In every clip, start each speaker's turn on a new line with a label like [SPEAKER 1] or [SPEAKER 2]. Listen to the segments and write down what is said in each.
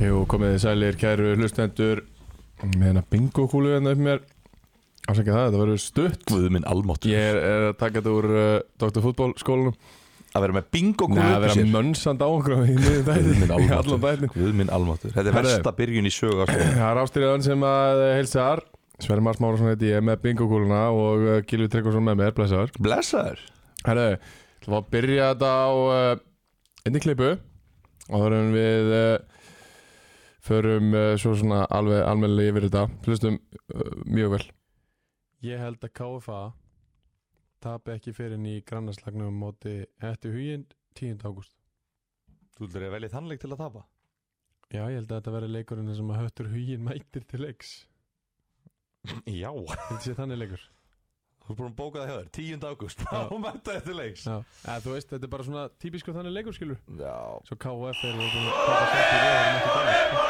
[SPEAKER 1] Jú, komið þið sælir, kæru hlustendur með hennar bingo kúlu hérna upp mér afsækja það, þetta verður stutt
[SPEAKER 2] Guðu minn almáttur
[SPEAKER 1] Ég er, er að taka þetta úr uh, Dr. Fútból skólanum
[SPEAKER 2] Að vera með bingo
[SPEAKER 1] Nei,
[SPEAKER 2] kúlu
[SPEAKER 1] það
[SPEAKER 2] upp í
[SPEAKER 1] verður
[SPEAKER 2] sér
[SPEAKER 1] mönnsand á okkur í miðjum
[SPEAKER 2] Guð
[SPEAKER 1] þætti,
[SPEAKER 2] minn
[SPEAKER 1] í
[SPEAKER 2] almáttugur.
[SPEAKER 1] allan þættin
[SPEAKER 2] Guð minn almáttur Þetta er
[SPEAKER 1] Herðu.
[SPEAKER 2] versta byrjun í sögu ársins.
[SPEAKER 1] Það er ástyrjaðan sem að eh, heilsar Sverri Mars Márásson heiti ég með bingo kúluna og uh, Gilvi Tryggvason með mér, blessaður
[SPEAKER 2] Blessaður
[SPEAKER 1] Herðu, það var að byrja þetta á uh, einni klippu og það verðum við uh, förum uh, svo svona alveg almennilega yfir þetta hlustum uh, mjög vel Ég held að KFA tapi ekki fyrir ný grannarslagnum móti hættu huginn 10. ágúst
[SPEAKER 2] Þú ætlar að velja þannleik til að tapa
[SPEAKER 1] Já, ég held að þetta verði leikurinn sem að höttur huginn mætir til leiks
[SPEAKER 2] Já Þú
[SPEAKER 1] Þetta sé þannig leikur
[SPEAKER 2] er búin að bóka það hjá þér 10. ágúst
[SPEAKER 1] Já.
[SPEAKER 2] Þá mæta þetta leiks
[SPEAKER 1] Já, eða, þú veist, þetta er bara svona típisku þannig leikur skilur
[SPEAKER 2] Já
[SPEAKER 1] Svo KF er sko.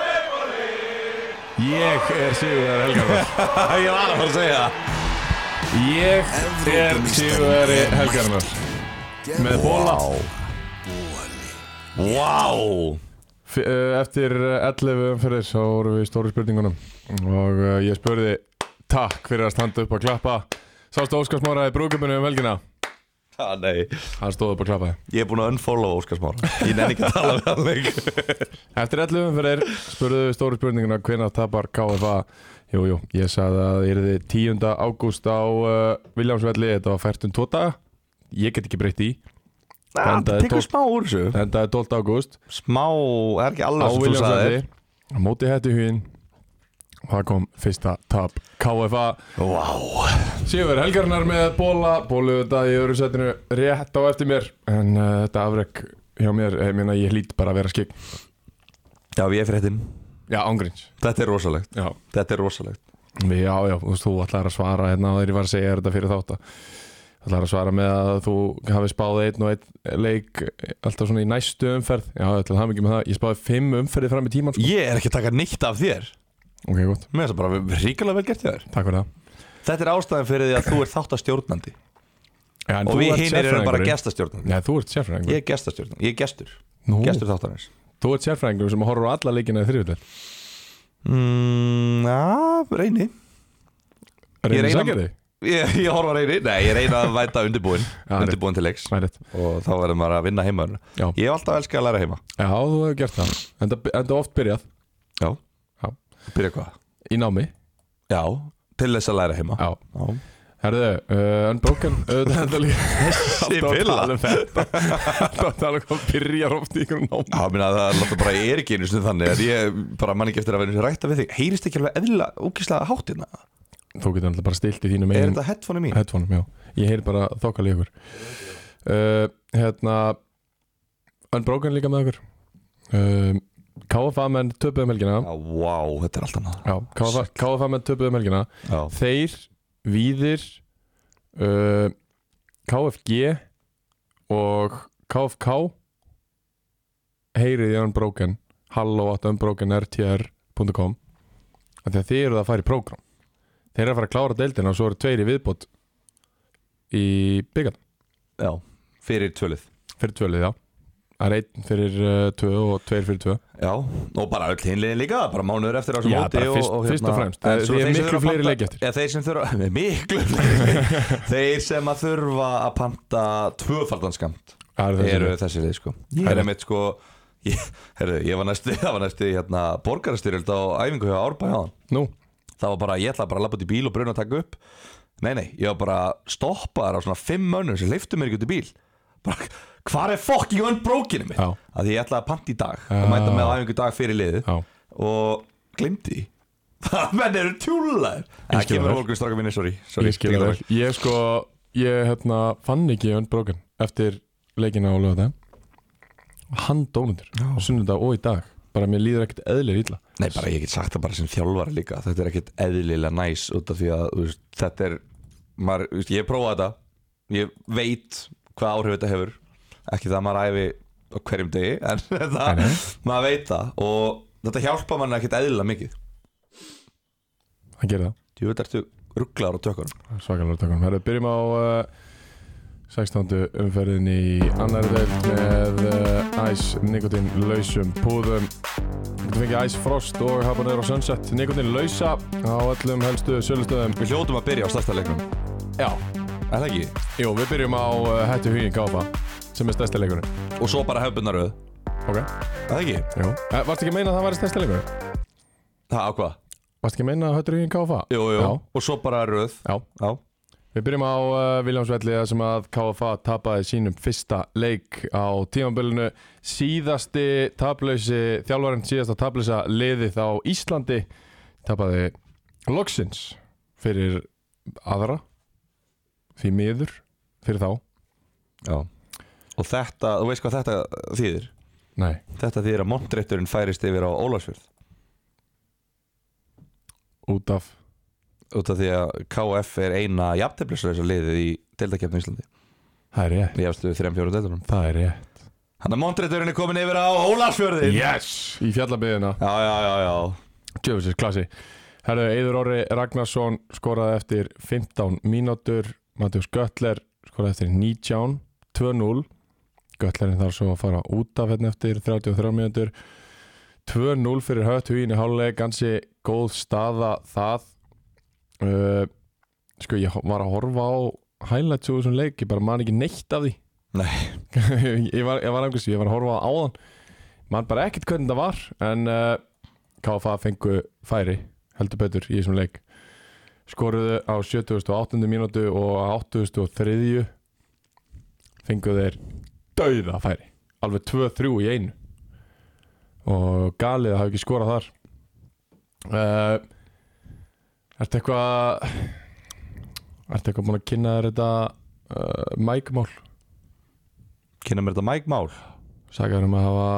[SPEAKER 1] Ég er Sigurðar Helgarvar
[SPEAKER 2] Ég var að fara að segja það
[SPEAKER 1] Ég er Sigurðari Helgarnar Með bóla
[SPEAKER 2] Vá
[SPEAKER 1] F- eh, Eftir eh, 11 umferðir þá vorum við í stóru spurningunum og eh, ég spurði takk fyrir að standa upp að klappa Sástu Óskar Smáraði brúkuminu um velgina
[SPEAKER 2] Ah, nei,
[SPEAKER 1] Hann stóð upp að klappa
[SPEAKER 2] ég er búin að unfollow Óskar Smára Ég nenni ekki að tala við hann lengur
[SPEAKER 1] Eftir 11 umferðir spurðu við stóru spurninguna hvenær tapar KFA Jú, jú, ég sagði að það yrði 10. ágúst á uh, Viljámsvelli, þetta var fært um tvo daga Ég get ekki breytt í
[SPEAKER 2] Ah,
[SPEAKER 1] Endaði
[SPEAKER 2] Það tekur
[SPEAKER 1] tólf-
[SPEAKER 2] smá úr þessu
[SPEAKER 1] Þetta er 12. ágúst
[SPEAKER 2] Smá, það er ekki
[SPEAKER 1] á
[SPEAKER 2] alveg sem þú sagðir
[SPEAKER 1] Viljámsvelli á móti hætti huginn og það kom fyrsta tap KFA
[SPEAKER 2] Vá
[SPEAKER 1] Sjöfur Helgarnar með bóla bóluðu þetta í öðru setinu rétt á eftir mér en uh, þetta afreg hjá mér, ég meina ég hlýt bara að vera skik
[SPEAKER 2] Já, við erum fréttin
[SPEAKER 1] Já, ángríns
[SPEAKER 2] Þetta er rosalegt
[SPEAKER 1] Já,
[SPEAKER 2] Þetta er rosalegt
[SPEAKER 1] já, já þú veist, þú ætlar að svara hérna og þegar ég var að segja þér þetta fyrir þátt að Það ætlar að svara með að þú hafi spáð einn og einn leik eh, alltaf svona í næstu umferð Já, ég ætla að hafa mikið með það Ég spáði fimm umferði fram í tíman sko.
[SPEAKER 2] Ég er ekki að taka neitt af þér
[SPEAKER 1] Ok, gott,
[SPEAKER 2] Mér er það bara ríkilega vel gert hjá þér
[SPEAKER 1] takk fyrir það
[SPEAKER 2] Þetta er ástæðan fyrir því að þú ert þáttastjórnandi
[SPEAKER 1] já, en
[SPEAKER 2] Og
[SPEAKER 1] þú
[SPEAKER 2] við
[SPEAKER 1] ert
[SPEAKER 2] hinir erum bara
[SPEAKER 1] sérfræðingurinn.
[SPEAKER 2] gestastjórnandi
[SPEAKER 1] Nei, þú ert sérfræðingur
[SPEAKER 2] Ég er gestastjórnandi, ég er gestur
[SPEAKER 1] Nú,
[SPEAKER 2] Gestur þáttarins
[SPEAKER 1] þú ert sérfræðingur sem horfur á alla leikina í þriðvöldur
[SPEAKER 2] Mm, Já, reyni
[SPEAKER 1] Reynir
[SPEAKER 2] reyna-
[SPEAKER 1] sækja þig
[SPEAKER 2] Ég, ég horfa reyni, nei, ég reyna að væta undirbúin
[SPEAKER 1] Já, rétt.
[SPEAKER 2] Undirbúin til leiks
[SPEAKER 1] Það er rétt.
[SPEAKER 2] Og þá verður maður að vinna heima hérna.
[SPEAKER 1] Já.
[SPEAKER 2] Ég hef alltaf elskað að læra heima
[SPEAKER 1] Já, þú hefur gert það Enda, enda oft byrjað
[SPEAKER 2] Já,
[SPEAKER 1] Já.
[SPEAKER 2] Byrja hvað?
[SPEAKER 1] í námi
[SPEAKER 2] Já, til þess að læra heima
[SPEAKER 1] Já
[SPEAKER 2] Já.
[SPEAKER 1] Herðu, uh, Unbroken auðvitað enda líka
[SPEAKER 2] Þessi
[SPEAKER 1] Alltaf að
[SPEAKER 2] pilla
[SPEAKER 1] tala um þetta Alltaf að tala um hvað byrjar oft í ykkur námi
[SPEAKER 2] Já, minna, það er alltaf bara, ég er ekki einu sinni þannig að ég bara mann ekki eftir að vera eins og rækta við þig Heyrist ekki alveg eðla, ókíslega háttina
[SPEAKER 1] Þú getur alltaf bara stilt í þínum
[SPEAKER 2] Er
[SPEAKER 1] einum
[SPEAKER 2] hérna? þetta headphone mín?
[SPEAKER 1] headphoneum, já Ég heyr bara þokkal í ykkur uh, Hérna Unbroken líka með ykkur um, KFA menn töpuðu um helgina
[SPEAKER 2] Já, vá, þetta er alltaf maður
[SPEAKER 1] Já, KFA, KFA menn töpuðu um helgina
[SPEAKER 2] Já,
[SPEAKER 1] Þeir, Víðir uh, KFG og KFK heyrið í Unbroken hallo.unbrokenrtr.com af því að þeir eru að fara í prógram þeir eru að fara að klára deildina og svo eru tveir í viðbót í byggarn
[SPEAKER 2] já, fyrir tvölið
[SPEAKER 1] fyrir tvölið, já það er einn fyrir uh, tvö og tveir fyrir tvö
[SPEAKER 2] Já, og bara öll hinlegin líka, bara mánuður eftir á þessu
[SPEAKER 1] Já,
[SPEAKER 2] móti hérna.
[SPEAKER 1] bara fyrst- fyrst og fremst.
[SPEAKER 2] en
[SPEAKER 1] Því
[SPEAKER 2] svo
[SPEAKER 1] er
[SPEAKER 2] þeir sem
[SPEAKER 1] miklu
[SPEAKER 2] þurfa að
[SPEAKER 1] fleiri
[SPEAKER 2] panta-
[SPEAKER 1] leiki eftir.
[SPEAKER 2] Já, þeir sem þurfa, miklu fleiri leiki. Þeir sem að þurfa að panta tvöfaldanskamt
[SPEAKER 1] Það eru þessi
[SPEAKER 2] eru
[SPEAKER 1] lið.
[SPEAKER 2] þessi leið sko
[SPEAKER 1] Ég-
[SPEAKER 2] Það er mitt sko ég, herru, ég var næstu, það var næstu í, hérna, borgarastyrjöld á æfingu hjá Árbæ áðan
[SPEAKER 1] Nú,
[SPEAKER 2] Það var bara, ég ætlaði bara að lappa út í bíl og bruna að taka upp Nei, nei, ég var bara stoppaðar á svona fimm mönnum sem leiftu mér ekki út í bíl Bara, hvar er fucking unbrókinu mitt?
[SPEAKER 1] Já. Ah.
[SPEAKER 2] Að því ég ætlaði að panta í dag
[SPEAKER 1] Já.
[SPEAKER 2] og mæta með á æfingu dag fyrir liðið
[SPEAKER 1] já,
[SPEAKER 2] og glimti því Það menn eru tjúlaðir
[SPEAKER 1] Ég
[SPEAKER 2] Það
[SPEAKER 1] skil
[SPEAKER 2] kemur
[SPEAKER 1] það.
[SPEAKER 2] að volgum stráka minni, sorry, sorry
[SPEAKER 1] ég skil
[SPEAKER 2] tekur
[SPEAKER 1] það
[SPEAKER 2] það
[SPEAKER 1] vel. Ég sko, ég hérna fann ekki Unbroken eftir leikina á lögða hann dónundur,
[SPEAKER 2] Já.
[SPEAKER 1] sunnudag og í dag bara mér líður ekkert eðlir illa
[SPEAKER 2] Nei, bara ég get sagt það bara sem þjálfara líka Þetta er ekkert eðlilega næs út af því að þú veist, þetta er maður, þú veist, Ég prófa þetta, ég veit hvað áhrif þetta hefur Ekki það að maður æfi á hverjum degi En það, maður veit það Og þetta hjálpa mann ekkert eðlilega mikið
[SPEAKER 1] það gerir það,
[SPEAKER 2] Þú veit, ertu rugglar á tökunum
[SPEAKER 1] það er svakalega tökum Herðu, byrjum á uh, 16. umferðin í annari deild með uh, æs, nikotín, lausum, púðum Þú fengið æs, frost og habanero sunset Nikotín lausa á öllum helstu sölustöðum
[SPEAKER 2] Við hljótum að byrja á stærsta leiknum
[SPEAKER 1] Já,
[SPEAKER 2] Er það ekki?
[SPEAKER 1] jú, við byrjum á uh, hættu hugin gáfa sem er stærsti leikurinn
[SPEAKER 2] Og svo bara hefbunaröð
[SPEAKER 1] Ok,
[SPEAKER 2] Er það ekki?
[SPEAKER 1] jú eh, Varst ekki að meina að það væri stærsti leikurinn?
[SPEAKER 2] Það ákvað
[SPEAKER 1] Varst ekki að meina að hættu hugin gáfa?
[SPEAKER 2] Jú, jú
[SPEAKER 1] Já.
[SPEAKER 2] Og svo bara röð
[SPEAKER 1] Já,
[SPEAKER 2] Já
[SPEAKER 1] Við byrjum á uh, Viljámsvelli þar sem að KFA tapaði sínum fyrsta leik á tímambilinu síðasti tablausi þjálfarinn síðasta tablausa liðið á Íslandi tapaði loksins fyrir aðra því miður fyrir þá
[SPEAKER 2] Já Og þetta, þú veist hvað þetta þýðir?
[SPEAKER 1] Nei,
[SPEAKER 2] Þetta þýðir að montreitturinn færist yfir á Ólafsfjörð
[SPEAKER 1] út af
[SPEAKER 2] út af því að KF er eina jafntefnisleisa liðið í deildakefni Íslandi
[SPEAKER 1] Það er rétt,
[SPEAKER 2] í efstu þrejum fjórum deildunum
[SPEAKER 1] það er rétt
[SPEAKER 2] Þannig að montreitturinn er komin yfir á Ólafsfjörðin
[SPEAKER 1] Yes! Í fjallabiðina
[SPEAKER 2] Já, já, já, já
[SPEAKER 1] Djöfusins klassi Herðu, Eður Orri Ragnarsson skoraði eftir 15 mínútur Matjós Götler skoraði eftir 19 2-0 Götlerinn þarf svo að fara út af hérna eftir 33 mínútur 2-0 fyrir hött hugin í háluleik ansi góð staða það uh, Sko, ég var að horfa á highlights úr þessum leik, ég bara man ekki neitt af því
[SPEAKER 2] Nei,
[SPEAKER 1] ég var, ég var einhvers, ég var að horfa á áðan mann bara ekkert hvernig það var en uh, KFA fengu færi heldur betur í þessum leik skoruðu á 78. mínútu og á 83. fengu þeir dauða færi, alveg 2-3 í einu og galið hafi ekki skorað þar uh, Ertu eitthvað Ertu eitthvað búin að kynna þér þetta uh, mækumál
[SPEAKER 2] kynna mér þetta Mike Mál
[SPEAKER 1] Sakaður um að hafa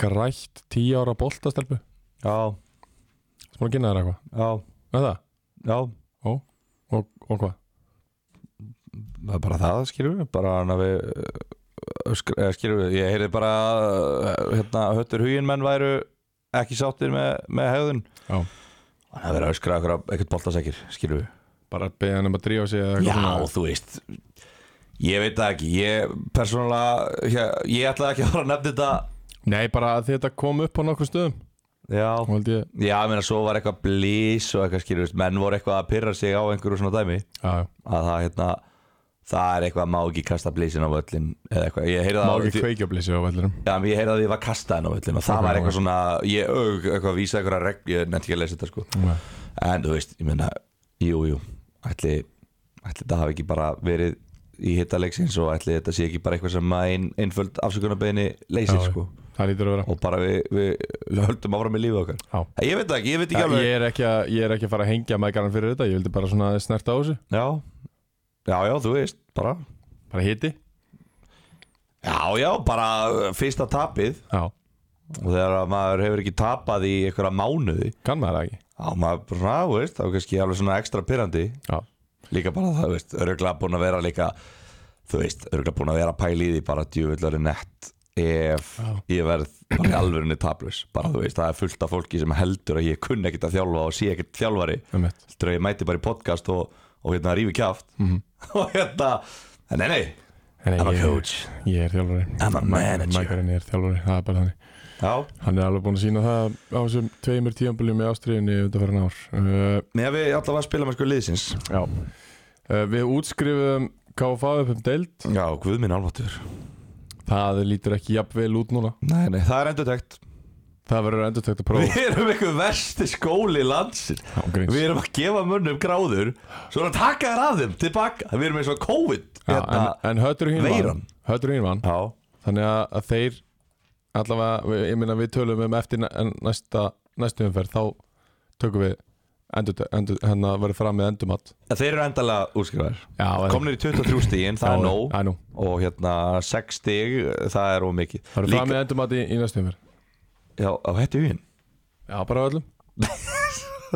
[SPEAKER 1] grætt 10 ára boltastelpu
[SPEAKER 2] Já,
[SPEAKER 1] sem hún að kynna þér eitthvað
[SPEAKER 2] já,
[SPEAKER 1] Er það?
[SPEAKER 2] já
[SPEAKER 1] Og, og hvað?
[SPEAKER 2] Það er bara það, skilur við bara hann að við uh, öskra- eh, skilur við, ég heyrði bara uh, hérna, höttur huginn menn væru ekki sáttir með, með hegðun
[SPEAKER 1] Já.
[SPEAKER 2] Hann að vera að öskra einhverja- eitthvað boltasekir, skilur við
[SPEAKER 1] Bara að beða hann um að drífa sig eða
[SPEAKER 2] Já,
[SPEAKER 1] eitthvað svona?
[SPEAKER 2] þú veist Ég veit það ekki Ég persónulega Ég, ég ætlaði ekki að fara að nefna þetta
[SPEAKER 1] Nei, bara að þetta kom upp á nokkur stöðum og
[SPEAKER 2] Já
[SPEAKER 1] held ég
[SPEAKER 2] Já, ég meina svo var eitthvað blís og eitthvað skilur veist, Menn voru eitthvað að pyrra sig á einhverju svona dæmi
[SPEAKER 1] Já, já.
[SPEAKER 2] Að það hérna Það er eitthvað má ekki kasta blísin á völlin Eða eitthvað Ég heyrði
[SPEAKER 1] má
[SPEAKER 2] það
[SPEAKER 1] ekki kveikja blísi á vellurum
[SPEAKER 2] Já, ég heyrði að ég var kastaðin á völlin Og það
[SPEAKER 1] Ok,
[SPEAKER 2] var eitthvað
[SPEAKER 1] ok.
[SPEAKER 2] svona Ég aug, eitthvað vísa eitthvað regl Ég nefndi ekki að lesa þetta sko En þú veist, ég meina, jú, jú ætli, ætli þetta hafi ekki bara verið í hitta leiksins og ætli þetta sé ekki bara eitthvað sem að ein, einföld afsökunarbeginni leysir,
[SPEAKER 1] Já, já.
[SPEAKER 2] sko
[SPEAKER 1] Það lítur að vera
[SPEAKER 2] og bara við, við, við höldum áfram í lífið okkar
[SPEAKER 1] Já.
[SPEAKER 2] Ég veit það ekki, ég veit ekki alveg
[SPEAKER 1] Ég er, ekki að, ég er ekki að fara að hengja mækarinn fyrir þetta Ég vildi bara svona aðeins snerta á þessu
[SPEAKER 2] Já, já, já, þú veist, bara
[SPEAKER 1] Bara hiti
[SPEAKER 2] Já, já, bara uh, fyrsta tapið
[SPEAKER 1] Já,
[SPEAKER 2] og þegar að maður hefur ekki tapað í einhverja mánuði
[SPEAKER 1] kann maður það ekki
[SPEAKER 2] á maður, bara svona, þú veist, þá er kannski alveg svona ekstra pyrrandi
[SPEAKER 1] Já,
[SPEAKER 2] líka bara það, þú veist, öruglega búin að vera líka þú veist, öruglega búin að vera að pæla í því bara djúvillari nett ef ég verð bara í alvörunni tablus bara þú veist, það er fullt af fólki sem heldur að ég kunni ekkert að þjálfa og sé ekkert þjálfari
[SPEAKER 1] um
[SPEAKER 2] heldur að ég mæti bara í podcast og, og hérna rífi kjáft og hérna, en nei, nei
[SPEAKER 1] En
[SPEAKER 2] I'm a
[SPEAKER 1] ég,
[SPEAKER 2] coach
[SPEAKER 1] ég er þjálfari
[SPEAKER 2] I'm a manager.
[SPEAKER 1] Mækarinn er þjálfari, það er bara þannig
[SPEAKER 2] Já,
[SPEAKER 1] Hann er alveg búinn að sína það á þessum tveimur tíambiljum í ástriðinni undanferðan ár. Uh,
[SPEAKER 2] mér við alltaf að spila með sko liðsins
[SPEAKER 1] já. Uh, við útskrifum KFA upp um deild.
[SPEAKER 2] Já, guð minn alvartur
[SPEAKER 1] Það lítur ekki jafn vel út núna.
[SPEAKER 2] Nei, nei, það er endur tekt
[SPEAKER 1] Það verður endur tækt að prófa.
[SPEAKER 2] Við erum einhver versti skóli landsins
[SPEAKER 1] Við
[SPEAKER 2] Við erum að gefa mönnum gráður Svo að taka þær af þeim tilbaka Við erum eins og COVID
[SPEAKER 1] já, en, en höttur hinn vann.
[SPEAKER 2] Veiran.
[SPEAKER 1] Höttur hinn vann.
[SPEAKER 2] já.
[SPEAKER 1] Þannig að, að þeir, allavega, við- ég minna við tölum um eftir næ- en næsta, næstu umferð, þá tökum við endur, endur, hennar verður fram með endumatt.
[SPEAKER 2] En Þeir eru endalega útskrifaðir
[SPEAKER 1] Já, en-
[SPEAKER 2] Komnir í 23 stígin, það
[SPEAKER 1] Já,
[SPEAKER 2] er nóg
[SPEAKER 1] það er nóg.
[SPEAKER 2] Og hérna 6 stíg, það er ómikið
[SPEAKER 1] Það verður fram með endumatt í, í næstu umferð.
[SPEAKER 2] Já, á hættu hugin
[SPEAKER 1] Já, bara á öllum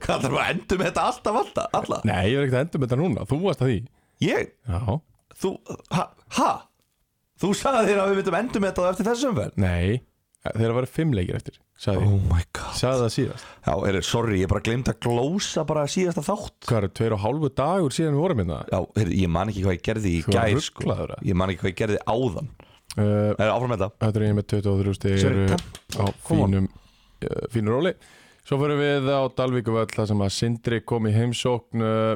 [SPEAKER 2] Hvað þarf að endum þetta alltaf, alltaf, alltaf
[SPEAKER 1] Nei, ég verð ekkert að enda með þetta núna, þú varst að því
[SPEAKER 2] Ég,
[SPEAKER 1] Já,
[SPEAKER 2] þú, ha, ha Þú sagði þér að við myndum endum þetta á eftir þessum vel
[SPEAKER 1] nei Þeir að vera fimm leikir eftir, sagði ég
[SPEAKER 2] Oh my god
[SPEAKER 1] Sagði það síðast
[SPEAKER 2] Já, er, sorry, ég bara glemt að glósa bara síðasta þátt
[SPEAKER 1] Hvað eru, tveir og hálfu dagur síðan við vorum hérna?
[SPEAKER 2] Já, er, ég man ekki hvað ég gerði í
[SPEAKER 1] Þú var
[SPEAKER 2] gær sko.
[SPEAKER 1] ruglaður, eða?
[SPEAKER 2] Ég man ekki hvað ég gerði áðan
[SPEAKER 1] Uh,
[SPEAKER 2] Það er Eh, áfram með þetta
[SPEAKER 1] Þetta er ég með 23 stig
[SPEAKER 2] Sorry,
[SPEAKER 1] eru
[SPEAKER 2] takk.
[SPEAKER 1] á
[SPEAKER 2] Come on.
[SPEAKER 1] fínum, uh, fínum róli Svo fyrir við á Dalvíkuvöll þar sem að Sindri kom í heimsókn uh,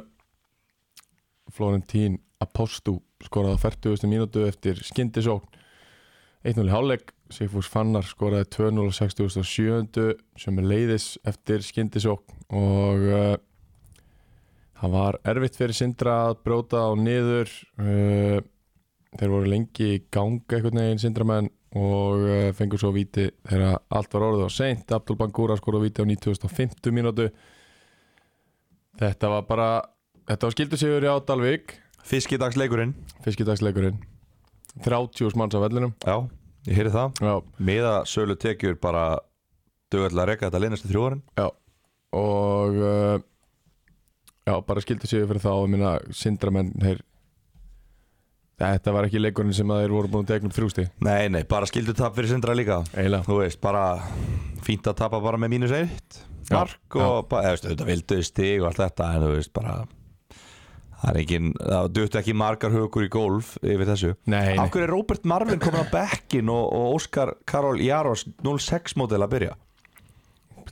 [SPEAKER 1] Florentín Apostu skoraði á 40. mínútu eftir skyndisókn 1-0 í hálfleik Sigfús Fannar skoraði 2-0 á 67. sem er leiðis eftir skyndisókn og uh, það var erfitt fyrir Sindra að bróta á niður uh, þeir voru lengi í ganga einhvern veginn sindramenn og uh, fengur svo víti þegar allt var orðið á seint Abdul Bangura skora víti á 9050 mínútu þetta var bara þetta var skildu sigur í Ádalvík
[SPEAKER 2] Fiskidagsleikurinn
[SPEAKER 1] fiskidagsleikurinn 30 manns af vellinum
[SPEAKER 2] Já, ég heyri það
[SPEAKER 1] já,
[SPEAKER 2] Miða sölu tekjur bara Dögall að reka þetta leinastu þrjú árin
[SPEAKER 1] já. og uh, já, bara skildu sigur fyrir þá og minna sindramenn þeir Þetta var ekki leikurinn sem að þeir voru búin að tegna upp þrjústi
[SPEAKER 2] Nei, nei, bara skildu tap fyrir sindra líka
[SPEAKER 1] Eiginlega
[SPEAKER 2] Þú veist, bara fínt að tapa bara með mínus eitt
[SPEAKER 1] Já,
[SPEAKER 2] Mark og bara, eða veist, þetta vildu stig og allt þetta En þú veist, bara Það er engin, það duttu ekki margar hugur í golf yfir þessu
[SPEAKER 1] Nei,
[SPEAKER 2] Af
[SPEAKER 1] nei.
[SPEAKER 2] hverju er Robert Marvin komin á bekkin og, og Óskar Karol Jaros 06 mótil að byrja?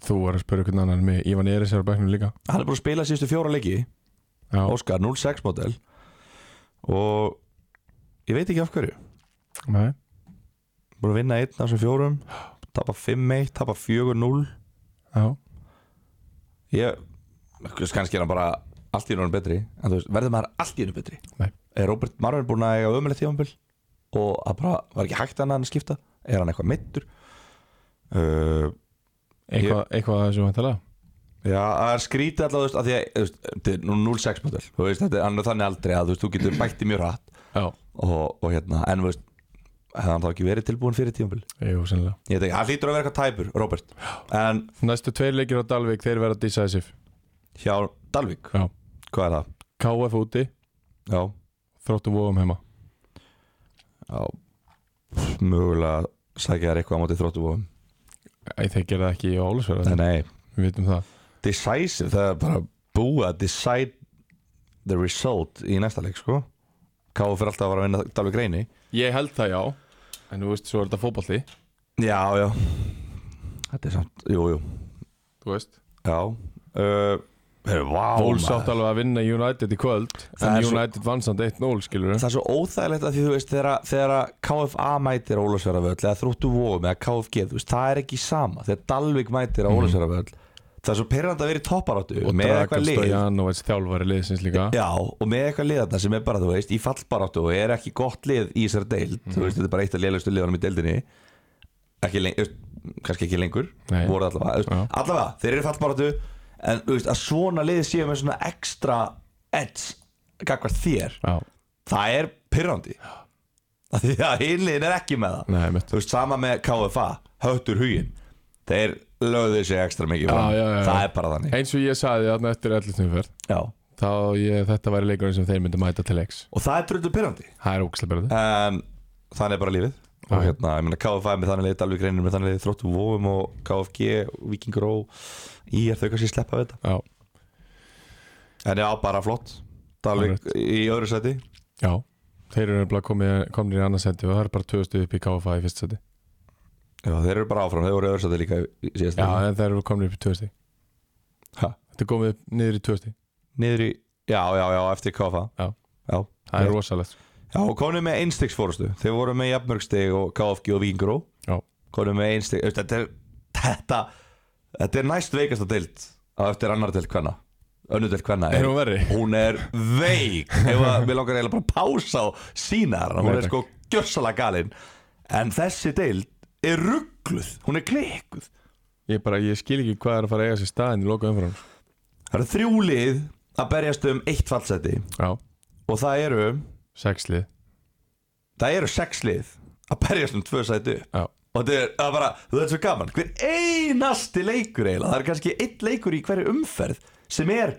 [SPEAKER 1] þú er að spyrja hvernig annan en mig Ívan Eris er á bæknum líka
[SPEAKER 2] Hann er búin að spila síðustu fjóra leiki
[SPEAKER 1] Já.
[SPEAKER 2] Óskar 06 mótil Og ég veit ekki af hverju
[SPEAKER 1] Nei.
[SPEAKER 2] Búin að vinna einn af þessum fjórum Tapa 5-1, tapa 4-0
[SPEAKER 1] Já.
[SPEAKER 2] Ég, veist, kannski er hann bara allt í einu betri, en þú veist, verður maður allt í einu betri
[SPEAKER 1] Nei.
[SPEAKER 2] Er Robert Marvin búin að eiga ömulegt tífambil og að bara, var ekki hægt annað en að skipta Er hann eitthvað meittur? Uh,
[SPEAKER 1] Eitthvað, eitthvað að þessu vantala
[SPEAKER 2] já, það er skrítið allavega, þú veist, að því að, þú veist, þetta er nú 0-6 mótel Þú veist, þetta er hann er þannig aldrei að, þú veist, þú getur bætti mjög rætt
[SPEAKER 1] Já,
[SPEAKER 2] og, og hérna, en þú veist, hefði hann þá ekki verið tilbúin fyrir tífambil
[SPEAKER 1] jú, sennilega
[SPEAKER 2] Ég veit ekki, hann hlýtur að vera eitthvað tæpur, Robert En
[SPEAKER 1] Næstu tveir leikir á Dalvik, þeir verða decisive
[SPEAKER 2] hjá Dalvik,
[SPEAKER 1] Já.
[SPEAKER 2] hvað er það?
[SPEAKER 1] KF úti,
[SPEAKER 2] Já,
[SPEAKER 1] þróttu vóðum heima
[SPEAKER 2] Já Mögulega sækja þær eitthvað á móti þróttu bóðum
[SPEAKER 1] Æ, þeir gera það ekki í
[SPEAKER 2] Nei,
[SPEAKER 1] Ólusverða
[SPEAKER 2] nei
[SPEAKER 1] Við vitum það
[SPEAKER 2] Decisive, það er bara búið að decide the result í næsta leik, sko Káu fyrir alltaf að vera að vinna Dalvik reyni
[SPEAKER 1] Ég held það, já En þú veist, svo er þetta fótbolti
[SPEAKER 2] Já, já Þetta er samt, jú, jú
[SPEAKER 1] Þú veist
[SPEAKER 2] Já uh, Heru, vá,
[SPEAKER 1] Óls átt
[SPEAKER 2] maður.
[SPEAKER 1] alveg að vinna United í kvöld
[SPEAKER 2] Það er
[SPEAKER 1] En
[SPEAKER 2] svo-
[SPEAKER 1] United svo... vannsand 1-0, skilur
[SPEAKER 2] Það er svo óþægilegt að því þú veist þegar, að- þegar að KFA mætir á Ólafsverðarvöll eða þróttu vóum eða KFG þú veist, það er ekki sama þegar Dalvik mætir á Ólafsverðarvöll það er svo perrand að vera í topparáttu
[SPEAKER 1] Mhm. Og
[SPEAKER 2] með eitthvað
[SPEAKER 1] Dragan
[SPEAKER 2] lið
[SPEAKER 1] Stojanovic þjálfari liðsins líka
[SPEAKER 2] Já, og með eitthvað lið þarna sem er bara, þú veist, í fallbaráttu og er ekki gott lið í þessari deild
[SPEAKER 1] Mhm.
[SPEAKER 2] þú veist, þetta er bara eitt af liðlustu liðanum í deildinni ekki lengur, kannski ekki lengur
[SPEAKER 1] Nei.
[SPEAKER 2] voru allavega, þú veist,
[SPEAKER 1] Já.
[SPEAKER 2] allavega, þeir eru í fallbaráttu en, þú veist, að svona lið séu með svona ekstra edge gagvart þér,
[SPEAKER 1] já.
[SPEAKER 2] það er pyrrandi af því að hinliðin er ekki með það
[SPEAKER 1] Nei, mitt
[SPEAKER 2] þú veist, sama með KFA, höttur hugin þeir lögðu sig ekstra mikið
[SPEAKER 1] Já,
[SPEAKER 2] fram.
[SPEAKER 1] já, já, já.
[SPEAKER 2] það er bara þannig
[SPEAKER 1] Eins og ég saði þarna eftir 11. umferð
[SPEAKER 2] já.
[SPEAKER 1] Þá ég, þetta væri leikurinn sem þeir myndu mæta til X
[SPEAKER 2] og það er dröldu pyrrandi
[SPEAKER 1] Það er ógæslega berðið
[SPEAKER 2] en þannig er bara lífið og
[SPEAKER 1] Já.
[SPEAKER 2] hérna, ég meina KFA er með þannig leið Dalvik reynir með þannig leið Þróttum Vóum og KFG Vikingur og í er þau kannski sleppa við
[SPEAKER 1] Já,
[SPEAKER 2] þetta en já, bara flott Dalvik í öðru seti
[SPEAKER 1] já Þeir eru nefnilega komið, komnir í annarsætti og það er bara tvö stuð upp í KFA í fyrst sæti
[SPEAKER 2] já, þeir eru bara áfram, þeir voru í öðru seti líka í- í síðasta
[SPEAKER 1] Já,
[SPEAKER 2] leik.
[SPEAKER 1] en þeir eru komnir upp í tvö stík
[SPEAKER 2] Ha.
[SPEAKER 1] Þetta er komið upp niður í tvö stík
[SPEAKER 2] niður í, já, já, já, eftir KFA
[SPEAKER 1] Já.
[SPEAKER 2] já,
[SPEAKER 1] Það er
[SPEAKER 2] Rétt.
[SPEAKER 1] rosalegt
[SPEAKER 2] já og konum með einstiks fórustu þeir voru með jafnmörgstig og KFG og Vikingur
[SPEAKER 1] Já.
[SPEAKER 2] konum með einstiks, þetta er þetta, þetta er næst veikasta deild á eftir annar deild hvenna önnu deild hvenna
[SPEAKER 1] Er hún verri?
[SPEAKER 2] hún er veik ef að við langar eiginlega bara að pása á sína þarna, hún
[SPEAKER 1] Nei,
[SPEAKER 2] er sko gjössalega galinn en þessi deild er ruggluð, hún er klikkuð
[SPEAKER 1] Ég bara, ég skil ekki hvað er að fara að eiga sér staðin í loka sko. umfram
[SPEAKER 2] það eru þrjú lið að berjast um eitt fallseti
[SPEAKER 1] Já,
[SPEAKER 2] og það eru
[SPEAKER 1] sexlið
[SPEAKER 2] það eru sex lið að berjast um tvö sæti upp
[SPEAKER 1] Já,
[SPEAKER 2] og þetta er það er bara, þetta er svo gaman hver einasti leikur eiginlega það er kannski einn leikur í hverju umferð sem er,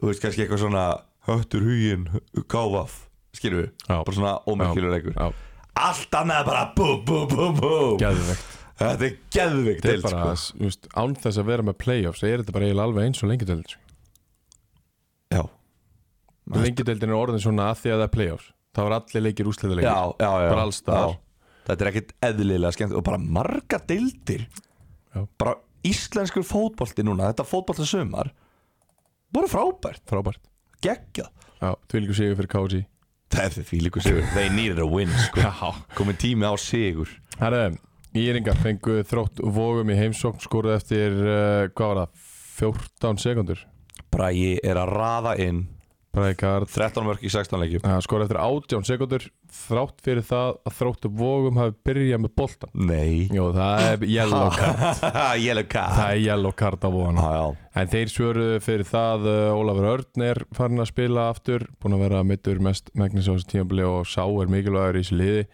[SPEAKER 2] þú veist kannski eitthvað svona höttur hugin, káfaf skilur við,
[SPEAKER 1] Já.
[SPEAKER 2] bara svona ómerkilur leikur
[SPEAKER 1] Já.
[SPEAKER 2] allt annað er bara bú, bú, bú, bú
[SPEAKER 1] Geðveikt.
[SPEAKER 2] þetta er sko. geðvikt
[SPEAKER 1] Þetta er bara, þú veist, án þess að vera með playoffs er þetta bara eiginlega alveg eins og sko. lengjadeild
[SPEAKER 2] já,
[SPEAKER 1] Lengjadeildin er orðin svona að því að það er playoffs Það var allir leikir úsliðarleikir
[SPEAKER 2] já, já, já.
[SPEAKER 1] Bara alls staðar.
[SPEAKER 2] Já. þetta er ekkit eðlilega skemmt og bara marga deildir
[SPEAKER 1] Já.
[SPEAKER 2] bara íslenskur fótbolti núna þetta fótbolti sumar bara frábært,
[SPEAKER 1] Frábært
[SPEAKER 2] geggjað
[SPEAKER 1] Já, því líka sigur fyrir KG
[SPEAKER 2] það er því líku sigur, they needed a win sko. komið tími á sigur
[SPEAKER 1] Herre, Íringar fengu þrótt vógum í heimsókn skoruð eftir, uh, hvað var það, 14 sekundur
[SPEAKER 2] Bragi er að raða inn
[SPEAKER 1] Brækard
[SPEAKER 2] 13 mörg í 16 leikjum
[SPEAKER 1] skoruð eftir 18 sekundur þrátt fyrir það að þróttu vógum hafi byrjað með boltan
[SPEAKER 2] nei
[SPEAKER 1] Jó, það er yellow card
[SPEAKER 2] yellow
[SPEAKER 1] Það
[SPEAKER 2] card
[SPEAKER 1] er yellow card á vóðan
[SPEAKER 2] já, já.
[SPEAKER 1] En þeir svöruðu fyrir það uh, Ólafur Örn er farin að spila aftur búinn að vera mittur mest megnis á þessu tímabili og sá er mikilvægur í þessu liði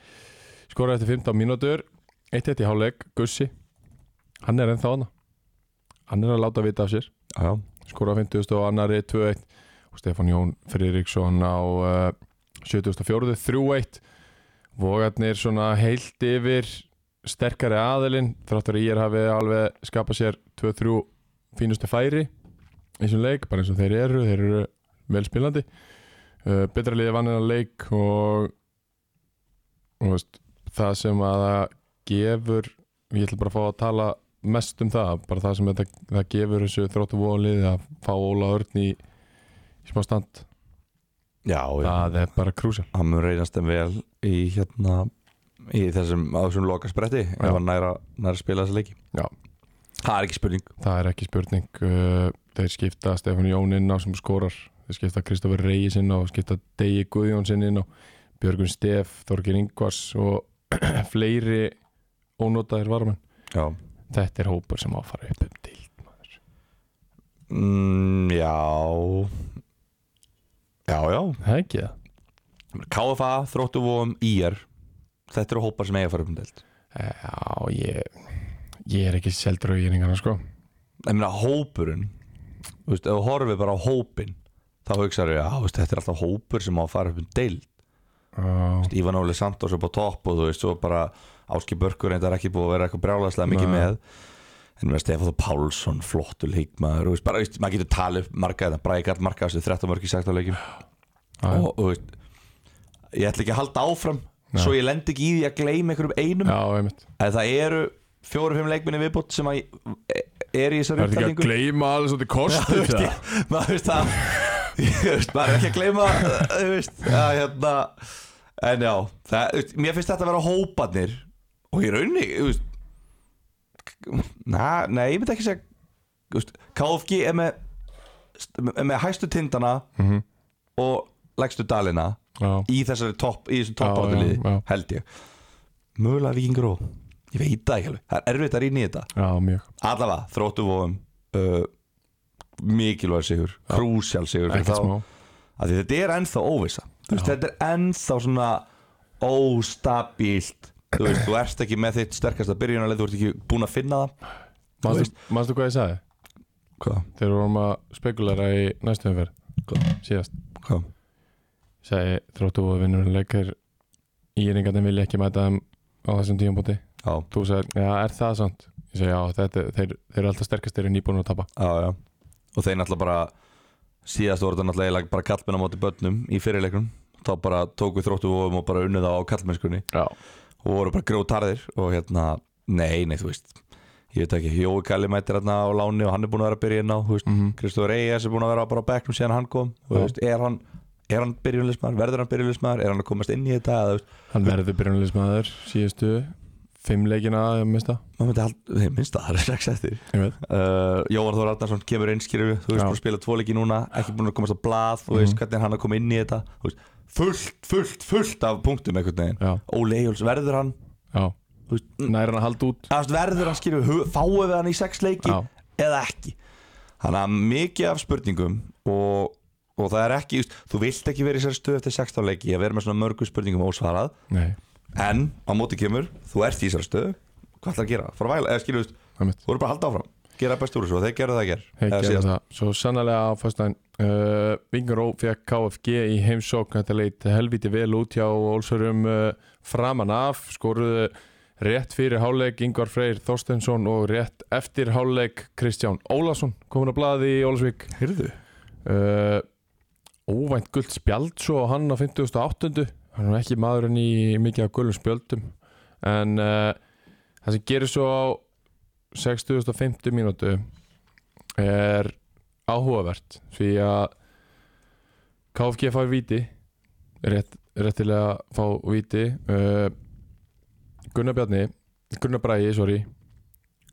[SPEAKER 1] skoraði eftir 15 mínútur 1-1 í hálfleik, Gussi hann er ennþá hana hann er að láta vita af sér
[SPEAKER 2] Já.
[SPEAKER 1] skoraði á 50 og annari 2-1 og Stefán Jón Friðriksson á uh, 74 3-1 Vogarnir svona heilt yfir sterkari aðilinn þráttur að ég hafi alveg skapað sér 2-3 fínustu færi í þessum leik, bara eins og þeir eru þeir eru velspilandi uh, betra liði vann en að leik og og veist, það sem að það gefur ég ætla bara að fá að tala mest um það bara það sem þetta, það gefur þessu þróttu vonliði að fá Óla Örn í, í smá stand
[SPEAKER 2] já, já.
[SPEAKER 1] það er bara krúsjál
[SPEAKER 2] hann mun reynast þeim vel í hérna í þessum á þessum loka spretti ef hann næra, næra spila þessa leiki
[SPEAKER 1] Já.
[SPEAKER 2] það er ekki spurning
[SPEAKER 1] það er ekki spurning uh, þeir skipta Stefán Jón inn á sem skorar þeir skipta Kristoffer Reyes inn á skipta Degi Guðjón sinn inn á Björgun Stef, Þorgir Ingvars og fleiri ónotaðir varamenn
[SPEAKER 2] já,
[SPEAKER 1] þetta er hópur sem á að fara upp um til
[SPEAKER 2] mm, já já, já
[SPEAKER 1] það er ekki það
[SPEAKER 2] KFA, Þróttuvóum, IR þetta eru hópar sem eiga að fara upp um deild
[SPEAKER 1] Já, ég, ég er ekki seldur á írningana sko
[SPEAKER 2] ég meina hópurinn þú veist, ef þú horfir bara á hópin þá hugsaðu, já, þú veist, þetta er alltaf hópur sem á að fara upp um deild
[SPEAKER 1] Já,
[SPEAKER 2] Ívan Óli Santos upp á topp og þú veist, svo bara Áski Börkur reyndar ekki búið að vera eitthvað brjálaðslega mikið
[SPEAKER 1] Nei.
[SPEAKER 2] með en með Stefán Þór Pálsson, flottur leikmaður þú veist, bara, þú veist, maður getur talið upp marga hérna, þetta Brækart marga þessu 13 mörg í 16 leikim
[SPEAKER 1] já.
[SPEAKER 2] og þú veist ég ætla ekki að halda áfram
[SPEAKER 1] Nei.
[SPEAKER 2] svo ég lend ekki í því að gleyma einhverjum einum
[SPEAKER 1] já einmitt
[SPEAKER 2] en það eru fjóru-fimm leikminni viðbútt sem að
[SPEAKER 1] Það
[SPEAKER 2] er í þessari
[SPEAKER 1] er ekki að
[SPEAKER 2] upptalningu
[SPEAKER 1] gleyma alveg svolítið
[SPEAKER 2] Þú
[SPEAKER 1] kostið
[SPEAKER 2] veist,
[SPEAKER 1] það
[SPEAKER 2] ég- maður veist það Þú veist, maður er ekki að gleyma þú veist, að, hérna, en já það, þú veist, mér finnst þetta að vera hópanir og í raunni þú veist, na, nei, ég myndi ekki segja þú veist, KFG er með, er með hæstu tindana
[SPEAKER 1] Mhm.
[SPEAKER 2] og lægstu dalina
[SPEAKER 1] Já,
[SPEAKER 2] í þessari topp, í þessum
[SPEAKER 1] Já,
[SPEAKER 2] toppáttaliði
[SPEAKER 1] já, já.
[SPEAKER 2] held ég mögulega vikingur og ég veit það ekki alveg, það er erfitt að rýna í þetta
[SPEAKER 1] já, mjög
[SPEAKER 2] allavega þróttu vóðum uh, mikilvæg sigur, krúsjál sigur fyrir
[SPEAKER 1] Ekkert
[SPEAKER 2] þá.
[SPEAKER 1] smá
[SPEAKER 2] Af því þetta er ennþá óvissa Þú veist, þetta er ennþá svona óstabílt þú veist, þú ert ekki með þitt sterkasta byrjunarlið þú ert ekki búin að finna það
[SPEAKER 1] Manstu-
[SPEAKER 2] veist-
[SPEAKER 1] Manstu hvað ég sagði?
[SPEAKER 2] hvað,
[SPEAKER 1] Þegar við vorum að spekulara í næstu umferð
[SPEAKER 2] hvað,
[SPEAKER 1] síðast
[SPEAKER 2] hvað
[SPEAKER 1] sagði þróttu og vinnur leikir írningarnir vilja ekki mæta þeim á þessum tíumbóti
[SPEAKER 2] já,
[SPEAKER 1] Þú sagði, já, er það sant? Ég segi, já, þetta, þeir, þeir eru alltaf sterkast þeir eru nýbúin að tapa
[SPEAKER 2] já, já og þeir náttúrulega bara síðast voru þetta náttúrulega eiginlega bara kallmenn á móti börnum í fyrirleiknum þá bara tóku þróttu vóðum og bara unnið á kallmennskunni
[SPEAKER 1] Já,
[SPEAKER 2] og voru bara grótarðir og hérna, nei, nei, þú veist ég veit ekki, Jói Kalli mætir hérna á láni og hann er búin að vera að byrja inn á, þú veist
[SPEAKER 1] Mhm.
[SPEAKER 2] Kristofur Eyjas er búin að vera bara á bekknum síðan hann kom og þú
[SPEAKER 1] Já.
[SPEAKER 2] veist, er hann, er hann byrjunlismar, verður hann byrjunlismar er hann að komast inn í þetta, eða, þú veist
[SPEAKER 1] hann verður byrjunleismæður síðustu fimm leikina, ég mista
[SPEAKER 2] maður myndi hald, þeir minnst það, það er strax eftir
[SPEAKER 1] Ég veit
[SPEAKER 2] uh, Jóhann Þór Arnarsson kemur einskýru, þú veist,
[SPEAKER 1] Já. Mhm.
[SPEAKER 2] búin að spila tvoleiki núna ekki búin að komast á blað, þú veist, hvernig er hann að koma inn í þetta þú veist, fullt, fullt, fullt af punktum einhvern veginn,
[SPEAKER 1] Já,
[SPEAKER 2] Óli Eyjóls, verður hann
[SPEAKER 1] já
[SPEAKER 2] þú veist,
[SPEAKER 1] nær hann að halda út
[SPEAKER 2] Þú veist, verður hann skilur hu- fáum við hann í sex leiki
[SPEAKER 1] Já.
[SPEAKER 2] eða ekki þannig að mikið af spurningum og, og það er ekki just, þú vilt ekki verið sér stöð eftir 16 leiki að vera með svona mörgum spurningum ósvarað
[SPEAKER 1] Nei,
[SPEAKER 2] en á móti kemur, þú ert í sér stöð hvað ætlar að gera? Fara að væla, eða skilur þú veist,
[SPEAKER 1] Það mitt
[SPEAKER 2] þú voru bara að halda áfram gera best úr þessu og þeir gerðu það að
[SPEAKER 1] Hey,
[SPEAKER 2] gera
[SPEAKER 1] gerði það. hérna. Svo sannlega á fyrstæðin uh, Vingaró fekk KFG í heimsókn þetta leit helviti vel út hjá Olsurum uh, framan af skoruðu rétt fyrir hálfleik Ingvar Freyr Þorstensson og rétt eftir hálfleik Kristján Ólason komin að blaði í Ólasvík
[SPEAKER 2] Hyrðu?
[SPEAKER 1] uh, Óvænt guld spjald svo á hann á 58. Hann er ekki maðurinn í mikið af gullum spjöldum en uh, það sem gerir svo á 60.50 mínútu er áhugavert því að KFG fær víti rétt, réttilega fá víti uh, Gunnar Bjarni Gunnar Bræði, sorry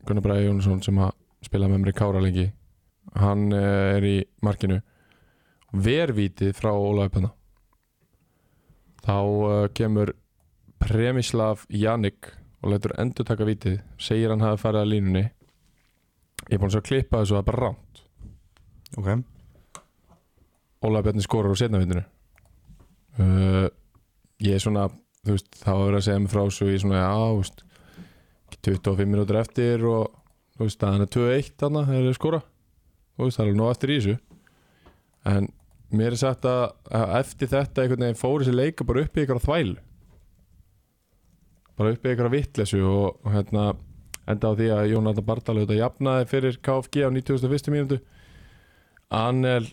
[SPEAKER 1] Gunnar Bræði Jónsson sem að spila með mér í Kára lengi hann eh, er í markinu vervítið frá Ólaðupenna þá uh, kemur Premislav Janik og lætur endur taka vítið segir hann hafi farið að línunni ég er búinn að sjá að klippa þessu að bara rámt
[SPEAKER 2] Ok
[SPEAKER 1] Ólaðupenni skorur á setnavítinu uh, ég er svona þú veist, þá er að segja mig frá svo ég er svona, já, þú veist 25 minútur eftir og þú veist, staðan er 2-1 þarna, þegar þeir skora þú veist, það er alveg nóg eftir í þessu en mér er sagt að, að eftir þetta einhvern veginn fór þessi leika bara upp í ykkur þvæl bara upp í ykkur vittlesu og, og hérna enda á því að Jónatan Bardal auðvitað jafnaði fyrir KFG á 91. mínútu Anel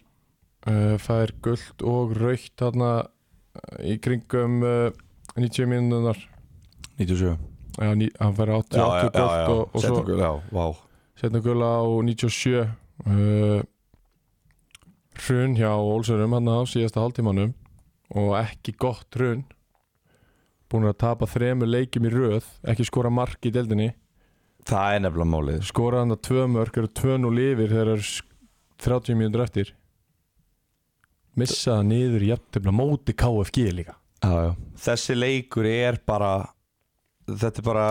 [SPEAKER 1] uh, fær guld og raukt þarna eh, í kringum uh, 90 mínútunar
[SPEAKER 2] 97
[SPEAKER 1] Já, ní, hann fær 80, 80 gult og, og svo
[SPEAKER 2] Setningu, já, vá
[SPEAKER 1] setna gula á 97 uh, hrun hjá Olsurum hann á síðasta hálftímanum og ekki gott hrun búin að tapa þremur leikjum í röð ekki skora mark í deldinni
[SPEAKER 2] Það er nefnilega málið
[SPEAKER 1] skora hann að tvö mörg eru tvö nú lifir þegar er 30 mínútur eftir missa það niður jafntefna móti KFG líka
[SPEAKER 2] já, já. Þessi leikur er bara Þetta er bara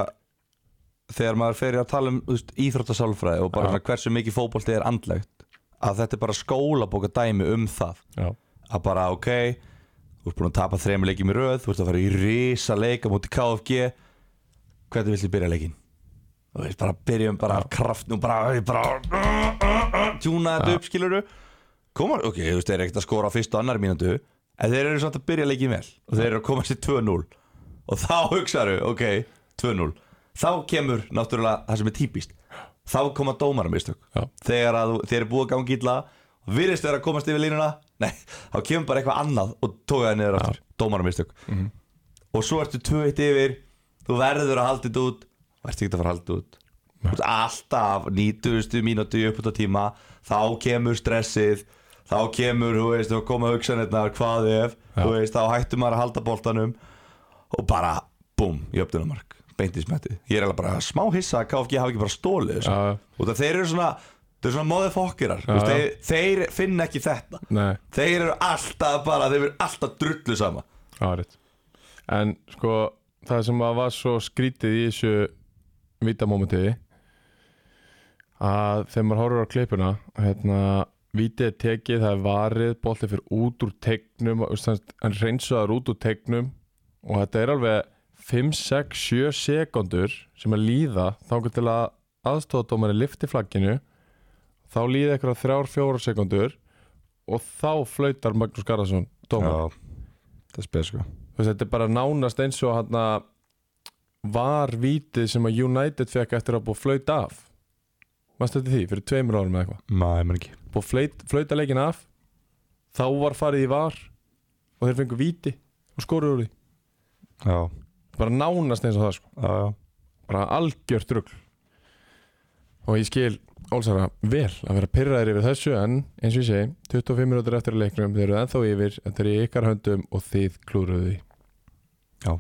[SPEAKER 2] Þegar maður fer í að tala um þú veist, íþróttasálfræði og bara
[SPEAKER 1] Já.
[SPEAKER 2] svona hversu mikið fótbolti er andlegt að þetta er bara skólabóka dæmi um það
[SPEAKER 1] Já,
[SPEAKER 2] að bara ok þú ert búin að tapa þrejum leikjum í röð þú ert að fara í risa leika múti KFG hvernig viltu byrja leikin og við bara byrjum bara af kraft og bara, bara tjúna þetta upp skiluru koma, ok, þú veist, þeir eru ekkert að skora á fyrstu og annar mínútu en þeir eru samt að byrja leikin vel og þeir eru að koma sér 2-0 og þá hugsaðu, ok, 2-0 þá kemur náttúrulega það sem er típist þá koma dómarum mistök
[SPEAKER 1] já,
[SPEAKER 2] þegar að þú- þeir eru búið að gangi illa og virðist þeir að komast yfir línuna nei, þá kemur bara eitthvað annað og tóka það niður aftur, dómarum mistök og svo ertu 2-1 yfir þú verður að halda þetta út og ertu ekki að fara að halda þetta út Þú ert alltaf 90 mínútu upp út á tíma þá kemur stressið þá kemur, þú veist, þú koma hugsanirnar hvað ef, þú veist, þá hættum maður að halda boltanum og bara, búm, jöfnunumark beint í smettið, ég er alveg bara smá hissa að KFG hafi ekki bara stólið þessu
[SPEAKER 1] já,
[SPEAKER 2] og það þeir eru svona þeir eru svona móðifokkirar
[SPEAKER 1] Já, já.
[SPEAKER 2] þeir, þeir finna ekki þetta
[SPEAKER 1] nei
[SPEAKER 2] þeir eru alltaf bara, þeir eru alltaf drullu sama
[SPEAKER 1] Já, rétt En sko, það sem að var svo skrítið í þessu vítamómentiði að þegar maður horfur á klippuna hérna, vítið er tekið það er varið, boltið fyrir út úr tegnum og, þú veist, hann reynsaðar út úr tegnum og þetta er alveg 5, 6, 7 sekundur sem að líða þángar til að aðstofadómari lifti flagginu þá líða eitthvað 3, 4 sekundur og þá flautar Magnús Garðarsson dómar
[SPEAKER 2] það spyr sko
[SPEAKER 1] Þú veist, þetta er bara nánast eins og hann var vítið sem að United fekk eftir að búið að flauta af mannst þetta því, fyrir tveimur árum eða eitthvað
[SPEAKER 2] maður er ekki
[SPEAKER 1] búið að flauta, flauta leikin af þá var farið í var og þeir fengu víti og skoruðu úr því
[SPEAKER 2] já,
[SPEAKER 1] bara nánast eins og það sko
[SPEAKER 2] já, já.
[SPEAKER 1] bara algjört rugl og ég skil Ólsara vel að vera pyrraðir yfir þessu en eins og ég segi, 25 minútur eftir að leiknum þeir eru ennþá yfir, þetta er í ykkar höndum og þið klúruðu því
[SPEAKER 2] Já.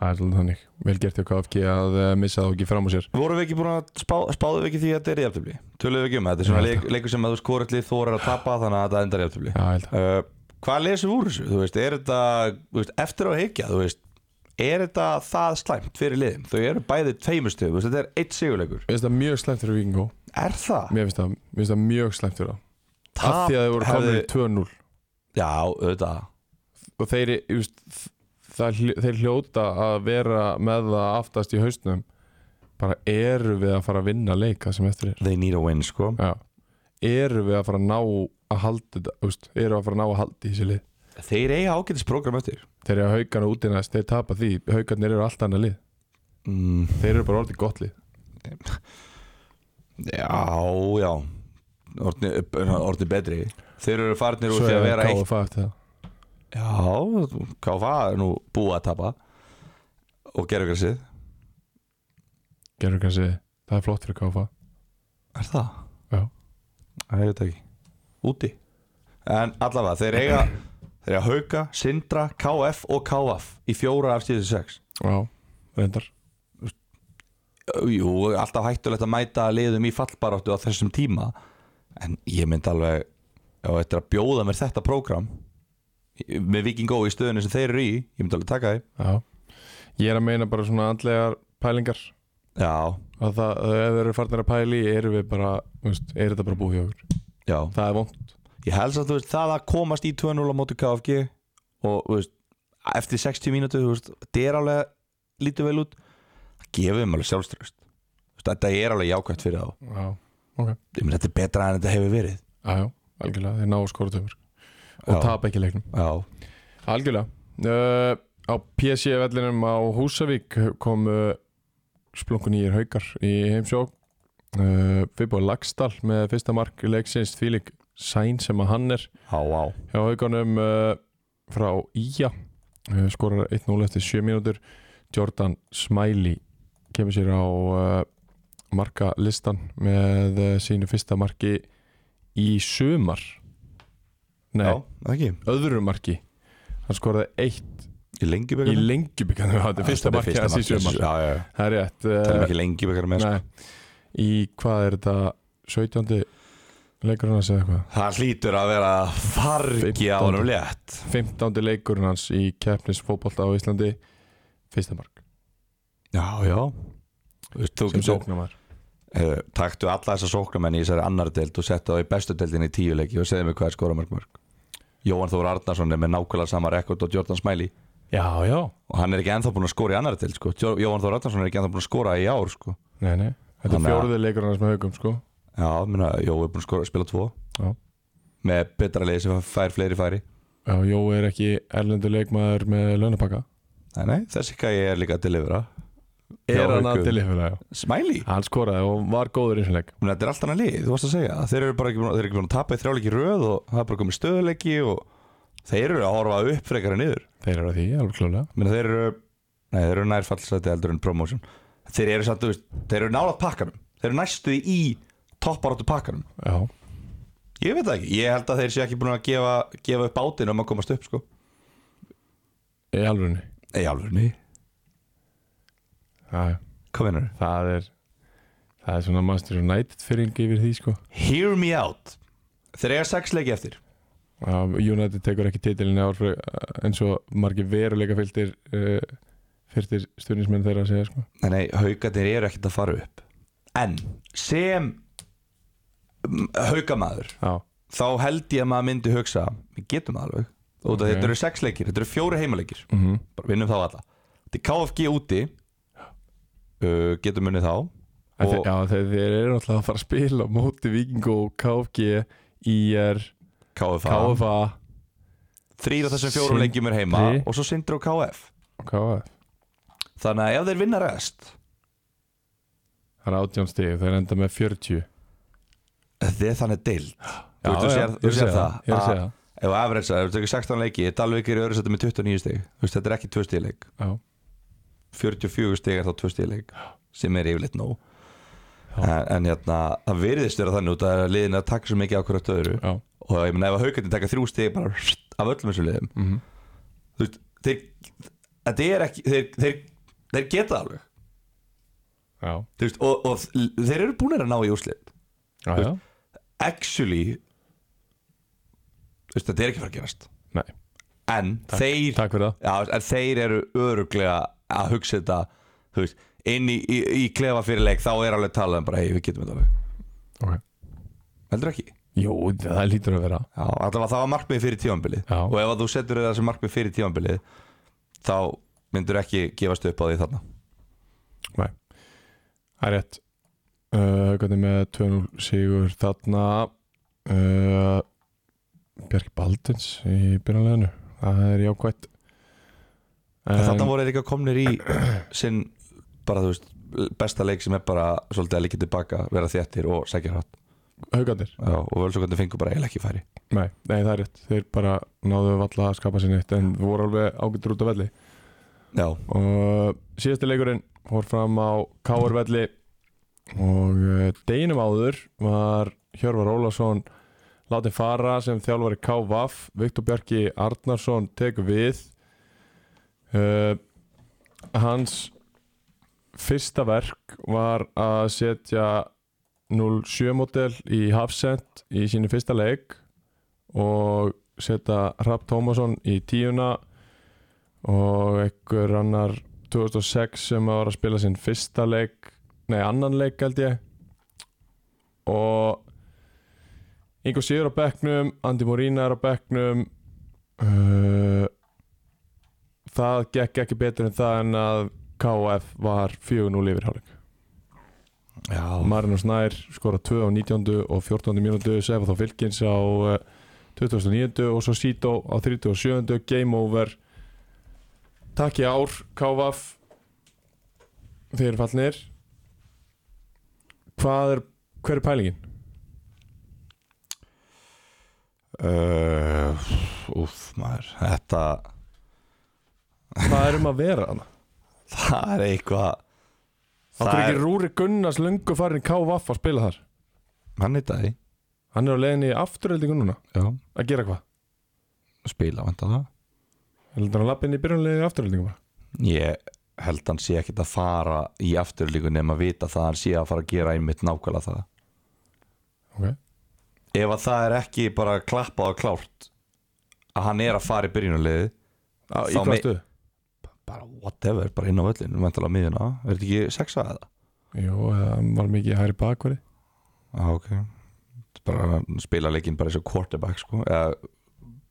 [SPEAKER 1] Það er svolítið þannig, vel gert hjá KFG að eh, missa þá ekki fram á sér
[SPEAKER 2] vorum við ekki búin að spá, spáðu við ekki því að þetta er jafntöfli tölum við ekki um það, þetta er svona
[SPEAKER 1] Já,
[SPEAKER 2] leik, leikur sem að þú skorallið þórar að tapa þannig að þetta endar jafntöfli
[SPEAKER 1] Já, held að
[SPEAKER 2] uh, hvað lesum við úr þessu, þú veist, er þetta þú veist, eftir á heikja, þú veist er þetta það slæmt fyrir liðum þau eru bæði tveimustu, þetta er eitt sigurleikur
[SPEAKER 1] Mér finnst það mjög slæmt fyrir Víkingó
[SPEAKER 2] er það?
[SPEAKER 1] Mér finnst það, mér finnst það mjög slæmt fyrir það Af því að þau voru komin í 2-0
[SPEAKER 2] Já, auðvitað
[SPEAKER 1] og þeir, just, það, þeir hljóta að vera með það aftast í hausnum bara eru við að fara að vinna leika sem eftir er
[SPEAKER 2] They need a win sko
[SPEAKER 1] já. eru við að fara að ná að halda þetta, úst, eru að fara að ná að halda í þessi lið
[SPEAKER 2] Þeir eiga ágætis program eftir
[SPEAKER 1] þeir eru að haugana út í næst, þeir tapa því haugarnir eru alltaf annað lið,
[SPEAKER 2] mm,
[SPEAKER 1] þeir eru bara orðið gott lið
[SPEAKER 2] Já, já Orðni, orðni betri Þeir eru farnir úr
[SPEAKER 1] svo
[SPEAKER 2] því að
[SPEAKER 1] er
[SPEAKER 2] vera eitt
[SPEAKER 1] KFA eftir það
[SPEAKER 2] Já, KFA er nú búið að tapa Og gerðu græsið
[SPEAKER 1] gerur kannski, það er flott fyrir KFA
[SPEAKER 2] Er það?
[SPEAKER 1] Já.
[SPEAKER 2] Það er þetta ekki Úti En allavega, þeir eiga Þeir eiga Hauka, Sindra, KF og KF Í fjóra af síðustu sex
[SPEAKER 1] já, reyndar
[SPEAKER 2] Jú, alltaf hættulegt að mæta liðum í fallbaráttu á þessum tíma En ég myndi alveg Ef þetta er að bjóða mér þetta prógram Með Viking Go í stöðunni sem þeir eru í Ég myndi alveg taka því
[SPEAKER 1] já. ég er að meina bara svona andlegar pælingar
[SPEAKER 2] Já,
[SPEAKER 1] að það, að ef þeir eru farnir að pæli erum við bara, veist, er þetta bara búið hjá okkur
[SPEAKER 2] já
[SPEAKER 1] það er vond,
[SPEAKER 2] Ég held samt, þú veist, það að komast í 2-0 á móti KFG og, þú veist, eftir 60 mínútu, þú veist, þetta er alveg lítið vel út, það gefur þeim alveg sjálfströst Þú veist, Þetta er alveg jákvæmt fyrir þá
[SPEAKER 1] já,
[SPEAKER 2] Ég meina, Þetta er betra en þetta hefur verið
[SPEAKER 1] já, já, algjörlega þeir ná að skora tömur og
[SPEAKER 2] Já.
[SPEAKER 1] tapa ekki leiknum
[SPEAKER 2] Já,
[SPEAKER 1] algjörlega uh, á PSG vellinum á Húsavík kom uh, splunkun í haukar í heimsjó uh, Fibbo Lagstall með fyrsta mark leiksins Fílik Sæn sem að hann er
[SPEAKER 2] já, já
[SPEAKER 1] hjá haugunum uh, frá Ía uh, skorar 1-0 eftir 7 mínútur Jordan Smiley kemur sér á uh, markalistan með uh, sínu fyrsta marki í sumar nei,
[SPEAKER 2] Já, það ekki,
[SPEAKER 1] öðru marki hann skoraði eitt
[SPEAKER 2] í lengi
[SPEAKER 1] í
[SPEAKER 2] byggarnir
[SPEAKER 1] lengjubikann þetta er fyrsta marki hans í sumar
[SPEAKER 2] Já, já, já,
[SPEAKER 1] það er rétt
[SPEAKER 2] það er
[SPEAKER 1] uh,
[SPEAKER 2] ekki lengi byggarnir með sko.
[SPEAKER 1] nei, í hvað er þetta 17. leikurinn hans eða eitthvað
[SPEAKER 2] Það hlýtur að vera fargi á
[SPEAKER 1] 15.
[SPEAKER 2] honum létt
[SPEAKER 1] 15. leikurinn hans í keppnisfótbolta á Íslandi fyrsta mark
[SPEAKER 2] Já, já Þú veist, þú
[SPEAKER 1] sem
[SPEAKER 2] getur-
[SPEAKER 1] sóknarmar
[SPEAKER 2] Heyrðu, taktu alla þessa sóknarmenn í þessari annar deild og settu þá í bestu deildinni í tíu leiki og segðu mér hvað er skora mörg mörg Jóhann Þór Arnarsson er með nákvæmlega sama rekord og Jordan Smiley
[SPEAKER 1] já, já
[SPEAKER 2] og hann er ekki ennþá búin að skora í annar deild sko. Jó- Jóhann Þór Arnarsson er ekki ennþá búin að skora í ár sko.
[SPEAKER 1] nei, nei. þetta er
[SPEAKER 2] Þannig að-
[SPEAKER 1] fjóruði leikurinn hans með haugum sko.
[SPEAKER 2] Já, minna, Jó er búin að skora, spila tvo
[SPEAKER 1] Já.
[SPEAKER 2] með betra leiði sem fær fleiri færi
[SPEAKER 1] já, Jó er ekki erlendu leikmaður með launapakka
[SPEAKER 2] Nei, nei, þessi gæi er líka að delivera
[SPEAKER 1] er
[SPEAKER 2] Já,
[SPEAKER 1] hann að
[SPEAKER 2] Haukum.
[SPEAKER 1] tilifera, já
[SPEAKER 2] Smiley,
[SPEAKER 1] hann skoraði og var góður í þessum leik
[SPEAKER 2] minna, þetta er allt annað lið þú varst að segja, þeir eru bara ekki búin, þeir eru ekki búin að tapa í þrjáleiki í röð og það er bara komið stöðuleiki og þeir eru að horfa upp frekar en niður
[SPEAKER 1] þeir eru að því, alveg klálega
[SPEAKER 2] Menna, þeir eru, nei, þeir eru nær fallsæti eldur en promotion Þeir eru samt, þú veist, þeir eru nálað pakkanum Þeir eru næstu í topparóttu pakkanum
[SPEAKER 1] já,
[SPEAKER 2] Ég veit það ekki, ég held að þeir séu ekki búin að gefa, gefa upp bátinn um að komast upp sko
[SPEAKER 1] í alvegni
[SPEAKER 2] Nei, alveg, nei,
[SPEAKER 1] já, já.
[SPEAKER 2] hvað meinar
[SPEAKER 1] það er það er svona Master United fyrring yfir því sko
[SPEAKER 2] Hear me out Þeir eiga sex leiki eftir
[SPEAKER 1] Já, United tekur ekki titilin ár fyrir, eh, eins og margir veruleika fylgtir uh, fyrtir stundismenn þeirra að segja sko.
[SPEAKER 2] Nei, nei, haugarnir eru ekkert að fara upp En, sem mm, haugamaður
[SPEAKER 1] Já,
[SPEAKER 2] Þá held ég að maður myndi hugsa Við getum það alveg Út af
[SPEAKER 1] Ok.
[SPEAKER 2] Þetta eru sex leikir, þetta eru fjóri heimaleikir
[SPEAKER 1] mm
[SPEAKER 2] bara vinnum þá alla Þetta er KFG úti uh, getum unnið þá
[SPEAKER 1] og...
[SPEAKER 2] Og-
[SPEAKER 1] já þeir, þeir eru náttúrulega að fara að spila á móti Viking og KFG, IR,
[SPEAKER 2] KFA,
[SPEAKER 1] KFA
[SPEAKER 2] þrýr af þessum fjórum
[SPEAKER 1] Sindri.
[SPEAKER 2] leikjum er heima og svo Sindri og KF
[SPEAKER 1] og KF
[SPEAKER 2] þannig að ef þeir vinna rest
[SPEAKER 1] Það er átján stig, þeir enda með 40
[SPEAKER 2] þetta er þannig deild
[SPEAKER 1] Já,
[SPEAKER 2] þú, veist, þú
[SPEAKER 1] já,
[SPEAKER 2] sér,
[SPEAKER 1] ég
[SPEAKER 2] þú
[SPEAKER 1] er að
[SPEAKER 2] sér
[SPEAKER 1] segja
[SPEAKER 2] það,
[SPEAKER 1] Ég er
[SPEAKER 2] Ah.
[SPEAKER 1] að
[SPEAKER 2] að
[SPEAKER 1] segja það
[SPEAKER 2] ef þú average, ef þú tekur 16 leiki Dalvik er í öðru setjum með 29 stig Þú veist, þetta er ekki 2 stig leik
[SPEAKER 1] Já.
[SPEAKER 2] 44 stig er þá 2 stig leik sem er yfirleitt nóg
[SPEAKER 1] Já.
[SPEAKER 2] en, en hérna, það virðist vera þannig út að liðin er að taka svo mikið ákvörðu öðru
[SPEAKER 1] Já,
[SPEAKER 2] og ég meina ef að haugandi taka þrjú stig bara af öllum þessu liðum
[SPEAKER 1] mm
[SPEAKER 2] þú veist, þeir, þetta er ekki þeir, þeir, þeir geta það alveg
[SPEAKER 1] já,
[SPEAKER 2] Þú veist, og, og þeir eru búinir að ná í úrslit
[SPEAKER 1] já, já.
[SPEAKER 2] actually þú veist, þetta er ekki að fara að gerast
[SPEAKER 1] Nei,
[SPEAKER 2] en þeir,
[SPEAKER 1] takk fyrir það
[SPEAKER 2] já, en þeir eru öruglega að hugsa þetta þú veist, inn í, í, í klefa fyrir leik þá er alveg talað um bara, hei, við getum þetta alveg
[SPEAKER 1] okay.
[SPEAKER 2] heldur ekki
[SPEAKER 1] Jú, það lítur að vera
[SPEAKER 2] Já, allavega það var markmið fyrir tífambilið
[SPEAKER 1] Já.
[SPEAKER 2] og ef að þú setur það sem markmið fyrir tífambilið þá myndur ekki gefast upp á því þarna
[SPEAKER 1] Nei. Það er rétt uh, Hvernig með 2-0 sigur þarna uh, Bjarki Baldins í byrjanleginu Það er jákvætt
[SPEAKER 2] En þarna voru þeir líka komnir í sinn bara þú veist besta leik sem er bara svolítið að líka tilbaka vera þéttir og sækja hratt
[SPEAKER 1] Haugandir,
[SPEAKER 2] Já, og völsugandi fengur bara eiginlega ekki færi
[SPEAKER 1] nei, nei það er rétt Þeir bara náðu valla að skapa sér neitt En voru alveg ágættur út af velli
[SPEAKER 2] Já,
[SPEAKER 1] og síðasti leikurinn fór fram á Káar velli og eh, deginum áður var Hjörvar Ólafsson látið fara sem þjálfari KVAF Viktor Bjarki Arnarsson tekur við uh, hans fyrsta verk var að setja 07 model í Hafsend í sínu fyrsta leik og setja Rapp Tómasson í tíuna og einhver annar 2006 sem var að spila sinn fyrsta leik nei annan leik held ég og Ingo Sigur á bekknum Andi Morína er á bekknum uh, það gekk ekki betur en það en að KF var 4-0 yfir hálfleik
[SPEAKER 2] já
[SPEAKER 1] Marino Snær skora 2 á 19. og 14. mínútu Sefa þá Vilkins á eh, 29. og svo Sito á 37. Game over Takk í ár, Kávaf Þeir eru fallnir Hvað er hver er pælingin?
[SPEAKER 2] uh, Úf, maður Þetta,
[SPEAKER 1] Hvað er um að vera þarna?
[SPEAKER 2] það er eitthvað
[SPEAKER 1] Það er ekki
[SPEAKER 2] er,
[SPEAKER 1] Rúri Gunnars lungu farin Kávaf að spila þar
[SPEAKER 2] hann er dagi
[SPEAKER 1] Hann er á leiðinni í afturöldingu núna
[SPEAKER 2] Já,
[SPEAKER 1] að gera hvað?
[SPEAKER 2] spila vanda það
[SPEAKER 1] Heldur hann að lappa inn í byrjunlega í afturöldingu bara?
[SPEAKER 2] Ég held hann sé ekkit að fara í afturlíku nema að vita það að hann sé að fara að gera einmitt nákvæmlega það
[SPEAKER 1] Ok,
[SPEAKER 2] Ef að það er ekki bara klappað og klárt að hann er að fara í byrjunulegið
[SPEAKER 1] Á- í
[SPEAKER 2] Þá
[SPEAKER 1] hvað
[SPEAKER 2] me-
[SPEAKER 1] stuðu?
[SPEAKER 2] bara whatever, bara inn á völlinu mentalega miðuna, er þetta ekki sexa eða?
[SPEAKER 1] Jú, það var mikið hæri bakverði
[SPEAKER 2] Já, ok bara að spila leikinn bara eins og quarterback sko, eða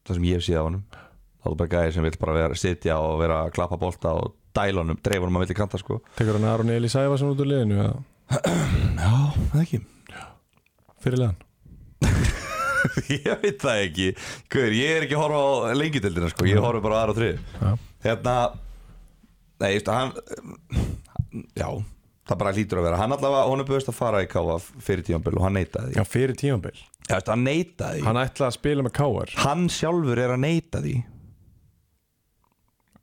[SPEAKER 2] það sem ég hef síða á honum þá er bara gæði sem vill bara vera, sitja og vera að klappa bolta og dæla honum, dreifa honum að vilja kanta sko
[SPEAKER 1] Tekur hann Aron Eli Sæfarsson út úr liðinu eða
[SPEAKER 2] Já, það ekki
[SPEAKER 1] fyrir leðan?
[SPEAKER 2] Ég veit það ekki, Guður, ég er ekki að horfa á lengjutildina sko, ég horfa bara á aðra og þrið
[SPEAKER 1] Já.
[SPEAKER 2] Hérna Nei, just, hann Já, það bara hlýtur að vera Hann allavega, honum bauðist að fara í káfa fyrir tímanböl og hann neitaði því.
[SPEAKER 1] Já, fyrir tímabil.
[SPEAKER 2] Já, veist, hann neitaði hann,
[SPEAKER 1] Hann ætlaði að spila með káar
[SPEAKER 2] hann sjálfur er að neita því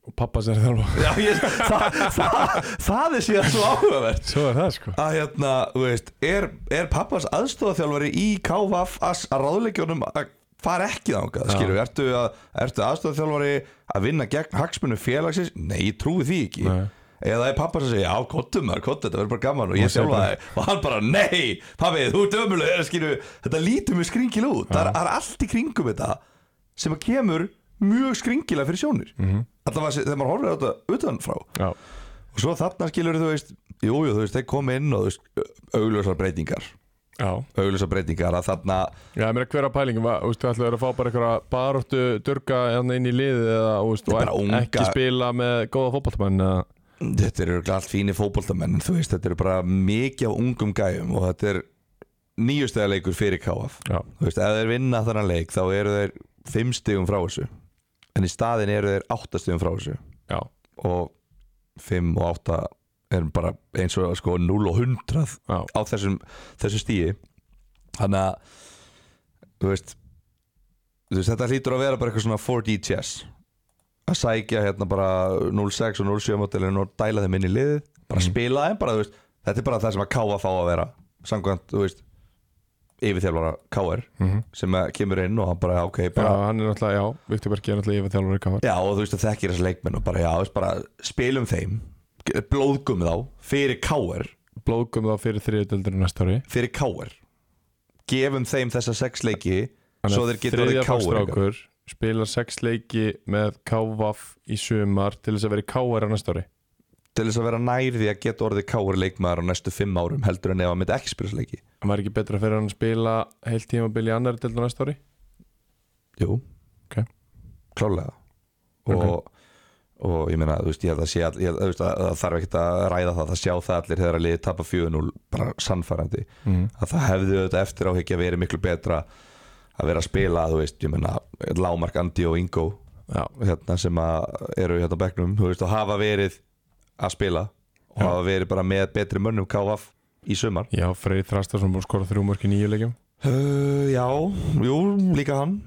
[SPEAKER 1] og pappa sér þjálfa.
[SPEAKER 2] Já, ég, það, það, það er síðan svo áhugavert
[SPEAKER 1] Svo er það sko.
[SPEAKER 2] að hérna, þú veist, er, er pappas aðstofaþjálfari í KVF að að ráðleikjunum að fara ekki þangað, skilur við, ertu, að, ertu aðstofaþjálfari að vinna gegn hagsmunum félagsins? Nei, ég trúi því ekki
[SPEAKER 1] Nei.
[SPEAKER 2] eða er pappa sem segja, já, kottum maður, kottum, þetta verður bara gaman og ég
[SPEAKER 1] segir
[SPEAKER 2] sjálfa það og hann bara, nei, pappi, þú ert ömuleg skilur, við, þetta lítur mjög skringil út það er, það er allt í kringum þetta sem að kemur mjög skringilega fyrir sjónir mm
[SPEAKER 1] Mhm.
[SPEAKER 2] -hmm. þegar maður horfir á þetta utanfrá
[SPEAKER 1] Já.
[SPEAKER 2] Og svo þarna skilur þú veist Jújú, jú, þú veist, þeir kom inn og þú veist Augljósar breytingar
[SPEAKER 1] Já.
[SPEAKER 2] Augljósar breytingar að þarna
[SPEAKER 1] Já, ég meina hverja pælingin var, þú veist, þú ætlaði að fá bara einhverja baróttu durga hérna inn í liðið eða, þú veist,
[SPEAKER 2] Bara
[SPEAKER 1] og
[SPEAKER 2] unga-
[SPEAKER 1] ekki spila með góða fótballtamenn eða.
[SPEAKER 2] Þetta eru örugglega allt fínir fótboltamenn en Þú veist, þetta eru bara mikið af ungum gæjum Og þetta er nýjustega leikur fyrir KF
[SPEAKER 1] Já.
[SPEAKER 2] Þú veist, ef þeir vinna þannan leik Þá eru þeir fimm stigum frá þessu En í staðin eru þeir átta stigum frá þessu
[SPEAKER 1] Já.
[SPEAKER 2] Og fimm og átta Er bara eins og sko 0 og 100
[SPEAKER 1] Já.
[SPEAKER 2] á þessum, þessum stíi þannig að þú veist, þú veist þetta hlýtur að vera bara eitthvað svona 4D chess að sækja hérna bara 06 og 07 mótilin og dæla þeim inn í liðið bara spila þeim bara, þú veist, þetta er bara það sem að káa fá að vera samkvæmt, þú veist yfirþjálfara KR
[SPEAKER 1] Mhm.
[SPEAKER 2] sem að kemur inn og hann bara, ok,
[SPEAKER 1] Já,
[SPEAKER 2] bara
[SPEAKER 1] hann er náttúrulega, já, Viktor Bergi er náttúrulega yfir þjálfur káar.
[SPEAKER 2] Já og þú veist að þekkir þessa leikmenn og bara já, þú veist bara spilum þeim blóðgum þá fyrir káir
[SPEAKER 1] Blókum þá fyrir þriðdöldurinn næsta ári.
[SPEAKER 2] fyrir káir gefum þeim þessa sex leiki
[SPEAKER 1] Hann
[SPEAKER 2] svo
[SPEAKER 1] er
[SPEAKER 2] þeir getur orðið káir
[SPEAKER 1] strákur, spilar sex leiki með KVAF í sumar til þess að vera káar á næsta ári.
[SPEAKER 2] til þess að vera nær því að geta orðið káir leikmaður á næstu fimm árum heldur en ef hann myndi ekki spila þessa leiki
[SPEAKER 1] Það var ekki betra fyrir hann að spila heilt tímabil í annari delta næsta ári?
[SPEAKER 2] Jú,
[SPEAKER 1] Ok.
[SPEAKER 2] klálega og og ég meina, þú veist, ég held að sé all, ég, held- þú veist, að, það þarf ekkert að ræða það það sjá það allir þegar að liði tapa 4-0 bara sannfærandi,
[SPEAKER 1] Mhm.
[SPEAKER 2] að það hefði auðvitað eftir áhyggja verið miklu betra að vera að spila, þú veist, ég meina Lámark, Andi og Ingo
[SPEAKER 1] Já,
[SPEAKER 2] hérna, sem að eru hérna á bekknum, þú veist, og hafa verið að spila og
[SPEAKER 1] Já.
[SPEAKER 2] hafa verið bara með betri mönnum KF í sumar
[SPEAKER 1] já Freyr Þrastarsson búin að skora þrjú mörk í nýju leikjum
[SPEAKER 2] Uh, já, jú, líka hann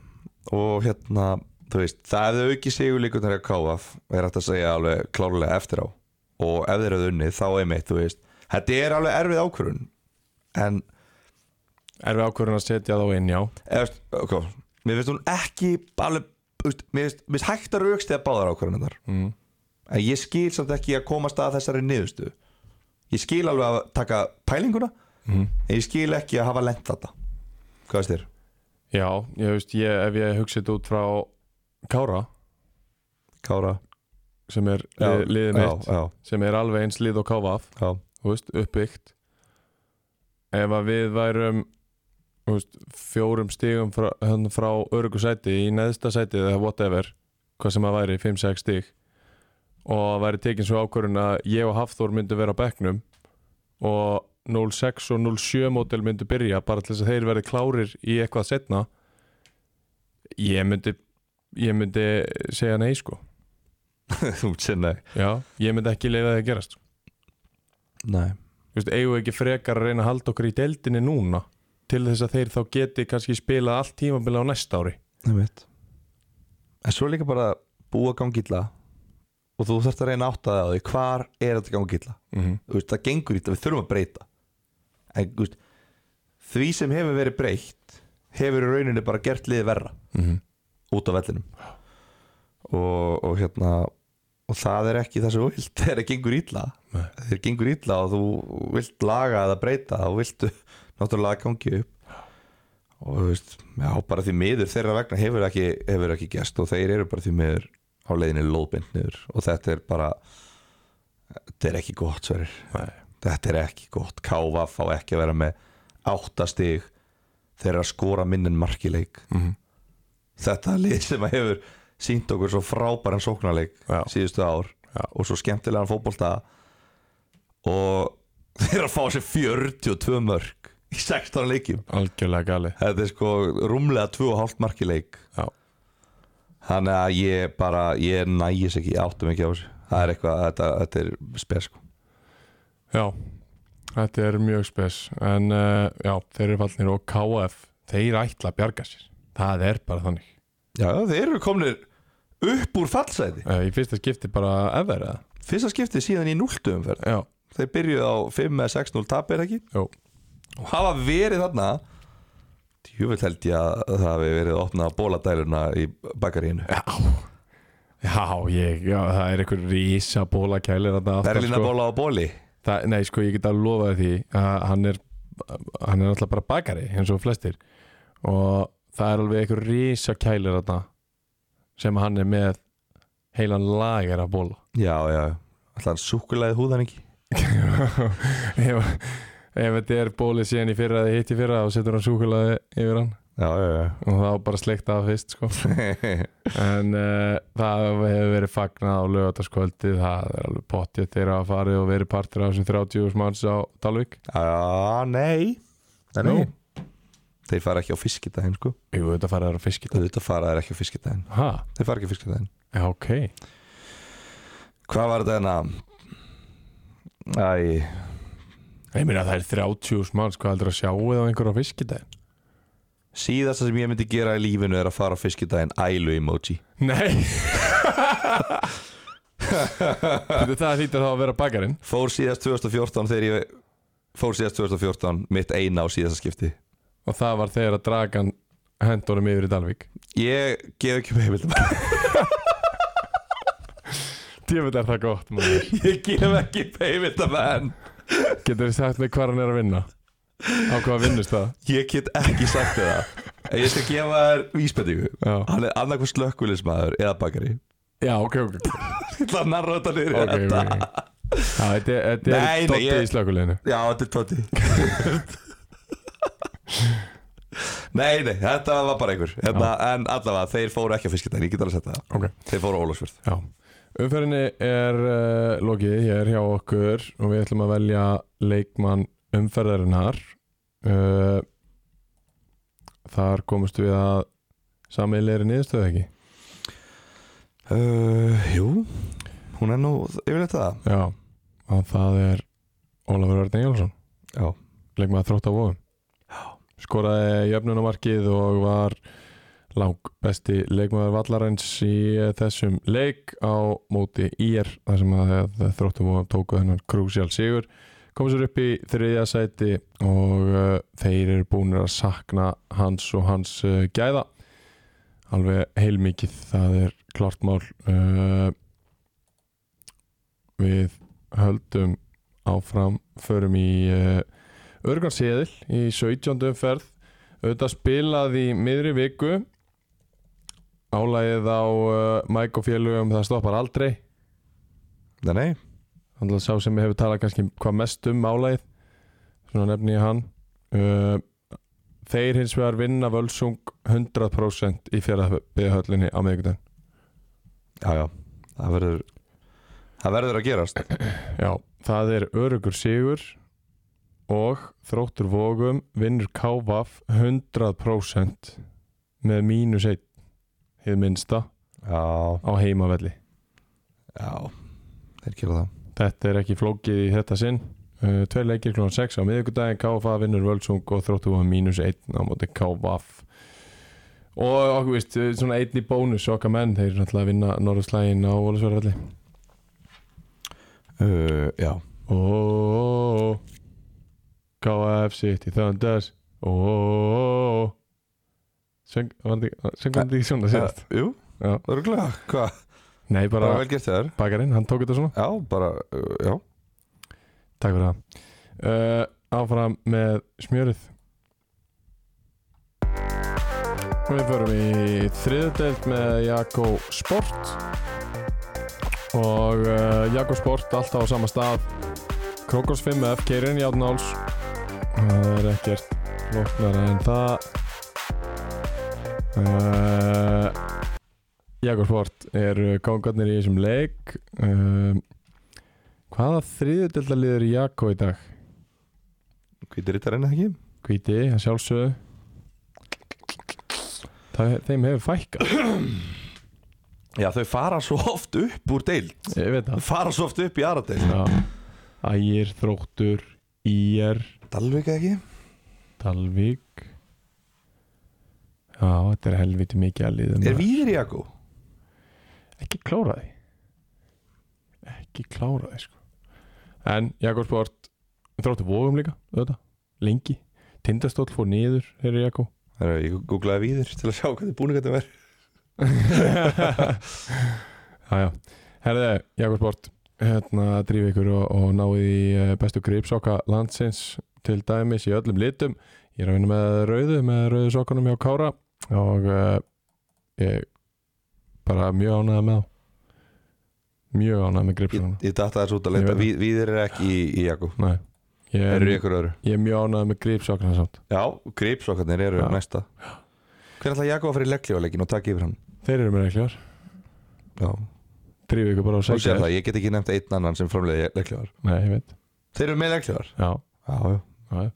[SPEAKER 2] og hérna, þú veist það hefði auki sigurleikurnar hjá KF er hægt að segja alveg klárlega eftir á og ef þeir eru unni þá einmitt, þú veist þetta er alveg erfið ákvörun en,
[SPEAKER 1] Erfi ákvörðin að setja þá inn, já
[SPEAKER 2] eða, veist, ok mér finnst hún ekki alveg, þú veist, mér finnst- mér finnst hægt að raukst eða báðar ákvörunar þar
[SPEAKER 1] mm.
[SPEAKER 2] en ég skil samt ekki að komast að þessari niðurstöðu ég skil alveg að taka pælinguna
[SPEAKER 1] Mm.
[SPEAKER 2] en ég skil ekki að hafa lent þetta hvað veist þér?
[SPEAKER 1] Já, ég veist, ég, ef ég hugsi þetta út frá Kára
[SPEAKER 2] Kára?
[SPEAKER 1] sem er
[SPEAKER 2] Já,
[SPEAKER 1] lið, liðið mitt
[SPEAKER 2] já, já,
[SPEAKER 1] sem er alveg eins lið og káfaf
[SPEAKER 2] já.
[SPEAKER 1] þú veist, uppbyggt ef að við værum þú veist, fjórum stígum frá, hérna frá örgu sæti í neðsta sæti eða whatever hvað sem að væri, 5-6 stíg og væri tekin svo ákvörðun að ég og Hafþór myndu vera á bekknum og 06 og 07 mótel myndu byrja bara til þess að þeir verði klárir í eitthvað setna ég myndi ég myndi segja nei sko
[SPEAKER 2] Þú sér nei
[SPEAKER 1] já, ég myndi ekki leiða það að gerast
[SPEAKER 2] Nei
[SPEAKER 1] Þú veist, eigum við ekki frekar að reyna að halda okkur í deildinni núna til þess að þeir þá geti kannski spilað allt tímabili á næsta ári
[SPEAKER 2] Nei veit En svo er líka bara búa gangi illa Og þú þarft að reyna að átta það á því Hvar er þetta gangi illa
[SPEAKER 1] mm -hmm.
[SPEAKER 2] Þú veist, Það gengur illa, við þurfum að breyta En þú veist, því sem hefur verið breytt Hefur í rauninni bara gert liðið verra Út á vellinum og, og hérna Og það er ekki það sem þú vilt Þegar það gengur illa
[SPEAKER 1] Nei.
[SPEAKER 2] Þegar gengur illa og þú vilt laga eða breyta Og viltu náttúrulega að gangi upp og þú veist, já, bara því miður þeirra vegna hefur ekki, hefur ekki gest og þeir eru bara því miður á leiðinni lóðbind niður og þetta er bara þetta er ekki gott sverir
[SPEAKER 1] Nei.
[SPEAKER 2] þetta er ekki gott, Kávaf á ekki að vera með áttastig þeirra að skora minnin markileik
[SPEAKER 1] Mhm.
[SPEAKER 2] þetta lið sem að hefur sínt okkur svo frábæran sóknarleik
[SPEAKER 1] Já.
[SPEAKER 2] síðustu ár
[SPEAKER 1] Já.
[SPEAKER 2] og svo skemmtilegan fótbolta og þeirra að fá sér 42 mörg í 16 leikjum
[SPEAKER 1] algjörlega gali
[SPEAKER 2] Þetta er sko rúmlega 2,5 marki leik
[SPEAKER 1] Já.
[SPEAKER 2] Þannig að ég bara Ég nægis ekki, ég áttum ekki á þessu Það er eitthvað, þetta, þetta er spes sko.
[SPEAKER 1] já, þetta er mjög spes en uh, já, þeir eru fallnir og KF þeir ætla að bjarga sér það er bara þannig
[SPEAKER 2] Já, þeir eru komnir upp úr fallsæti
[SPEAKER 1] uh, í fyrsta skipti bara ever eða
[SPEAKER 2] Fyrsta skiptið síðan í núltumferð
[SPEAKER 1] já,
[SPEAKER 2] Þeir byrjuðu á 5 eða 6-0 tap er það ekki
[SPEAKER 1] Jó.
[SPEAKER 2] Og hafa verið þarna Júfell held ég að það hafi verið að opna bóladæluna í bakarínu
[SPEAKER 1] já Já, ég, já, það er einhver rísa bóla kælir þetta
[SPEAKER 2] Berlínabóla á bóli
[SPEAKER 1] Það, nei, sko, ég get að lofa þér því að hann er, hann er alltaf bara bakari eins og flestir og það er alveg einhver rísa kælir þarna sem hann er með heilan lager af bóla
[SPEAKER 2] Já, já, alltaf hann súkulæði húðan ekki
[SPEAKER 1] ef, ef þetta er bóli síðan í fyrra eða hitt í fyrra þá setur hann súkulaði yfir hann
[SPEAKER 2] Já, já, já
[SPEAKER 1] og þá bara sleikt af fyrst sko. en uh, það hefur verið fagnað á lögataskvöldi það er alveg pottið þeirra að farið og verið partur af þessum 30 manns á Dalvik
[SPEAKER 2] Já, nei Nei,
[SPEAKER 1] Nú?
[SPEAKER 2] nei. Þeir fara ekki á fiskidaginn sko
[SPEAKER 1] Jú, þetta farið að fiskita
[SPEAKER 2] Þetta fara þeir ekki á fiskidaginn
[SPEAKER 1] Hæ?
[SPEAKER 2] Þeir fara ekki á fiskidaginn
[SPEAKER 1] Já, ok
[SPEAKER 2] Hvað var þetta hérna? Æ,
[SPEAKER 1] Ég meina það er 30 manns, hvað heldur að sjáu það á einhverju á fiskidaginn?
[SPEAKER 2] síðasta sem ég myndi gera í lífinu er að fara á fiskidaginn Ælu emoji
[SPEAKER 1] Nei Þetta það hlýtur þá að vera bakarinn
[SPEAKER 2] Fór síðast 2014 þegar ég Fór síðast 2014 mitt eina á síðasta skipti
[SPEAKER 1] og það var þegar að dragan hendunum yfir í Dalvík
[SPEAKER 2] Ég gef ekki með heimildum
[SPEAKER 1] Djöfitt er það gott maður.
[SPEAKER 2] Ég gef ekki með heimildum en
[SPEAKER 1] Getur þið sagt mig hvað hann er að vinna? Á hvað vinnust það?
[SPEAKER 2] Ég get ekki sagt þér það En ég skal gefa þér vísbendingu
[SPEAKER 1] Já,
[SPEAKER 2] Hann er annarkvæm slökkulismæður eða bakari
[SPEAKER 1] Já ok, ok, ok,
[SPEAKER 2] Ég ætla að narra þetta niður í
[SPEAKER 1] okay,
[SPEAKER 2] þetta.
[SPEAKER 1] okay. Já, Þetta er- þetta
[SPEAKER 2] Nei, nei,
[SPEAKER 1] er dottið
[SPEAKER 2] ég-
[SPEAKER 1] í slökuleginu
[SPEAKER 2] Já, þetta er tóti Nei, nei, þetta var bara einhver hérna, En allavega, þeir fóru ekki að fiskita En ég get alveg að setja það
[SPEAKER 1] Ok,
[SPEAKER 2] Þeir fóru á Ólafsfjörð
[SPEAKER 1] já Umferðinni er uh, lokið hér hjá okkur og við ætlum að velja leikmann umferðarinnar uh, Þar komumst við að sammeðlega er niðurstöðu ekki
[SPEAKER 2] uh, Jú Hún er nú yfirleitt það
[SPEAKER 1] Já, og það er Ólafur Örn Egilson
[SPEAKER 2] Já
[SPEAKER 1] leikmann að þrótt á vóðum skoraði jöfnunamarkið og var lang besti leikmaður vallarins í eh, þessum leik á móti ír þar sem að þróttum og tóku þennan krúsjál sigur komið sér upp í þriðja sæti og uh, þeir eru búinir að sakna hans og hans uh, gæða alveg heilmikið það er klart mál uh, við höldum áfram förum í uh, örgan seðil í 17. umferð auðvitað spilað í miðri viku álægið á uh, Mike og félögum það stoppar aldrei
[SPEAKER 2] Nei, nei
[SPEAKER 1] þannig að sá sem hefur talað kannski hvað mest um álægið svona nefni ég hann uh, þeir hins vegar vinna völsung 100% í fjaraðbyðahöllinni á miðvikudaginn
[SPEAKER 2] Já, já Það verður Það verður að gerast
[SPEAKER 1] Já, það er örugur sigur og þróttur vógum vinnur KVAF 100% með mínus 1 hefur minnsta
[SPEAKER 2] Já
[SPEAKER 1] á heimavelli
[SPEAKER 2] Já Þeir gera það
[SPEAKER 1] Þetta er ekki flókið í þetta sinn uh, Tveir leikir kl. 6 á miðvikudaginn KVAF vinnur Völsung og þróttur vógum mínus 1 á móti KVAF og okkur veist, eh, svona einn í bónus okkar menn, þeir er náttúrulega að vinna norðslægin á Ólasverðarvelli
[SPEAKER 2] uh, Já
[SPEAKER 1] Oh, Ó, KF City Thunders Oh, Ó, oh, Söng, var þetta ekki- söng hann þetta ekki svona síðast?
[SPEAKER 2] Eh, Jú
[SPEAKER 1] Já.
[SPEAKER 2] Örgulega Hvað
[SPEAKER 1] Nei,
[SPEAKER 2] Bara
[SPEAKER 1] bara
[SPEAKER 2] vel gert þér
[SPEAKER 1] bakarinn, hann tók þetta svona
[SPEAKER 2] Já, bara uh, Já
[SPEAKER 1] Takk fyrir það uh, Áfram með smjörið Og Við förum í þriðdelt með Jakko Sport og uh, Jakko Sport alltaf á sama stað Krokos 5F, Keirinn Játnáls það er ekkert vopnara en það uh, Jakko Sport eru kongarnir í þessum leik um, Hvaða þriðutelda liður Jakko í dag?
[SPEAKER 2] Hvítir rítarinn ekki
[SPEAKER 1] Hvíti, að sjálfsögðu Það, Þeim hefur fækkað
[SPEAKER 2] Já, þau fara svo oft upp úr deil
[SPEAKER 1] Ég veit
[SPEAKER 2] Þau
[SPEAKER 1] það
[SPEAKER 2] fara svo oft upp í aðra deil
[SPEAKER 1] Já. Ægir, Þróttur, Ír,
[SPEAKER 2] Dalvik ekki
[SPEAKER 1] Dalvík Já, þetta er helviti mikið að liðum
[SPEAKER 2] Er víðir í Jakko?
[SPEAKER 1] Ekki klára því Ekki klára því sko En Jakko Sport Þróttur vóðum líka, auðvitað Lengi, Tindastóll fór niður Þegar Jakko
[SPEAKER 2] Herra, Ég googlaði víðir til að sjá hvernig búningatum er
[SPEAKER 1] Jájá, herðu, Jakob Sport hérna drífi ykkur og, og náðu í eh, bestu gripsokka landsins til dæmis í öllum litum ég er að vinna með rauðu, með rauðu sokkunum hjá Kára og uh, ég bara mjög ánægða með þá mjög ánægða með
[SPEAKER 2] Ég,
[SPEAKER 1] gripsokkana
[SPEAKER 2] ég datta þessu út að
[SPEAKER 1] Ég
[SPEAKER 2] leita
[SPEAKER 1] veit það.
[SPEAKER 2] Ví, Víðir er ekki í, í Jakko
[SPEAKER 1] Nei, ég
[SPEAKER 2] Þeir
[SPEAKER 1] er,
[SPEAKER 2] eru í ykkur öðru
[SPEAKER 1] ég er mjög ánægða með gripsokkana samt
[SPEAKER 2] Já, gripsokkarnir eru
[SPEAKER 1] Já.
[SPEAKER 2] næsta Hver ætla Jakko að fara í leggljóðleikin og taka yfir hann?
[SPEAKER 1] þeir eru mér ekkert
[SPEAKER 2] Já,
[SPEAKER 1] drífi ykkur bara og
[SPEAKER 2] þú
[SPEAKER 1] segja
[SPEAKER 2] sér það, ég get ekki nefnt einn annan sem framleiði leggljóðar
[SPEAKER 1] Nei, ég veit,
[SPEAKER 2] Þeir eru með leggljóðar
[SPEAKER 1] já,
[SPEAKER 2] Já, já,
[SPEAKER 1] já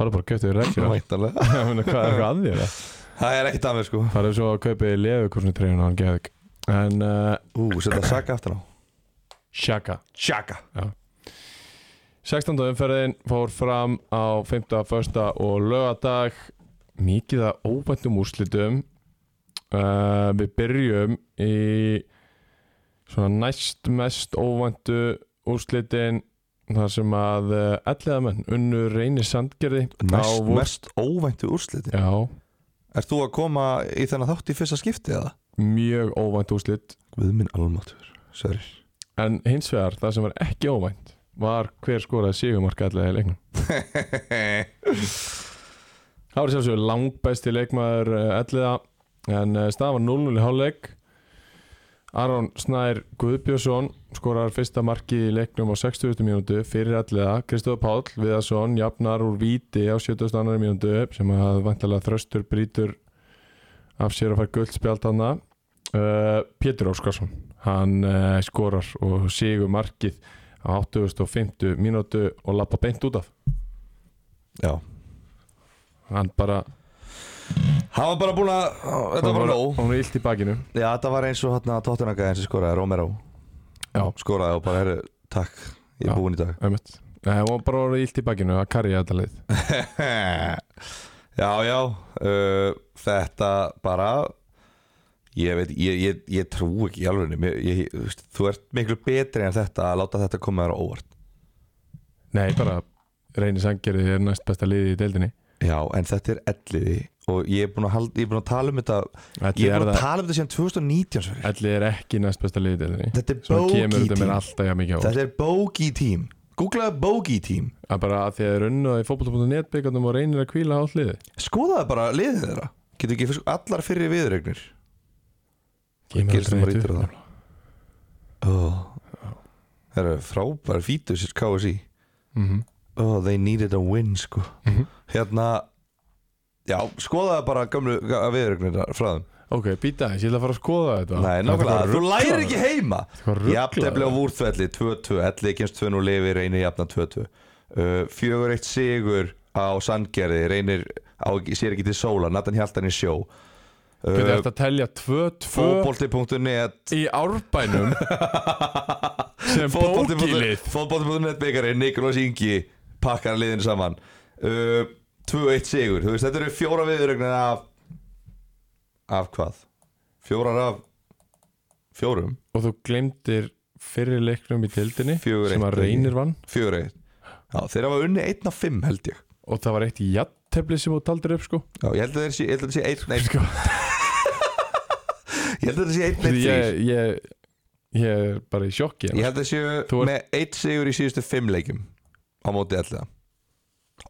[SPEAKER 1] farðu bara að kjöftu þér ekki
[SPEAKER 2] væntanlega
[SPEAKER 1] hvað er eitthvað að þér það?
[SPEAKER 2] Það er ekkert að mér sko
[SPEAKER 1] Það er svo að kaupi leðukursni treyjun á hann geðug En uh,
[SPEAKER 2] Ú, setja Saka aftur á
[SPEAKER 1] Shaka
[SPEAKER 2] Saka
[SPEAKER 1] 16. umferðin fór fram á 5. första og lögadag Mikið að óvæntum úrslitum uh, Við byrjum í svona næst mest óvæntu úrslitin þar sem að uh, elliðamenn unnu reyni sandgerði
[SPEAKER 2] Mest,
[SPEAKER 1] á vor-
[SPEAKER 2] mest óvæntu úrsliti
[SPEAKER 1] Já,
[SPEAKER 2] Ert þú að koma í þennan þátt í fyrsta skipti eða?
[SPEAKER 1] mjög óvænt úrslit
[SPEAKER 2] Guð minn almatur, sverri
[SPEAKER 1] En hins vegar, það sem var ekki óvænt var hver skoraði sigumarka allega í leiknum
[SPEAKER 2] Eh.
[SPEAKER 1] Það var sjálfsögur langbæsti leikmaður eh, elliða en eh, staðan var 0-0 í hálfleik Aron Snær Guðbjörnsson skorar fyrsta markið í leiknum á 60. mínútu fyrir elliða Kristof Páll Viðarsson jafnar úr víti á 72. mínútu sem að vantilega þröstur brýtur af sér að fara guldspjald hana uh, Eh, Pétur Óskarsson hann uh, skorar og sigur markið á 8.50 mínútu og lappa beint út af
[SPEAKER 2] Já
[SPEAKER 1] hann bara,
[SPEAKER 2] Hann var bara búin að Þetta var bara nóg
[SPEAKER 1] hann er illt í bakinu
[SPEAKER 2] Já, þetta var eins og hann að tóttunaka eins og skoraði Romero
[SPEAKER 1] já,
[SPEAKER 2] Skoraði og bara, herru, takk Ég
[SPEAKER 1] Já.
[SPEAKER 2] er búinn í dag
[SPEAKER 1] einmitt Nei, hann var bara orðið illt í bakinu að karja þetta leið
[SPEAKER 2] Já, já uh, Þetta bara Ég veit, ég, ég, ég trú ekki í alveg mér, ég, þú veist, Þú ert miklu betri en þetta að láta þetta koma þér á óvart
[SPEAKER 1] Nei, bara reynir sangerið er næst besta liðið í deildinni
[SPEAKER 2] Já, en þetta er elliði og ég er búinn að, hald, ég er búin að tala um þetta
[SPEAKER 1] Elli
[SPEAKER 2] Ég er
[SPEAKER 1] er,
[SPEAKER 2] búinn að
[SPEAKER 1] það,
[SPEAKER 2] tala um þetta síðan 2019 Sverrir.
[SPEAKER 1] elli er ekki næst besta liðið í deildinni
[SPEAKER 2] Þetta er
[SPEAKER 1] Svo kemur
[SPEAKER 2] bóki
[SPEAKER 1] þetta mér
[SPEAKER 2] tím
[SPEAKER 1] alltaf jafn mikið á óvart.
[SPEAKER 2] Þetta er bóki tím Googlaðu bóki tím
[SPEAKER 1] að bara að því að runnu í fótbolta.net byggandum og reynir að kvíla á allt liðið
[SPEAKER 2] Skoðaðu bara liðið þeirra Getur ekki fyrst allar fyrir viðregnir
[SPEAKER 1] Kemur
[SPEAKER 2] Gerist
[SPEAKER 1] aldrei
[SPEAKER 2] bara
[SPEAKER 1] neitt
[SPEAKER 2] ítlir
[SPEAKER 1] upp.
[SPEAKER 2] það Það eru frábæri fítus KSI
[SPEAKER 1] Mhm.
[SPEAKER 2] oh, They needed a win sko
[SPEAKER 1] Mhm.
[SPEAKER 2] Hérna Já, skoðaðu bara gömlu viðregnir frá þeim
[SPEAKER 1] Ok, býta þess, ég ætla að fara að skoða þetta
[SPEAKER 2] Nei, nákvæmlega, þú lærir ekki heima Jafntefli á
[SPEAKER 1] Jafntefli
[SPEAKER 2] vúrþvelli 2-2, 11 kemst 2-0 lifi, reynir jafna 2-2 uh, 4-1 sigur á Sandgerði, reynir á, sér ekki til sóla, Nathan Hjaltan í sjó
[SPEAKER 1] Hvernig
[SPEAKER 2] uh,
[SPEAKER 1] ertu að telja 2-2
[SPEAKER 2] Fótbolti.net
[SPEAKER 1] í árbænum sem bókilið
[SPEAKER 2] Fótbolti.net byggari, Niklas Ingi pakkar liðinu saman uh, 2-1 sigur, þú veist, þetta eru fjóra viðurögnin af af hvað? Fjórar af fjórum
[SPEAKER 1] og þú glemdir fyrir leiknum í deildinni
[SPEAKER 2] Fjögur
[SPEAKER 1] sem
[SPEAKER 2] eitt,
[SPEAKER 1] að
[SPEAKER 2] ekki?
[SPEAKER 1] reynir vann
[SPEAKER 2] Fjögur eitt Já, þeir hafa unni einn af fimm held ég
[SPEAKER 1] og það var eitt jattefli sem þú taldir upp sko
[SPEAKER 2] Já, ég held að þeir sé, ég held að þeir sé einn einn
[SPEAKER 1] Sko.
[SPEAKER 2] Ég held að þeir sé einn einn þrír
[SPEAKER 1] ég, ég, ég er bara í sjokki hérna.
[SPEAKER 2] Ég held að þeir séu
[SPEAKER 1] Þú ert-
[SPEAKER 2] með einn sigur í síðustu fimm leikum á móti ellega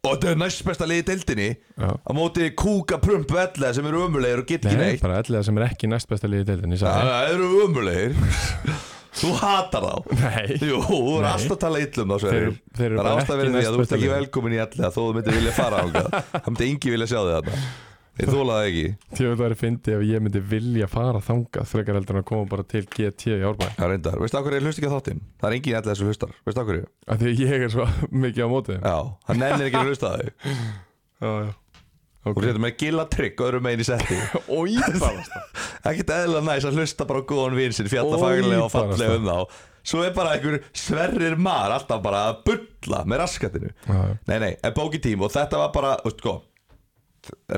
[SPEAKER 2] Og þetta er næst besta liði deildinni
[SPEAKER 1] Já.
[SPEAKER 2] á móti kúka prumpu ellega sem eru ömulegir og get ekki
[SPEAKER 1] Nei,
[SPEAKER 2] neitt Ah.
[SPEAKER 1] bara allega sem er ekki næst besta liðið í deildinni ég sagði
[SPEAKER 2] Það eru ömulegir Þú hatar þá
[SPEAKER 1] það. Nei,
[SPEAKER 2] Jú, þú er
[SPEAKER 1] Nei.
[SPEAKER 2] alltaf að tala illum þá
[SPEAKER 1] þeir
[SPEAKER 2] sverir
[SPEAKER 1] eru- þeir eru
[SPEAKER 2] Það er
[SPEAKER 1] bara
[SPEAKER 2] ástæð
[SPEAKER 1] ekki
[SPEAKER 2] verið því að
[SPEAKER 1] næst
[SPEAKER 2] þú ert
[SPEAKER 1] besta
[SPEAKER 2] ekki
[SPEAKER 1] liðið
[SPEAKER 2] velkomin í ellega þó þú myndir vilja fara ánga Það myndi engi vilja sjá þig þarna Ég þóla það ekki
[SPEAKER 1] Þjóðu það er fyndið ef ég myndi vilja fara þangað frekar heldur en að koma bara til GT í árbæ
[SPEAKER 2] Já, reyndar. Veistu af hverju ég hlust ekki á þáttinn? Það er engin allir sem hlustar. Veistu af hverju?
[SPEAKER 1] af því að ég er svo mikið á móti þeim.
[SPEAKER 2] Já, hann nennir ekki að hlusta á þau. Ah,
[SPEAKER 1] Já, já
[SPEAKER 2] Þú
[SPEAKER 1] Ok
[SPEAKER 2] setur með gilla trygg öðrum megin í setti.
[SPEAKER 1] Og íbarasta
[SPEAKER 2] Ekkert eðla næs að hlusta bara á góðan vinn sinn,
[SPEAKER 1] Ó,
[SPEAKER 2] fjalla faglega og
[SPEAKER 1] íbarasta.
[SPEAKER 2] fallega um þá. Svo er bara einhver sverrir mar alltaf bara að bulla með raskatinu. Nei, nei, en bóki tím og þetta var bara, veist, sko,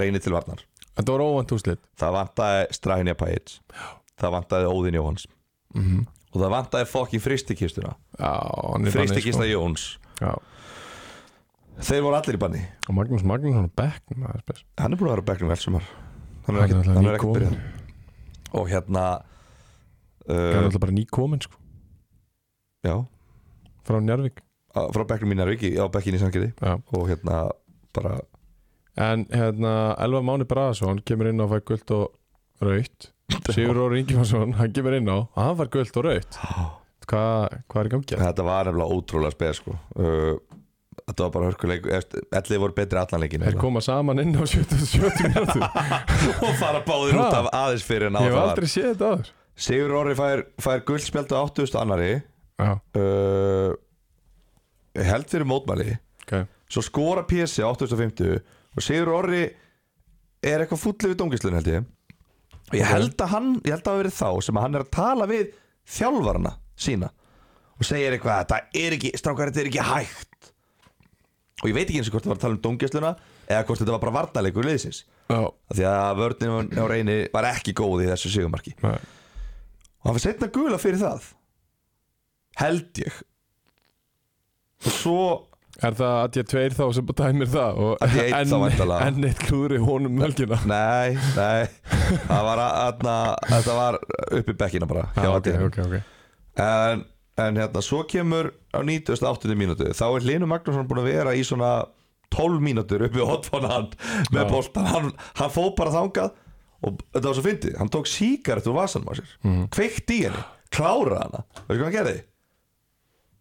[SPEAKER 2] reynið til varnar.
[SPEAKER 1] Þetta var óvænt úslit
[SPEAKER 2] Það vantaði Strahinja Pajic. Það vantaði Óðin Jóhans. Og það vantaði fokkin fristikistuna.
[SPEAKER 1] Já, hann er
[SPEAKER 2] Fristikista Jóns.
[SPEAKER 1] Já
[SPEAKER 2] Þeir voru allir í banni.
[SPEAKER 1] Og Magnús Magnússon á bekknum það er spes.
[SPEAKER 2] Hann er búin að vera á bekknum velsumar Hann er
[SPEAKER 1] Hann er
[SPEAKER 2] ekkert
[SPEAKER 1] alltaf
[SPEAKER 2] hann er ekkert
[SPEAKER 1] nýkominn.
[SPEAKER 2] byrjað Og hérna
[SPEAKER 1] Hann er
[SPEAKER 2] uh,
[SPEAKER 1] alltaf bara nýkominn sko
[SPEAKER 2] Já,
[SPEAKER 1] Frá Njarvík
[SPEAKER 2] á- frá bekknum mínar viki á bekkinni í sangiði
[SPEAKER 1] Já
[SPEAKER 2] og hérna bara
[SPEAKER 1] En hérna, Elva Máni Braðarsson kemur inn á að fæ guld og raut Sigur Róri Ingimarsson, hann kemur inn á og hann fær guld og raut Hvað hva er í gangi?
[SPEAKER 2] Þetta var nefnilega ótrúlega speð sko. uh, Þetta var bara hörkuleik Ellið voru betri allanleikin
[SPEAKER 1] Þeir koma saman inn á 77 mínútu
[SPEAKER 2] Og fara báðir
[SPEAKER 1] Ha?
[SPEAKER 2] út af aðeins fyrir en á
[SPEAKER 1] Ég hef
[SPEAKER 2] það var
[SPEAKER 1] aldrei séð þetta aður
[SPEAKER 2] Sigur Orri fær, fær guldspjald á 8000 annari
[SPEAKER 1] Já,
[SPEAKER 2] uh, Held fyrir mótmæli
[SPEAKER 1] ok
[SPEAKER 2] Svo skora PSC á 850 Og Sigur Orri Er eitthvað fúll við dóngislun held ég Og ég held að hann Ég held að það hafi verið þá sem að hann er að tala við Þjálfarana sína Og segir eitthvað að þetta er ekki Strákar þetta er ekki hægt Og ég veit ekki eins og hvort það var að tala um dóngisluna Eða hvort þetta var bara varnalegur liðsins
[SPEAKER 1] Já,
[SPEAKER 2] Af Því að vörninn á reyni var ekki góð í þessu sigumarki
[SPEAKER 1] nei,
[SPEAKER 2] Og hann fyrir setna gula fyrir það Held ég Og svo
[SPEAKER 1] er það að ég tveir þá sem bara dæmir það og
[SPEAKER 2] Að ég einn þá
[SPEAKER 1] enn
[SPEAKER 2] væntanlega.
[SPEAKER 1] en eitt klúðri honum um mölgina
[SPEAKER 2] Nei, nei Það var að, aðna, þetta var upp í bekkina bara hjá
[SPEAKER 1] ok,
[SPEAKER 2] Adrian.
[SPEAKER 1] ok, ok
[SPEAKER 2] en, en hérna, svo kemur á 98. mínútu Þá er Hlynur Magnússon búin að vera í svona 12 mínútur upp í hotfónu hann með
[SPEAKER 1] Já.
[SPEAKER 2] boltan, hann, hann fóð bara þangað og þetta var svo fyndið, hann tók síkart úr vasanum á sér,
[SPEAKER 1] Mhm.
[SPEAKER 2] mm. kveikti í henni kláraði hana, veistu hvað hann gerði?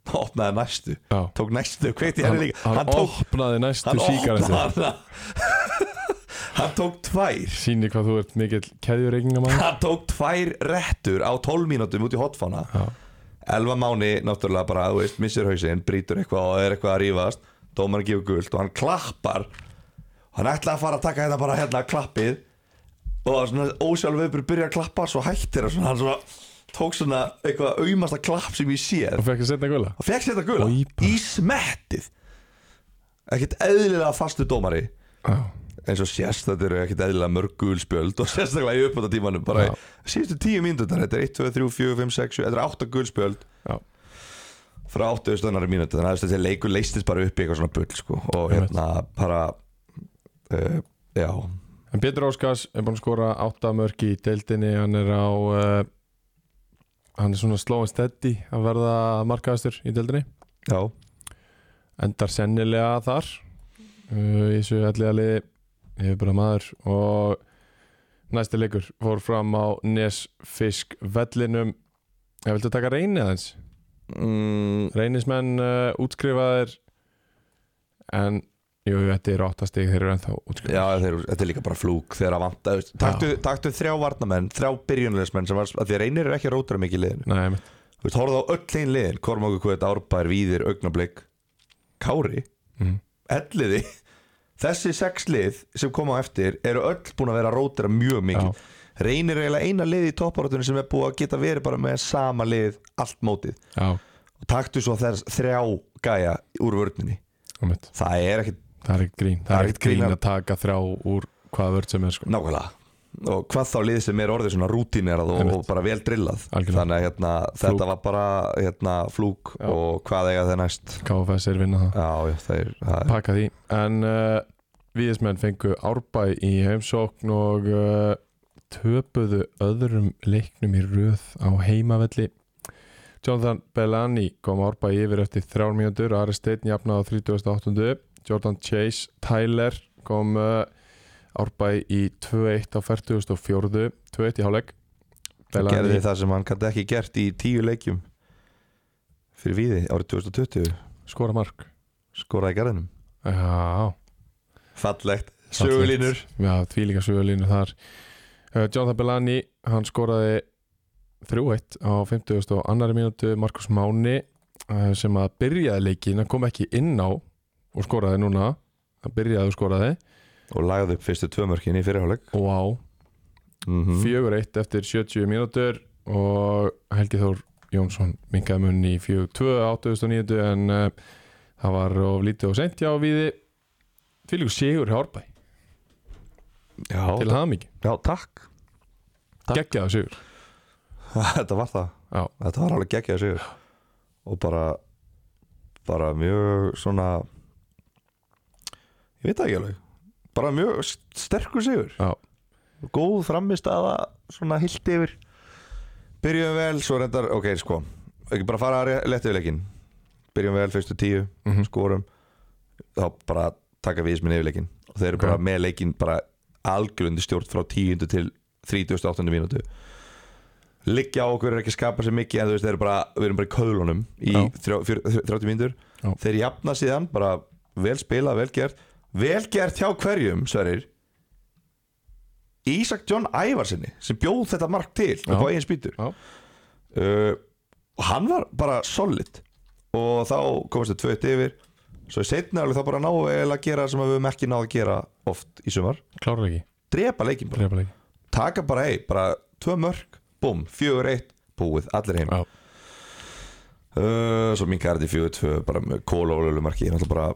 [SPEAKER 2] Hann opnaði næstu
[SPEAKER 1] Já.
[SPEAKER 2] tók næstu, kveikti í henni líka
[SPEAKER 1] Hann
[SPEAKER 2] tók
[SPEAKER 1] opnaði næstu
[SPEAKER 2] hann
[SPEAKER 1] síkar
[SPEAKER 2] opnaði hana Hann tók tvær
[SPEAKER 1] Sýni hvað þú ert mikill keðjureykingamann
[SPEAKER 2] Hann tók tvær rettur á 12 mínútum út í hotfána
[SPEAKER 1] Já.
[SPEAKER 2] Elva Máni náttúrulega bara, þú veist, missir hausinn Brýtur eitthvað og er eitthvað að rífast Dómarinn gefur gult og hann klappar Hann ætlaði að fara að taka hérna bara hérna klappið Og svona ósjálfur byrja að klappa Svo hættir og svona, hann svona Tók svona eitthvað auðmasta klapp sem ég séð
[SPEAKER 1] og fekk að setna gula
[SPEAKER 2] og fekk þetta gula
[SPEAKER 1] Oj, bara.
[SPEAKER 2] í smettið ekkert eðlilega fastu dómari
[SPEAKER 1] Já.
[SPEAKER 2] eins og sérst þetta eru ekkert eðlilega mörg gulspjöld og sérstaklega í uppbúta tímanum bara
[SPEAKER 1] Já.
[SPEAKER 2] síðustu tíu mínútur þetta er 1, 2, 3, 4, 5, 6, 7 þetta er 8 gulspjöld
[SPEAKER 1] Já.
[SPEAKER 2] frá 8 stöðnari mínútur þannig að þessi leikur leistist bara upp í eitthvað svona bull sko. og
[SPEAKER 1] Einmitt.
[SPEAKER 2] hérna bara uh, já
[SPEAKER 1] En Pétur Óskars er búin að skora átta mörk í deildinni, hann er á uh, hann er svona slóin steady að verða markaðastur í deildinni
[SPEAKER 2] já
[SPEAKER 1] endar sennilega þar uh, í þessu allega liði yfirbúra maður og næsti leikur fór fram á Nesfisk vellinum ég viltu taka reyni aðeins
[SPEAKER 2] mm,
[SPEAKER 1] reynismenn uh, útskrifaðir en jú, þetta er áttastig þeir eru ennþá útskrifaðir
[SPEAKER 2] Já, þeir, þetta er líka bara flúk þegar að vanta þú veist, taktu, taktu þrjá varnamenn, þrjá byrjunleismenn sem var, að því reynir er ekki að rótara mikið í liðinu
[SPEAKER 1] Nei, einmitt.
[SPEAKER 2] Þú veist, horfðu á öll einn liðin Kormáku Kvöt, Árbær, Víðir, Augnablík Kári,
[SPEAKER 1] Mhm.
[SPEAKER 2] Elliði Þessi sex lið sem koma á eftir eru öll búin að vera að rótira mjög mikið Reynir er eiginlega eina lið í topparátunum sem er búið að geta verið bara með sama lið allt mótið
[SPEAKER 1] já,
[SPEAKER 2] og taktu svo þess þrjá gæja úr vörninni
[SPEAKER 1] einmitt.
[SPEAKER 2] Það er ekkit
[SPEAKER 1] það er ekkert grín það er ekkert grín að taka þrjá úr hvaða vörð sem er sko.
[SPEAKER 2] nákvæmlega og hvað þá lið sem er orðið svona rútinerað og,
[SPEAKER 1] Einmitt.
[SPEAKER 2] og bara vel drillað
[SPEAKER 1] Algjörlega.
[SPEAKER 2] þannig að hérna, þetta var bara hérna, flúk
[SPEAKER 1] Já.
[SPEAKER 2] og hvað eiga þeir næst
[SPEAKER 1] KFS er vinna það
[SPEAKER 2] Já, já, það er, það er
[SPEAKER 1] pakka því en uh, viðismenn fengu árbæ í heimsókn og uh, töpuðu öðrum leiknum í röð á heimavelli Jonathan Bellani kom árbæ yfir eftir þrjár mínútur, Ari Steinn jafnaði á 38. Jordan Chase Tyler kom uh, árbæ í 2-1 á 44. 2-1 í hálfleik
[SPEAKER 2] gerði það sem hann gæti ekki gert í tíu leikjum fyrir víði árið 2020
[SPEAKER 1] skora mark
[SPEAKER 2] skoraði garðinum
[SPEAKER 1] Já,
[SPEAKER 2] fallegt, sögulínur
[SPEAKER 1] Já, því líka sögulínur þar uh, Jonathan Bellani, hann skoraði 3-1 á 50 og annari mínútu Markus Máni uh, sem að byrjaði leikin, hann kom ekki inn á og skoraði núna hann byrjaði og skoraði
[SPEAKER 2] og lagði upp fyrstu tvö mörkin í fyrirháleik
[SPEAKER 1] og á
[SPEAKER 2] mm
[SPEAKER 1] 4-1 eftir 70 mínútur og Helgi Þór Jónsson minkaði munn í 4-2 á 2009 en uh, það var of lítið og sent hjá viði fyrir sigur hjá Árbæ til
[SPEAKER 2] já,
[SPEAKER 1] hamingi,
[SPEAKER 2] já, takk Takk.
[SPEAKER 1] geggjaða sigur
[SPEAKER 2] þetta var það,
[SPEAKER 1] Já,
[SPEAKER 2] þetta var alveg geggjað sigur og bara bara mjög svona ég veit það ekki alveg bara mjög st- sterkur sigur
[SPEAKER 1] já
[SPEAKER 2] góð framist aða svona hilt yfir byrjum vel, svo reyndar, ok, sko ekki bara fara að leta yfir leikin byrjum vel, fyrstu tíu,
[SPEAKER 1] Mhm.
[SPEAKER 2] skorum þá bara taka vísminn yfir leikin og þeir eru
[SPEAKER 1] Ok.
[SPEAKER 2] bara með leikin bara algjörlundi stjórn frá tíundu til 38. mínútu liggja á okkur er ekki að skapa sér mikið en þú veist, þeir eru bara, við erum bara í köðlunum í
[SPEAKER 1] Já.
[SPEAKER 2] þrjá- fjör- 30 mínútur
[SPEAKER 1] Já.
[SPEAKER 2] þeir jafna síðan, bara vel spila, vel gert vel gert hjá hverjum, sverir Ísak John Ævarsinni sem bjóð þetta mark til
[SPEAKER 1] Já.
[SPEAKER 2] upp á eigin spýtur
[SPEAKER 1] Já.
[SPEAKER 2] uh, og hann var bara solid og þá komast þau tvöitt yfir svo í setna alveg þá bara náðu eiginlega að gera sem að við höfum ekki náðu að gera oft í sumar
[SPEAKER 1] Klárar ekki,
[SPEAKER 2] drepa leikin bara,
[SPEAKER 1] drepa leiki
[SPEAKER 2] taka bara ei bara tvö mörk, búm, fjögur eitt búið, allir heim
[SPEAKER 1] Já.
[SPEAKER 2] uh, svo mingar þetta í fjögur tvö bara með kól og lölumarki náttúrulega bara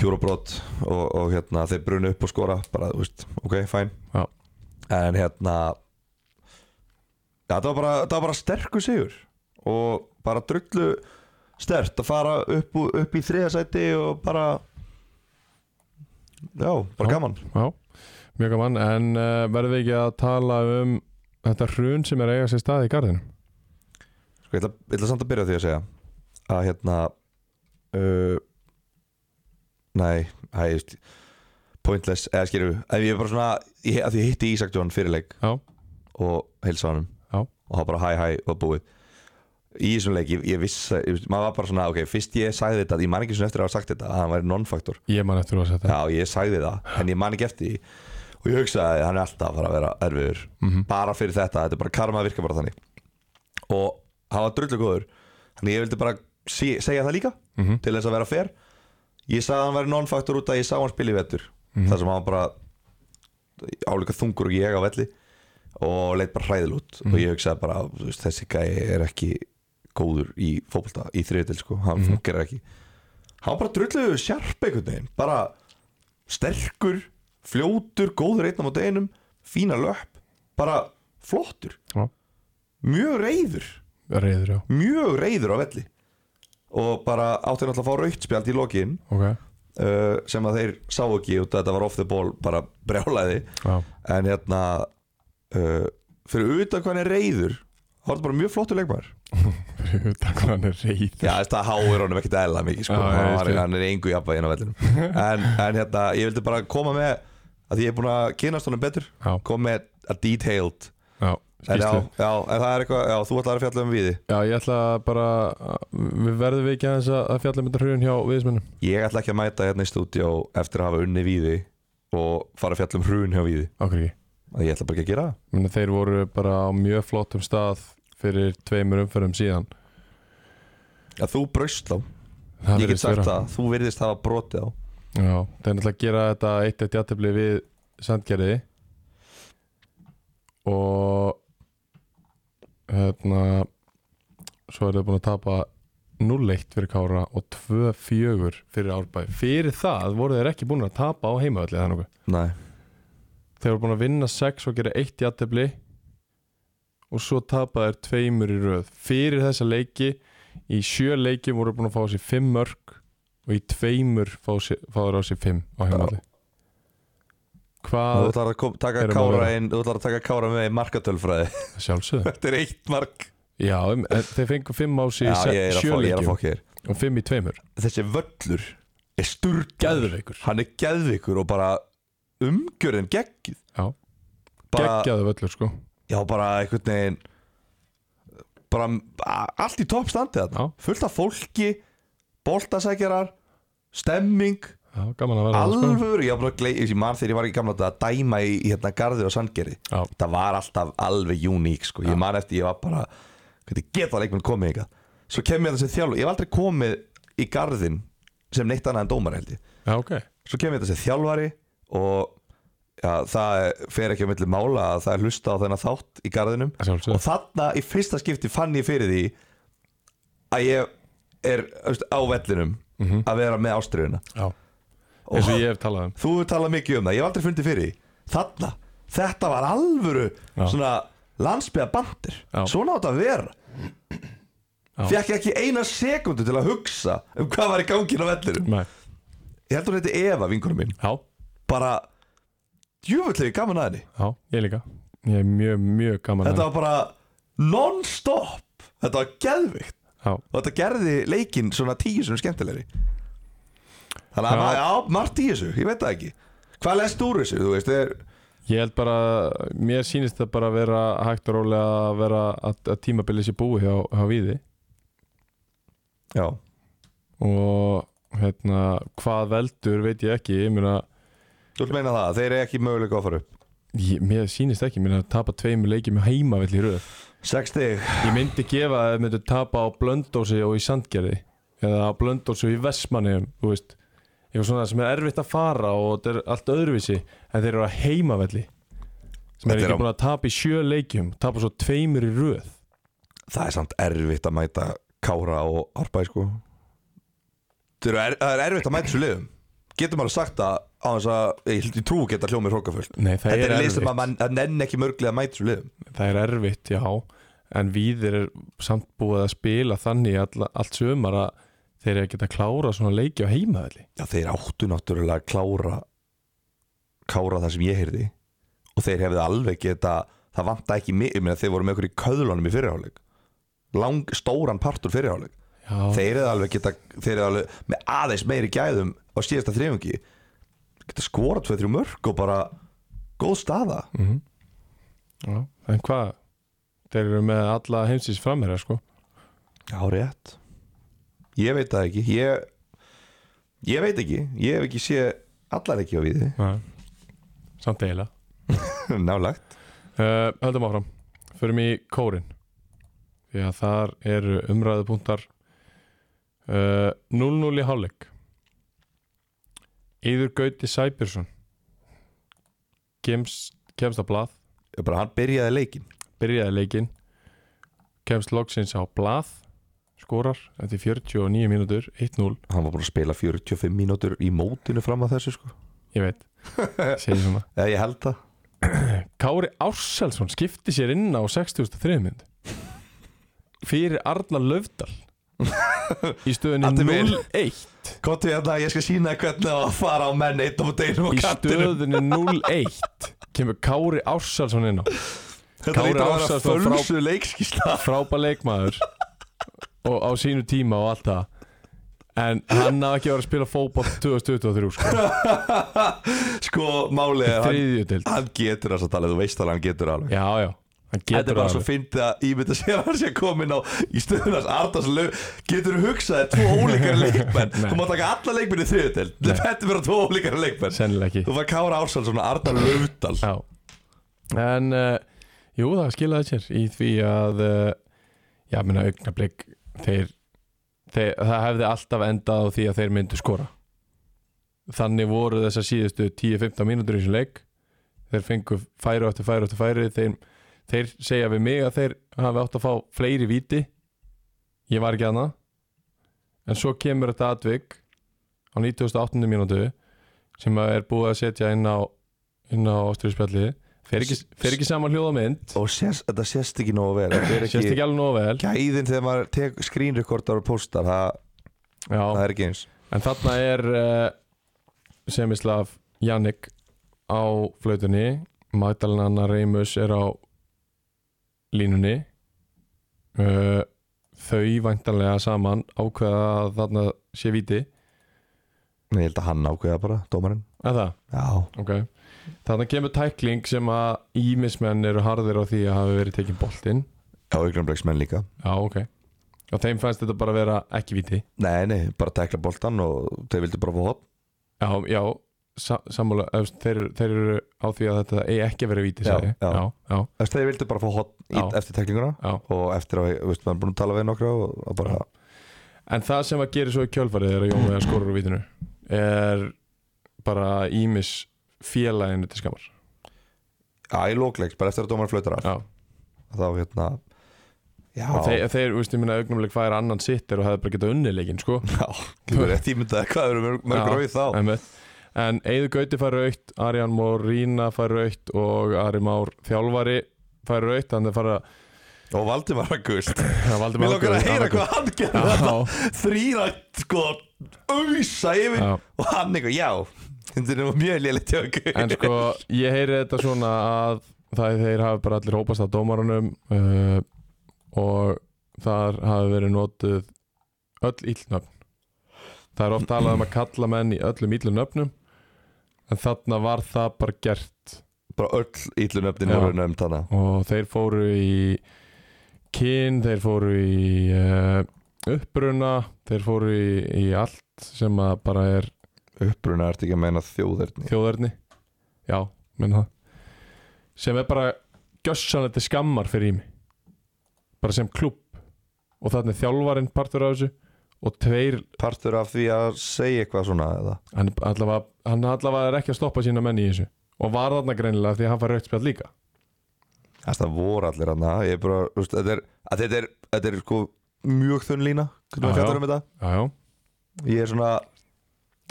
[SPEAKER 2] pjúra brot og, og hérna þeir brunu upp og skora bara, þú veist, ok, fæn
[SPEAKER 1] Já.
[SPEAKER 2] en hérna ja, það, var bara, það var bara sterkur sigur og bara drullu stert að fara upp, úr- upp í þriðasæti og bara já,
[SPEAKER 1] Já.
[SPEAKER 2] bara gaman
[SPEAKER 1] Já, mjög gaman En uh, verðum við ekki að tala um þetta hrun sem er að eiga sér stað í garðinu
[SPEAKER 2] Sko, ég ætla, ég ætla samt að byrja á því að segja að hérna uh, nei, hæ, ég veist pointless, eða skilju ef ég er bara svona, ég, að því ég hitti Ísak John fyrirleik
[SPEAKER 1] Já.
[SPEAKER 2] og heilsa honum
[SPEAKER 1] Já.
[SPEAKER 2] og það bara hæ hæ og búið í þessum leik, ég, ég viss ég, veist, maður var bara svona, ok, fyrst ég sagði þetta ég man ekki svona eftir að hafa sagt þetta, að hann væri non-faktor
[SPEAKER 1] Ég man eftir þú að setja
[SPEAKER 2] Já, ég sagði það, en ég man ekki eftir því og ég hugsaði hann er alltaf að fara að vera erfiður bara fyrir þetta, þetta er bara karma virka bara þannig og hann var drullu góður þannig ég vildi bara sé, segja það líka til þess að vera fair ég sagði að hann væri non-factor út að ég sá hann spila í vettur þar sem hann var bara álíka þungur og ég á velli og leitt bara hræðil út og ég hugsaði bara, þú veist, þessi gæi er ekki góður í fótbolta í þriðutil sko, hann mm ekki hann var bara drullu sjarp einhvern veginn bara sterkur, fljótur, góður einn á móti einum, fína löpp bara flottur
[SPEAKER 1] Já.
[SPEAKER 2] mjög reyður
[SPEAKER 1] Reyður, já,
[SPEAKER 2] mjög reyður á velli og bara átti náttúrulega að fá raukt spjald í lokin
[SPEAKER 1] ok
[SPEAKER 2] uh, sem að þeir sá ekki út að þetta var off the ball bara brjálæði
[SPEAKER 1] Já,
[SPEAKER 2] en hérna uh, fyrir utan hvað hann er reyður þá var þetta bara mjög flottur leikmar
[SPEAKER 1] fyrir utan hvað hann er reyður
[SPEAKER 2] Já, þetta háir honum ekkert eðla mikið sko.
[SPEAKER 1] Já, já,
[SPEAKER 2] hann,
[SPEAKER 1] ég
[SPEAKER 2] var,
[SPEAKER 1] skil.
[SPEAKER 2] hann er engu jafnvægin á vellinum en, en hérna, ég vildi bara koma með að því ég er búin að kynast honum betur
[SPEAKER 1] Já,
[SPEAKER 2] koma með að detailed
[SPEAKER 1] já,
[SPEAKER 2] en já,
[SPEAKER 1] skýrslu
[SPEAKER 2] já, en það er eitthvað, já, þú ætlar að fjalla um viði
[SPEAKER 1] Já, ég ætla bara Við verðum við ekki aðeins að að fjalla um þetta hrjun hjá viðismennum
[SPEAKER 2] Ég ætla ekki að mæta hérna í stúdíó eftir að hafa unni víði og fara að fjalla um hrun hjá víði
[SPEAKER 1] Okkur ekki
[SPEAKER 2] að ég ætla bara ekki að gera það
[SPEAKER 1] Menni, Þeir voru bara á mjög flottum stað fyrir tveimur umferðum síðan
[SPEAKER 2] Já, þú braust þá,
[SPEAKER 1] Það
[SPEAKER 2] ég get
[SPEAKER 1] virðist
[SPEAKER 2] sagt
[SPEAKER 1] vera.
[SPEAKER 2] það, þú virðist hafa brotið á
[SPEAKER 1] Já, þeir náttúrulega gera þetta eitt eitt játtöfli við sandgerði og hérna svo er þeir búin að tapa 0-1 fyrir Kára og 2-4 fyrir Árbæ fyrir það voru þeir ekki búin að tapa á heimavalli eða nokkuð
[SPEAKER 2] Nei,
[SPEAKER 1] þeir voru búin að vinna 6 og gera eitt játtöfli og svo tapa þeir tveimur í röð fyrir þessa leiki í sjö leiki voru búin að fá sér 5 mörg og í tveimur fá, sér, fá þeir á sér 5 á heimavalli
[SPEAKER 2] þú
[SPEAKER 1] hvað
[SPEAKER 2] ætlar að kom, taka
[SPEAKER 1] Erum að
[SPEAKER 2] kára
[SPEAKER 1] vera.
[SPEAKER 2] inn, þú ætlar að taka kára með í markatölfræði
[SPEAKER 1] sjálfsögðu
[SPEAKER 2] Þetta er eitt mark
[SPEAKER 1] já, em, en þeir fengu 5 á
[SPEAKER 2] Já,
[SPEAKER 1] sér
[SPEAKER 2] ég er að
[SPEAKER 1] sjö
[SPEAKER 2] fá, ég er að
[SPEAKER 1] leiki
[SPEAKER 2] fá hér
[SPEAKER 1] og 5 í tveimur
[SPEAKER 2] Þessi völlur er sturgæður
[SPEAKER 1] geðveikur
[SPEAKER 2] Hann er geðvikur og bara umgjörðin geggið
[SPEAKER 1] Já.
[SPEAKER 2] bara,
[SPEAKER 1] geggjaðu völlur sko
[SPEAKER 2] Já, bara einhvern veginn bara a- allt í toppstandi þarna
[SPEAKER 1] Já.
[SPEAKER 2] fullt af fólki, boltasækjarar stemming
[SPEAKER 1] já, gaman að vera það, sko.
[SPEAKER 2] alvöru, ég var bara að gleyja ég man þegar ég var í gamla þetta að dæma í, í hérna garður og sandgeri
[SPEAKER 1] Já.
[SPEAKER 2] það var alltaf alveg uník sko. ég man eftir, ég var bara hvernig geta leikmenn komið hingað svo kem ég þetta sem þjálfur, ég hef aldrei komið í garðin sem neitt annað en dómar held ég
[SPEAKER 1] já, ok
[SPEAKER 2] svo kemur þetta sem þjálfari og ja, það er- fer ekki á milli mála að það er hlusta á þennan þátt í garðinum
[SPEAKER 1] Að sjálfsögðu.
[SPEAKER 2] og þarna í fyrsta skipti fann ég fyrir því að ég er þú veist, á vellinum
[SPEAKER 1] Mhm.
[SPEAKER 2] að vera með ástriðuna
[SPEAKER 1] já. eins og ég hef talað um
[SPEAKER 2] þú hefur talað mikið um það, ég hef aldrei fundið fyrir því þarna, þetta var alvöru
[SPEAKER 1] Já.
[SPEAKER 2] svona landsbyða bandir
[SPEAKER 1] Já.
[SPEAKER 2] svona átt að vera
[SPEAKER 1] Já.
[SPEAKER 2] fekk ekki eina sekundu til að hugsa um hvað var í gangin á vellinum
[SPEAKER 1] Nei.
[SPEAKER 2] ég heldur þetta Eva, vinkunum minn
[SPEAKER 1] já,
[SPEAKER 2] bara djúvöldlega gaman að henni
[SPEAKER 1] já, ég líka ég er mjög, mjög gaman að
[SPEAKER 2] þetta var bara non-stop þetta var geðvikt
[SPEAKER 1] já,
[SPEAKER 2] og þetta gerði leikinn svona tíu sem skemmtilegri þannig að
[SPEAKER 1] Já.
[SPEAKER 2] maður- já, margt í þessu, ég veit það ekki hvað lest úr þessu, þú veist er,
[SPEAKER 1] Ég held bara, mér sýnist það bara að vera hægt og rólega að vera að, að tímabilið sé búið hjá, hjá Víði
[SPEAKER 2] já,
[SPEAKER 1] og hérna, hvað veldur veit ég ekki, ég meina
[SPEAKER 2] þú vil meina það, þeir eru ekki möguleika að fara upp
[SPEAKER 1] ég, mér sýnist ekki, ég meina að tapa tveimur leikjum með heimavell í röð
[SPEAKER 2] 6 stig,
[SPEAKER 1] Ég myndi gefa að þeir myndu tapa á Blöndósi og í Sandgerði eða á Blöndósi og í Vestmanniðum þú veist, eitthvað svona sem er erfitt að fara og þetta er allt öðruvísi en þeir eru á heimavelli sem
[SPEAKER 2] Þetta
[SPEAKER 1] er
[SPEAKER 2] er
[SPEAKER 1] ekki
[SPEAKER 2] á-
[SPEAKER 1] búin að tapa í sjö leikjum tapa svo tveimur í röð
[SPEAKER 2] það er samt erfitt að mæta Kára og Arbæ sko Þeir eru er, það er erfitt að mæta þessu liðum getum alveg sagt það á þess að ég, ég trú geta hljómið hrókafullt
[SPEAKER 1] Nei, það
[SPEAKER 2] þetta
[SPEAKER 1] er
[SPEAKER 2] er lið sem
[SPEAKER 1] erfitt.
[SPEAKER 2] að mann að nenn ekki mörglega að mæta þessu liðum
[SPEAKER 1] það er erfitt, já en viðir er samt búið að spila þannig all, allt sömar að þeir eru að geta klára svona leiki á heimaðalli
[SPEAKER 2] Já, þeir áttu náttúrulega að klára Kára það sem ég heyrði Og þeir hefði alveg geta Það vanta ekki mig, ég meina þeir voru með okkur í köðlunum í fyrirháleik Lang, stóran partur fyrirháleik
[SPEAKER 1] já,
[SPEAKER 2] Þeir hefði alveg geta, þeir hefði alveg Með aðeins meiri gæðum á síðasta þrifungi Geta skorað tveið þrjú mörg Og bara góð staða
[SPEAKER 1] Mhm. já. en hvað þeir eru með alla heimsins framherja sko
[SPEAKER 2] Já, rétt Ég veit það ekki Ég, ég veit ekki, ég hef ekki séð allar ekki á við
[SPEAKER 1] Nei. samt eiginlega
[SPEAKER 2] Nálagt
[SPEAKER 1] uh, Höldum áfram, förum í kórin Því að þar eru umræðupunktar uh, 0-0 í hálfleik Íður Gauti Sæbjörnsson kemst, kemst á blað
[SPEAKER 2] Ég bara hann byrjaði leikin
[SPEAKER 1] byrjaði leikinn kemst loksins á blað skorar eftir 49 mínútur 1-0,
[SPEAKER 2] Hann var búin að spila 45 mínútur í mótinu fram að þessu sko
[SPEAKER 1] ég veit segir svona
[SPEAKER 2] Eða ég held það
[SPEAKER 1] Kári Árselsson skipti sér inn á 63 mynd fyrir Arna Löfdal í stöðunni
[SPEAKER 2] Admir.
[SPEAKER 1] 0-1
[SPEAKER 2] Kottu hérna, ég skal sína hvernig það var að fara á menn eitt á deinu og
[SPEAKER 1] í
[SPEAKER 2] kantinum
[SPEAKER 1] stöðunni 0-1 kemur Kári Árselsson inn á
[SPEAKER 2] Þetta
[SPEAKER 1] Kári
[SPEAKER 2] lítur að vera
[SPEAKER 1] Ársælsson frá-
[SPEAKER 2] fölsu leikskísla
[SPEAKER 1] frábær leikmaður og á sínu tíma og allt það en hann hafði ekki verið að spila fótball 2023 sko,
[SPEAKER 2] Sko, málið er, hann,
[SPEAKER 1] þriðju dild
[SPEAKER 2] hann getur þess að tala, þú veist alveg, hann getur það alveg
[SPEAKER 1] já, já, hann
[SPEAKER 2] Þetta er
[SPEAKER 1] getur
[SPEAKER 2] bara
[SPEAKER 1] það
[SPEAKER 2] svo
[SPEAKER 1] alveg.
[SPEAKER 2] fyndið að ímynda sér að hann sé komin á í stöðunars Arnars lög Getur þú hugsað þér tvo ólíkari leikmenn
[SPEAKER 1] Nei.
[SPEAKER 2] Þú má taka alla leikmenn í þriðutel Þetta vera tvo ólíkari leikmenn
[SPEAKER 1] sennilega ekki
[SPEAKER 2] Þú var Kára Ársælsson og Arnar Löfdal
[SPEAKER 1] Já En uh, jú það skilaði sér í því að uh, Já minna augnablik þeir, þeir Það hefði alltaf endað á því að þeir myndu skora Þannig voru þessar síðustu 10-15 mínútur í þessum leik Þeir fengu færi og eftir færi og eftir færi þeir, þeir segja við mig að þeir hafi átt að fá fleiri víti Ég var ekki hana En svo kemur þetta atvik á 98. mínútu sem að er búið að setja inn á inn á ástriðspjalli fer ekki, fer ekki saman hljóð og mynd
[SPEAKER 2] Og sést, þetta sést ekki nógu vel Þetta er
[SPEAKER 1] sést ekki
[SPEAKER 2] ekki
[SPEAKER 1] alveg nóg vel
[SPEAKER 2] gæðin þegar maður tek skrínrekordar og póstar það, það
[SPEAKER 1] Já,
[SPEAKER 2] er ekki eins
[SPEAKER 1] en þarna er uh, Semislav Jannik á flautunni Magdalenanna Reimus er á línunni uh, þau væntanlega saman ákveða að þarna sé viti
[SPEAKER 2] Nei, ég held að hann ákveða bara, dómarinn
[SPEAKER 1] að það,
[SPEAKER 2] Já,
[SPEAKER 1] ok þarna kemur tækling sem að ímismenn eru harðir á því að hafi verið tekin boltinn
[SPEAKER 2] já, augnablegsmenn líka
[SPEAKER 1] já, ok og þeim fannst þetta bara vera ekki viti
[SPEAKER 2] Nei, nei, bara tekla boltan og þeir vildu bara fá hop
[SPEAKER 1] Já, já, sa- sammála efst, þeir, þeir eru á því að þetta eigi ekki að vera víti,
[SPEAKER 2] Já,
[SPEAKER 1] sagði ég.
[SPEAKER 2] já.
[SPEAKER 1] já, já,
[SPEAKER 2] Þess, Þeir vildu bara fá
[SPEAKER 1] Já.
[SPEAKER 2] hop eftir teklinguna
[SPEAKER 1] já.
[SPEAKER 2] og eftir að, veist, maður er búin að tala við nokkra og, og bara,
[SPEAKER 1] En það sem að gera svo í kjölfarið er að Jón Vegar skorur úr vítinu er bara ímis félaginu til skamar
[SPEAKER 2] já, í lókleiks, bara eftir að dómar flautar af
[SPEAKER 1] Já,
[SPEAKER 2] þá, hérna, já
[SPEAKER 1] og þeir, þeir veist, ég minna augnumleik hvað er annan sittir og hefði bara getað unnileikinn, sko
[SPEAKER 2] já, þú er rétt ímyndað hvað eru mörg, mörg
[SPEAKER 1] Já.
[SPEAKER 2] rauð þá
[SPEAKER 1] Einmitt. En Eiður Gauti fær raukt, Arjan Mór Rína fær raukt og Ari Már Þjálfari fær raukt, þannig að fara
[SPEAKER 2] og Valdimar August,
[SPEAKER 1] að valdi
[SPEAKER 2] mér langar að heyra hvað hann gerði þetta þrýra, sko, auðsa yfir
[SPEAKER 1] Já,
[SPEAKER 2] og hann eitthvað, já, þetta er nú mjög lélitt hjá August
[SPEAKER 1] En sko, ég heyri þetta svona að það þeir hafi bara allir hópast á dómarunum uh, og þar hafi verið notuð öll illnöfn Það er oft talað um að kalla menn í öllum illum nöfnum en þarna var það bara gert
[SPEAKER 2] bara öll íllunöfnin
[SPEAKER 1] Já.
[SPEAKER 2] voru nöfnd hana
[SPEAKER 1] og þeir fóru í kyn, þeir fóru í uh, uppruna þeir fóru í, í allt sem að bara er
[SPEAKER 2] uppruna ertu ekki að meina þjóðerni
[SPEAKER 1] þjóðverðni já, menn það sem er bara gjössanlega til skammar fyrir ími bara sem klubb og þannig þjálfarinn partur af þessu og tveir,
[SPEAKER 2] partur af því að segja eitthvað svona eða
[SPEAKER 1] hann er allavega, hann allavega er ekki að stoppa sína menn í þessu og var þarna greinilega því að hann fær raukt spjall líka
[SPEAKER 2] Það voru allir hann Ég er bara, þú veist, þetta er, að þetta er, þetta er sko mjög þunn lína
[SPEAKER 1] Já,
[SPEAKER 2] Hvernig maður
[SPEAKER 1] já.
[SPEAKER 2] kallar um þetta
[SPEAKER 1] já, já,
[SPEAKER 2] Ég er svona,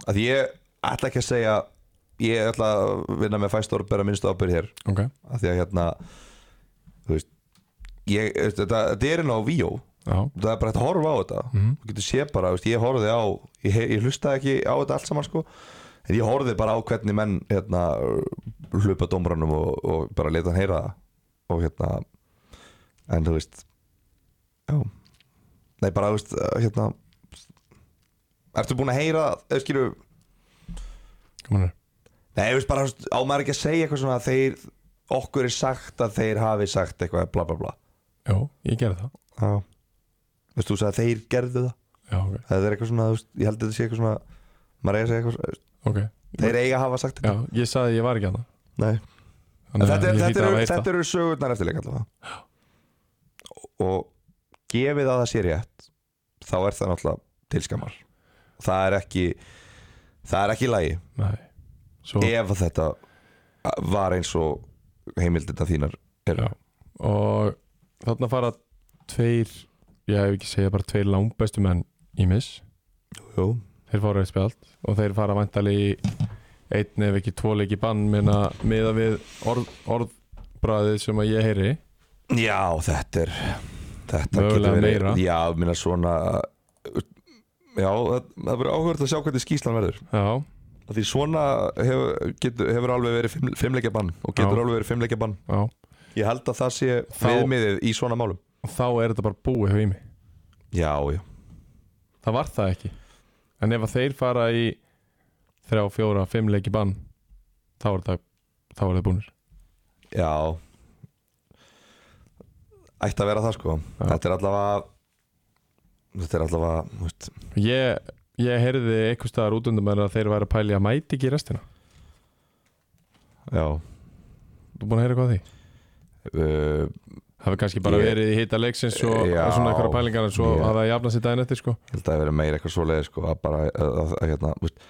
[SPEAKER 2] að ég ætla ekki að segja Ég ætla að vinna með fæstor Bera minnstu ábyrð hér
[SPEAKER 1] ok
[SPEAKER 2] að Því að hérna, þú veist ég, þú veist, þetta, þetta er inn á víó
[SPEAKER 1] já,
[SPEAKER 2] Það er bara hægt að horfa á þetta
[SPEAKER 1] Mhm.
[SPEAKER 2] Þú getur sé bara, þú veist, ég horfði á Ég, he- ég hlustaði ekki á þetta allt saman sko En ég horfði bara á hvernig menn hérna, hlupa dómranum og, og bara leta hann heyra það og hérna en þú veist já, nei bara þú veist hérna ertu búin að heyra, eða skilu
[SPEAKER 1] komin er
[SPEAKER 2] nei, þú veist bara, þú veist, á maður ekki að segja eitthvað svona að þeir, okkur er sagt að þeir hafi sagt eitthvað, bla bla bla
[SPEAKER 1] já, ég gerði það,
[SPEAKER 2] já, veist þú sagði að þeir gerðu það
[SPEAKER 1] já, ok,
[SPEAKER 2] það er eitthvað svona, þú veist, ég held að þetta sé eitthvað svona maður eiga að segja eitthvað, svona,
[SPEAKER 1] ok
[SPEAKER 2] þeir eiga að hafa sagt þetta
[SPEAKER 1] já, ég saði að ég var ekki hana
[SPEAKER 2] Nei En
[SPEAKER 1] Þannig
[SPEAKER 2] þetta,
[SPEAKER 1] að
[SPEAKER 2] er,
[SPEAKER 1] ég
[SPEAKER 2] þetta,
[SPEAKER 1] hlýt að
[SPEAKER 2] eru,
[SPEAKER 1] hafa heyrt
[SPEAKER 2] þetta eru sögurnar eftir leik allavega og gefið að það sé rétt þá er það náttúrulega tilskamar það er ekki það er ekki í lagi
[SPEAKER 1] það. Nei. Svo,
[SPEAKER 2] ef að þetta var eins og heimildina þínar eru
[SPEAKER 1] Já. og þarna fara tveir já, ég hef ekki segja bara tveir langbestu menn í miss
[SPEAKER 2] Jú.
[SPEAKER 1] þeir fá rauðt spjald og þeir fara vantali í einn ef ekki tvo leiki bann minna miða við orð, orðbræðið sem að ég heyri
[SPEAKER 2] já, þetta er þetta
[SPEAKER 1] Mögulega
[SPEAKER 2] getur verið
[SPEAKER 1] meira.
[SPEAKER 2] já, minna svona já, það, það verður áhverð að sjá hvernig skýslan verður
[SPEAKER 1] já,
[SPEAKER 2] Af því svona hefur, getur, hefur alveg verið fimm, fimmleikja bann og getur
[SPEAKER 1] Já.
[SPEAKER 2] alveg verið fimmleikja bann
[SPEAKER 1] já
[SPEAKER 2] Ég held að það sé
[SPEAKER 1] Þá-
[SPEAKER 2] viðmiðið í svona málum
[SPEAKER 1] og þá er þetta bara búið hjá mig
[SPEAKER 2] Já, já
[SPEAKER 1] það var það ekki en ef að þeir fara í þrjá, fjóra, fimm leiki bann þá er þetta þá er þetta búnir
[SPEAKER 2] Já Ætti að vera það sko
[SPEAKER 1] Já.
[SPEAKER 2] Þetta er allavega Þetta er allavega þú veist,
[SPEAKER 1] ég, ég heyrði einhvers staðar út undan mér að þeir væri að pæli að mæti ekki í restina
[SPEAKER 2] Já
[SPEAKER 1] þú búin að heyra hvað af því?
[SPEAKER 2] uh,
[SPEAKER 1] Það hefði kannski bara
[SPEAKER 2] Ég-
[SPEAKER 1] verið í hita leiksins og
[SPEAKER 2] Já.
[SPEAKER 1] og svona einhverja pælingar en svo
[SPEAKER 2] Já.
[SPEAKER 1] yeah. hafði það jafnað sér daginn eftir sko
[SPEAKER 2] Ég held að það vera meira eitthvað svoleiði sko að bara að, að, að, hérna, þú veist,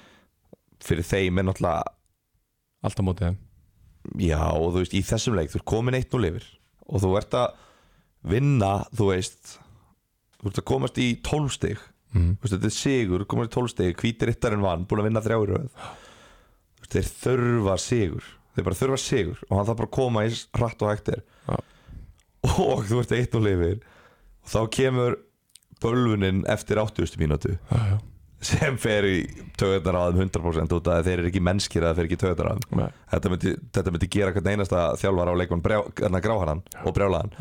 [SPEAKER 2] Fyrir þeim er náttúrulega
[SPEAKER 1] Alltaf mótið þeim
[SPEAKER 2] Já, og þú veist, í þessum leik, þú ert komin eitt núl yfir og þú ert að vinna, þú veist þú ert að komast í tólfstig
[SPEAKER 1] Mhm.
[SPEAKER 2] veist, þetta er sigur, komast í tólfstig hvítir yttarinn vann, búin að vinna þrjáir röð Þú veist, þeir þurfa sigur þeir bara þurfa sigur og hann þarf bara að koma eins hratt og hægt er
[SPEAKER 1] Já.
[SPEAKER 2] og þú ert eitt núl yfir og þá kemur bölvunin eftir 80. mínútu
[SPEAKER 1] Já, já.
[SPEAKER 2] sem fer í töðunar á þeim 100% út af að þeir eru ekki mennskir að þeir fer ekki töðunar á þeim
[SPEAKER 1] Nei.
[SPEAKER 2] þetta myndi, þetta myndi gera hvern einasta þjálfar á leikun gráhanan og brjálaðan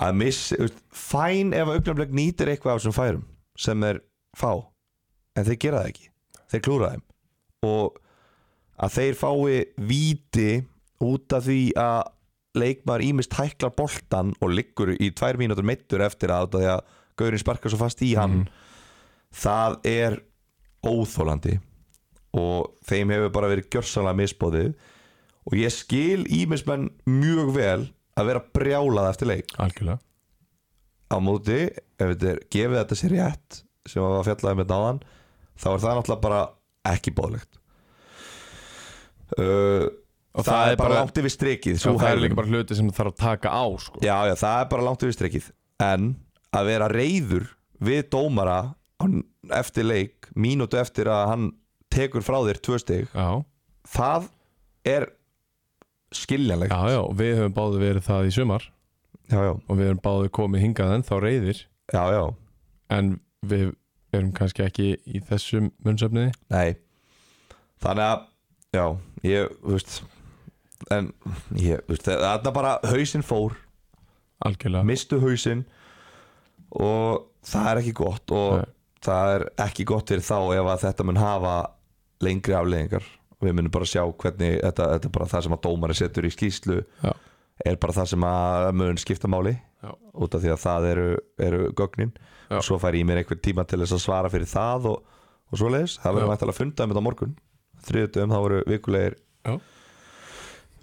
[SPEAKER 2] að miss, you know, fæn ef að augnablik nýtir eitthvað af þessum færum sem er fá en þeir gera það ekki, þeir klúra þeim og að þeir fái víti út af því að leikmaður ímist hæklar boltan og liggur í tvær mínútur meittur eftir að út af því að gaurinn sparkar svo fast í hann það er óþólandi og þeim hefur bara verið gjörsanlega misbóðið og ég skil ímismenn mjög vel að vera brjálað eftir leik
[SPEAKER 1] Algjörlega
[SPEAKER 2] á móti, ef þetta er gefið þetta sér rétt sem að fjallaði með náðan þá er það náttúrulega bara ekki bóðlegt uh, það, er bara langt yfir strikið
[SPEAKER 1] Já,
[SPEAKER 2] sú
[SPEAKER 1] Það er
[SPEAKER 2] hegðun.
[SPEAKER 1] líka bara hluti sem þarf að taka á sko
[SPEAKER 2] já, já, það er bara langt yfir strekkið en að vera reyður við dómara hann, eftir leik, mínútu eftir að hann tekur frá þér tvö stig
[SPEAKER 1] Já,
[SPEAKER 2] það er skiljanlegt
[SPEAKER 1] já, já, og við höfum báðu verið það í sumar
[SPEAKER 2] já, já,
[SPEAKER 1] og við höfum báðu komið hingað ennþá reyðir
[SPEAKER 2] já, já.
[SPEAKER 1] en við erum kannski ekki í þessum munnsefniði
[SPEAKER 2] nei þannig að, já, ég, þú veist en, ég, þú veist það er bara, hausinn fór
[SPEAKER 1] Algjörlega
[SPEAKER 2] mistu hausinn og það er ekki gott og
[SPEAKER 1] Nei.
[SPEAKER 2] það er ekki gott fyrir þá ef að þetta mun hafa lengri afleðingar við munum bara sjá hvernig þetta, þetta er bara það sem að dómari setur í skýslu
[SPEAKER 1] Já.
[SPEAKER 2] er bara það sem að mun skipta máli
[SPEAKER 1] Já.
[SPEAKER 2] út af því að það eru, eru gögnin
[SPEAKER 1] Já.
[SPEAKER 2] og svo fær ég mér einhver tíma til þess að svara fyrir það og, og svoleiðis, það verður
[SPEAKER 1] Já.
[SPEAKER 2] mættilega að funda um þetta á morgun þriðutum, það voru vikulegir
[SPEAKER 1] Já.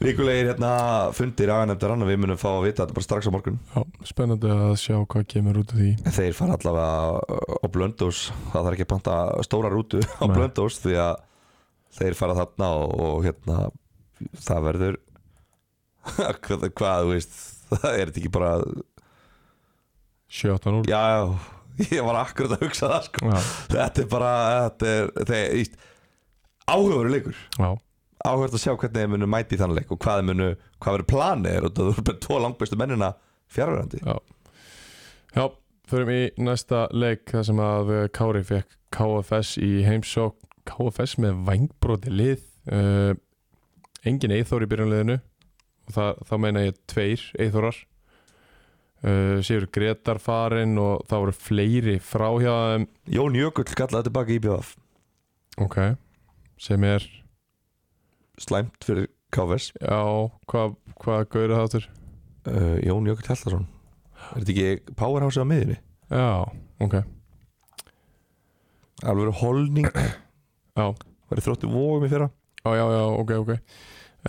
[SPEAKER 2] vikulegir hérna fundir aðeins og við munum fá að vita þetta bara strax á morgun
[SPEAKER 1] Já, spennandi að sjá hvað kemur út af því
[SPEAKER 2] En Þeir fara allavega á Blöndós Það þarf ekki að panta stóra rútu á
[SPEAKER 1] Nei.
[SPEAKER 2] Blöndós Því að þeir fara þarna og, og hérna Það verður hvað, hvað, þú veist Það er þetta ekki bara
[SPEAKER 1] 17 úr
[SPEAKER 2] Já, já, ég var akkurat að hugsa það sko.
[SPEAKER 1] Já,
[SPEAKER 2] Þetta er bara þetta er, þeir, íst, Áhugaveru leikur
[SPEAKER 1] já,
[SPEAKER 2] Áhugavert að sjá hvernig þeir munu mæti í þann leik Og hvað, þeir munu, hvað verður planið er Það verður bara tvo langbestu mennina fjárverandi
[SPEAKER 1] já Já, förum í næsta leik þar sem að eh, Kári fekk KFS í heimsók KFS með vangbróti lið uh, engin Eithor í byrjunliðinu og það, þá meina ég tveir Eithorar uh, Sigur Gretar farinn og þá voru fleiri frá hjá þeim
[SPEAKER 2] Jón Jökull kallaði tilbaka í BF
[SPEAKER 1] ok, sem er
[SPEAKER 2] Slæmt fyrir KFS
[SPEAKER 1] já, hvað hva gauður það áttur?
[SPEAKER 2] uh, Jón Jökull Hjallarsson Er þetta ekki powerhouse á miðinni?
[SPEAKER 1] Já, ok,
[SPEAKER 2] Alveg holning
[SPEAKER 1] já
[SPEAKER 2] Var þróttu vóum í fyrra
[SPEAKER 1] Já, já, já, ok, ok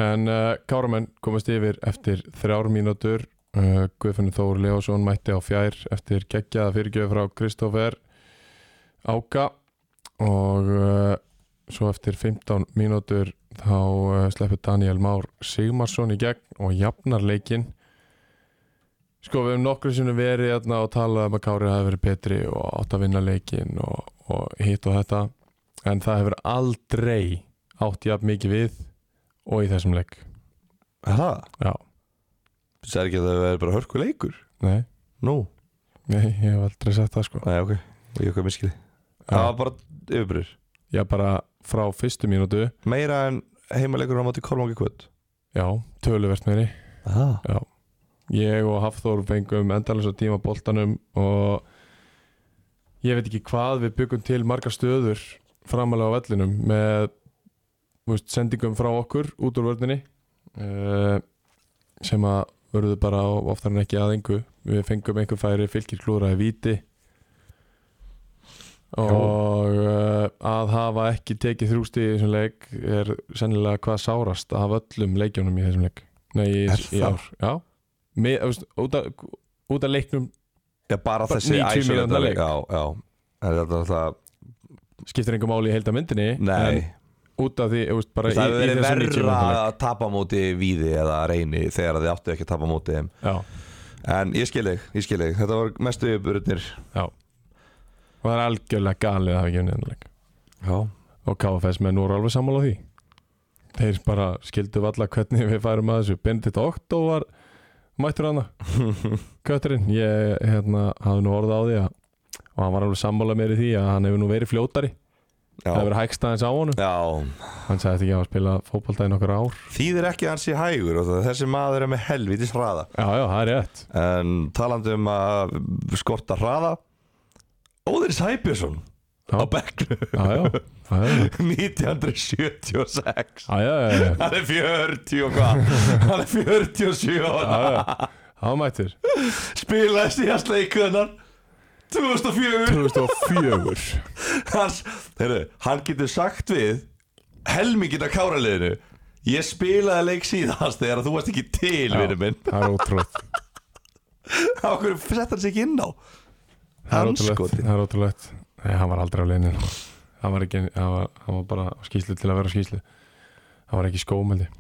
[SPEAKER 1] En uh, Káramenn komast yfir eftir þrjár mínútur uh, Guðfinnur Þór Leósson mætti á fjær eftir geggjaða fyrirgjöf frá Kristófer Áka og uh, svo eftir 15 mínútur þá uh, sleppur Daniel Már Sigmarsson í gegn og jafnar leikinn Sko við höfum nokkru sinni verið hérna og talað um að Kári hafi verið betri og átt að vinna leikinn og, og hitt og þetta en það hefur aldrei átt jafn mikið við og í þessum leik
[SPEAKER 2] Það?
[SPEAKER 1] Já,
[SPEAKER 2] Sér ekki að það verður bara hörku leikur?
[SPEAKER 1] nei,
[SPEAKER 2] Nú?
[SPEAKER 1] nei ég hef aldrei sett það sko
[SPEAKER 2] Nei, ok, ég okkar miskili Það var bara yfirbrur
[SPEAKER 1] Já, bara frá fyrstu mínútu
[SPEAKER 2] Meira en heimaleikur á móti Kolmangi Kvöld
[SPEAKER 1] Já, töluvert meiri
[SPEAKER 2] ah.
[SPEAKER 1] Ég og Hafþór fengum endalins að tíma á boltanum og ég veit ekki hvað við byggum til margar stöður framalega á vellinum með þú veist, sendingum frá okkur út úr vörninni uh, sem að verðu bara á- oftar en ekki að engu við fengum einhver færi fylgir klúraði viti og uh, að hafa ekki tekið þrjústi í þessum leik er sennilega hvað sárast af öllum leikjónum í þessum leik Nei, í,
[SPEAKER 2] Er
[SPEAKER 1] í
[SPEAKER 2] það?
[SPEAKER 1] ár Já, Með, þú veist, út, af, út af leiknum
[SPEAKER 2] Já, bara
[SPEAKER 1] Bara
[SPEAKER 2] þessi
[SPEAKER 1] 90
[SPEAKER 2] isolata
[SPEAKER 1] mínútna leik.
[SPEAKER 2] Já, já En Þetta er alltaf,
[SPEAKER 1] skiptir einhver máli í heildamyndinni
[SPEAKER 2] nei
[SPEAKER 1] en út af því, þú veist, bara í,
[SPEAKER 2] Það hefur
[SPEAKER 1] í
[SPEAKER 2] verið
[SPEAKER 1] þessum 90
[SPEAKER 2] verra
[SPEAKER 1] mínútna leik.
[SPEAKER 2] að tapa á móti víði eða reyni þegar þið áttu ekki að tapa á móti þeim
[SPEAKER 1] Já,
[SPEAKER 2] En ég skil þig, ég skil þig Þetta var mestu yfirburnir
[SPEAKER 1] já og það er algjörlega galið að hafa ekki unnið þennan leik
[SPEAKER 2] Já
[SPEAKER 1] og KFS menn voru alveg sammála því þeir bara skildu valla hvernig við færum að þessu Benedikt Okto var mættur hana kötturinn, ég hérna hafði nú orða á því að og hann var alveg sammála mér í því að hann hefur nú verið fljótari það hefur
[SPEAKER 2] Já,
[SPEAKER 1] verið hægst aðeins á honum
[SPEAKER 2] já.
[SPEAKER 1] hann sagði ekki að spila fótbolta í nokkur ár
[SPEAKER 2] Þýðir ekki að hann sé hægur og það, þessi maður er með helvítis hraða
[SPEAKER 1] já, já, það er rétt
[SPEAKER 2] En talandi um að skorta hraða Óðins Hæbjörnsson
[SPEAKER 1] Já.
[SPEAKER 2] á bekknu
[SPEAKER 1] já, já, já, já.
[SPEAKER 2] 1976
[SPEAKER 1] Já, já, já, já,
[SPEAKER 2] Hann er 40 og hvað Hann er 47 ára
[SPEAKER 1] já, já. Hann mættir
[SPEAKER 2] Spilaði síðast leikunar 2004
[SPEAKER 1] 2004
[SPEAKER 2] Hans, heyrðu, Hann getur sagt við Helmingin af káraliðinu Ég spilaði leik síðast þegar þú varst ekki til vinnu minn
[SPEAKER 1] Það er ótrúlegt
[SPEAKER 2] Af hverju sett hann sig ekki inn á
[SPEAKER 1] Það er
[SPEAKER 2] Hann
[SPEAKER 1] ótrúlegt
[SPEAKER 2] skoti
[SPEAKER 1] Það er ótrúlegt Nei, hann var aldrei á leinin Hann var, ekki, hann var, hann var bara á skýslu til að vera á skýslu Hann var ekki í skóm held ég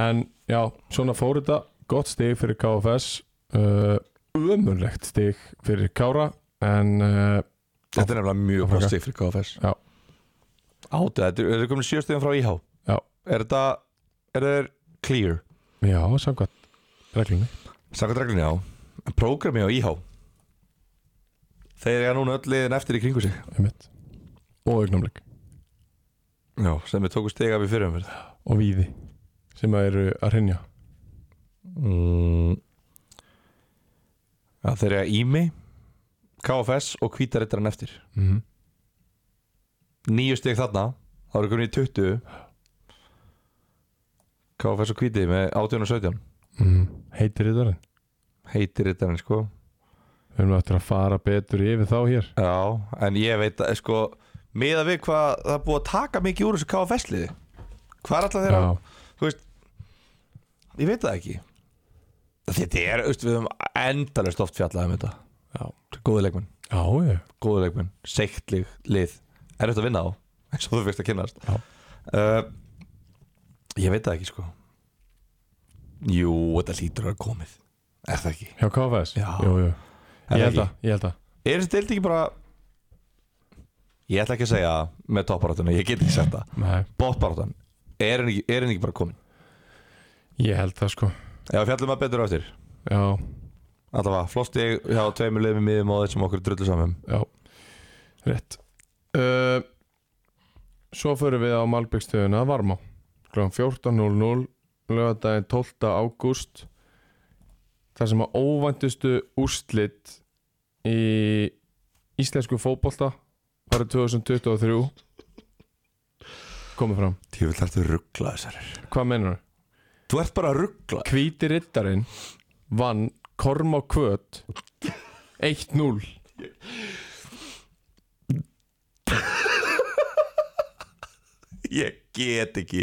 [SPEAKER 1] En já, svona fór þetta Gott stig fyrir KFS uh,
[SPEAKER 2] Um.
[SPEAKER 1] Ömurlegt stig fyrir Kára En uh,
[SPEAKER 2] Þetta er nefnilega mjög
[SPEAKER 1] Áfram.
[SPEAKER 2] gott stig fyrir KFS
[SPEAKER 1] Oh Já.
[SPEAKER 2] Átta, þetta er- þetta er komin sjöstegum frá IH
[SPEAKER 1] Já.
[SPEAKER 2] Er þetta, er þetta clear?
[SPEAKER 1] já, samkvæmt reglunni
[SPEAKER 2] Sakat reglunni á Prógrami á IH Þeir eiga núna öll liðin eftir í kringu sig
[SPEAKER 1] einmitt. Og augnumleik
[SPEAKER 2] Já, sem við tókum stiga við fyrir umverð
[SPEAKER 1] Og víði Sem að eru að hrinja
[SPEAKER 2] mm. Já, Þeir eiga Ími KFS og Hvítarittarinn eftir
[SPEAKER 1] mm -hmm.
[SPEAKER 2] Nýju stig þarna Það eru komin í 20 KFS og Hvíti með 18 og 17
[SPEAKER 1] Heitir þetta þarinn
[SPEAKER 2] Heitir rittarinn sko
[SPEAKER 1] Við erum eftir að fara betur yfir þá hér
[SPEAKER 2] Já, en ég veit að sko Miða við hvað það er búið að taka mikið úr þessu KFS liði Hvað er alltaf þeirra
[SPEAKER 1] Já,
[SPEAKER 2] þú veist ég veit það ekki þetta er, þú veist, við höfum endalist oft fjallað um þetta
[SPEAKER 1] já,
[SPEAKER 2] góði leikmenn,
[SPEAKER 1] já, já.
[SPEAKER 2] góði leikmenn seiktlig lið, er þetta að vinna á eins og þú fyrst að kynnast
[SPEAKER 1] Já.
[SPEAKER 2] uh, ég veit það ekki sko jú, þetta lítur að vera komið er það ekki,
[SPEAKER 1] Hjá KFS?
[SPEAKER 2] Já.
[SPEAKER 1] Jú, jú. Ég
[SPEAKER 2] er það
[SPEAKER 1] held
[SPEAKER 2] ekki?
[SPEAKER 1] að, ég held að
[SPEAKER 2] er þessi deild ekki bara ég ætla ekki að segja með topparátuna, ég get ekki sagt það
[SPEAKER 1] Nei,
[SPEAKER 2] bóttbarátun, er henni ekki, er henni ekki bara komin
[SPEAKER 1] ég held það sko
[SPEAKER 2] ef við fjallum að betur á eftir
[SPEAKER 1] Já,
[SPEAKER 2] Allavega, flott ég hjá tveimur liðum í miðum og þessum okkur drullu saman
[SPEAKER 1] já, rétt uh, Svo förum við á Malbyggstöðuna Varmá Klokkan 14.00 Lögadaginn 12. ágúst Þar sem að óvæntustu úrslit í íslensku fótbolta farið 2023 komið fram
[SPEAKER 2] Ég vil þetta ruggla þessari
[SPEAKER 1] Hvað meinar það?
[SPEAKER 2] Þú ert bara að ruggla
[SPEAKER 1] Hvíti riddarinn vann Korma Kvöt 1-0
[SPEAKER 2] Ég get ekki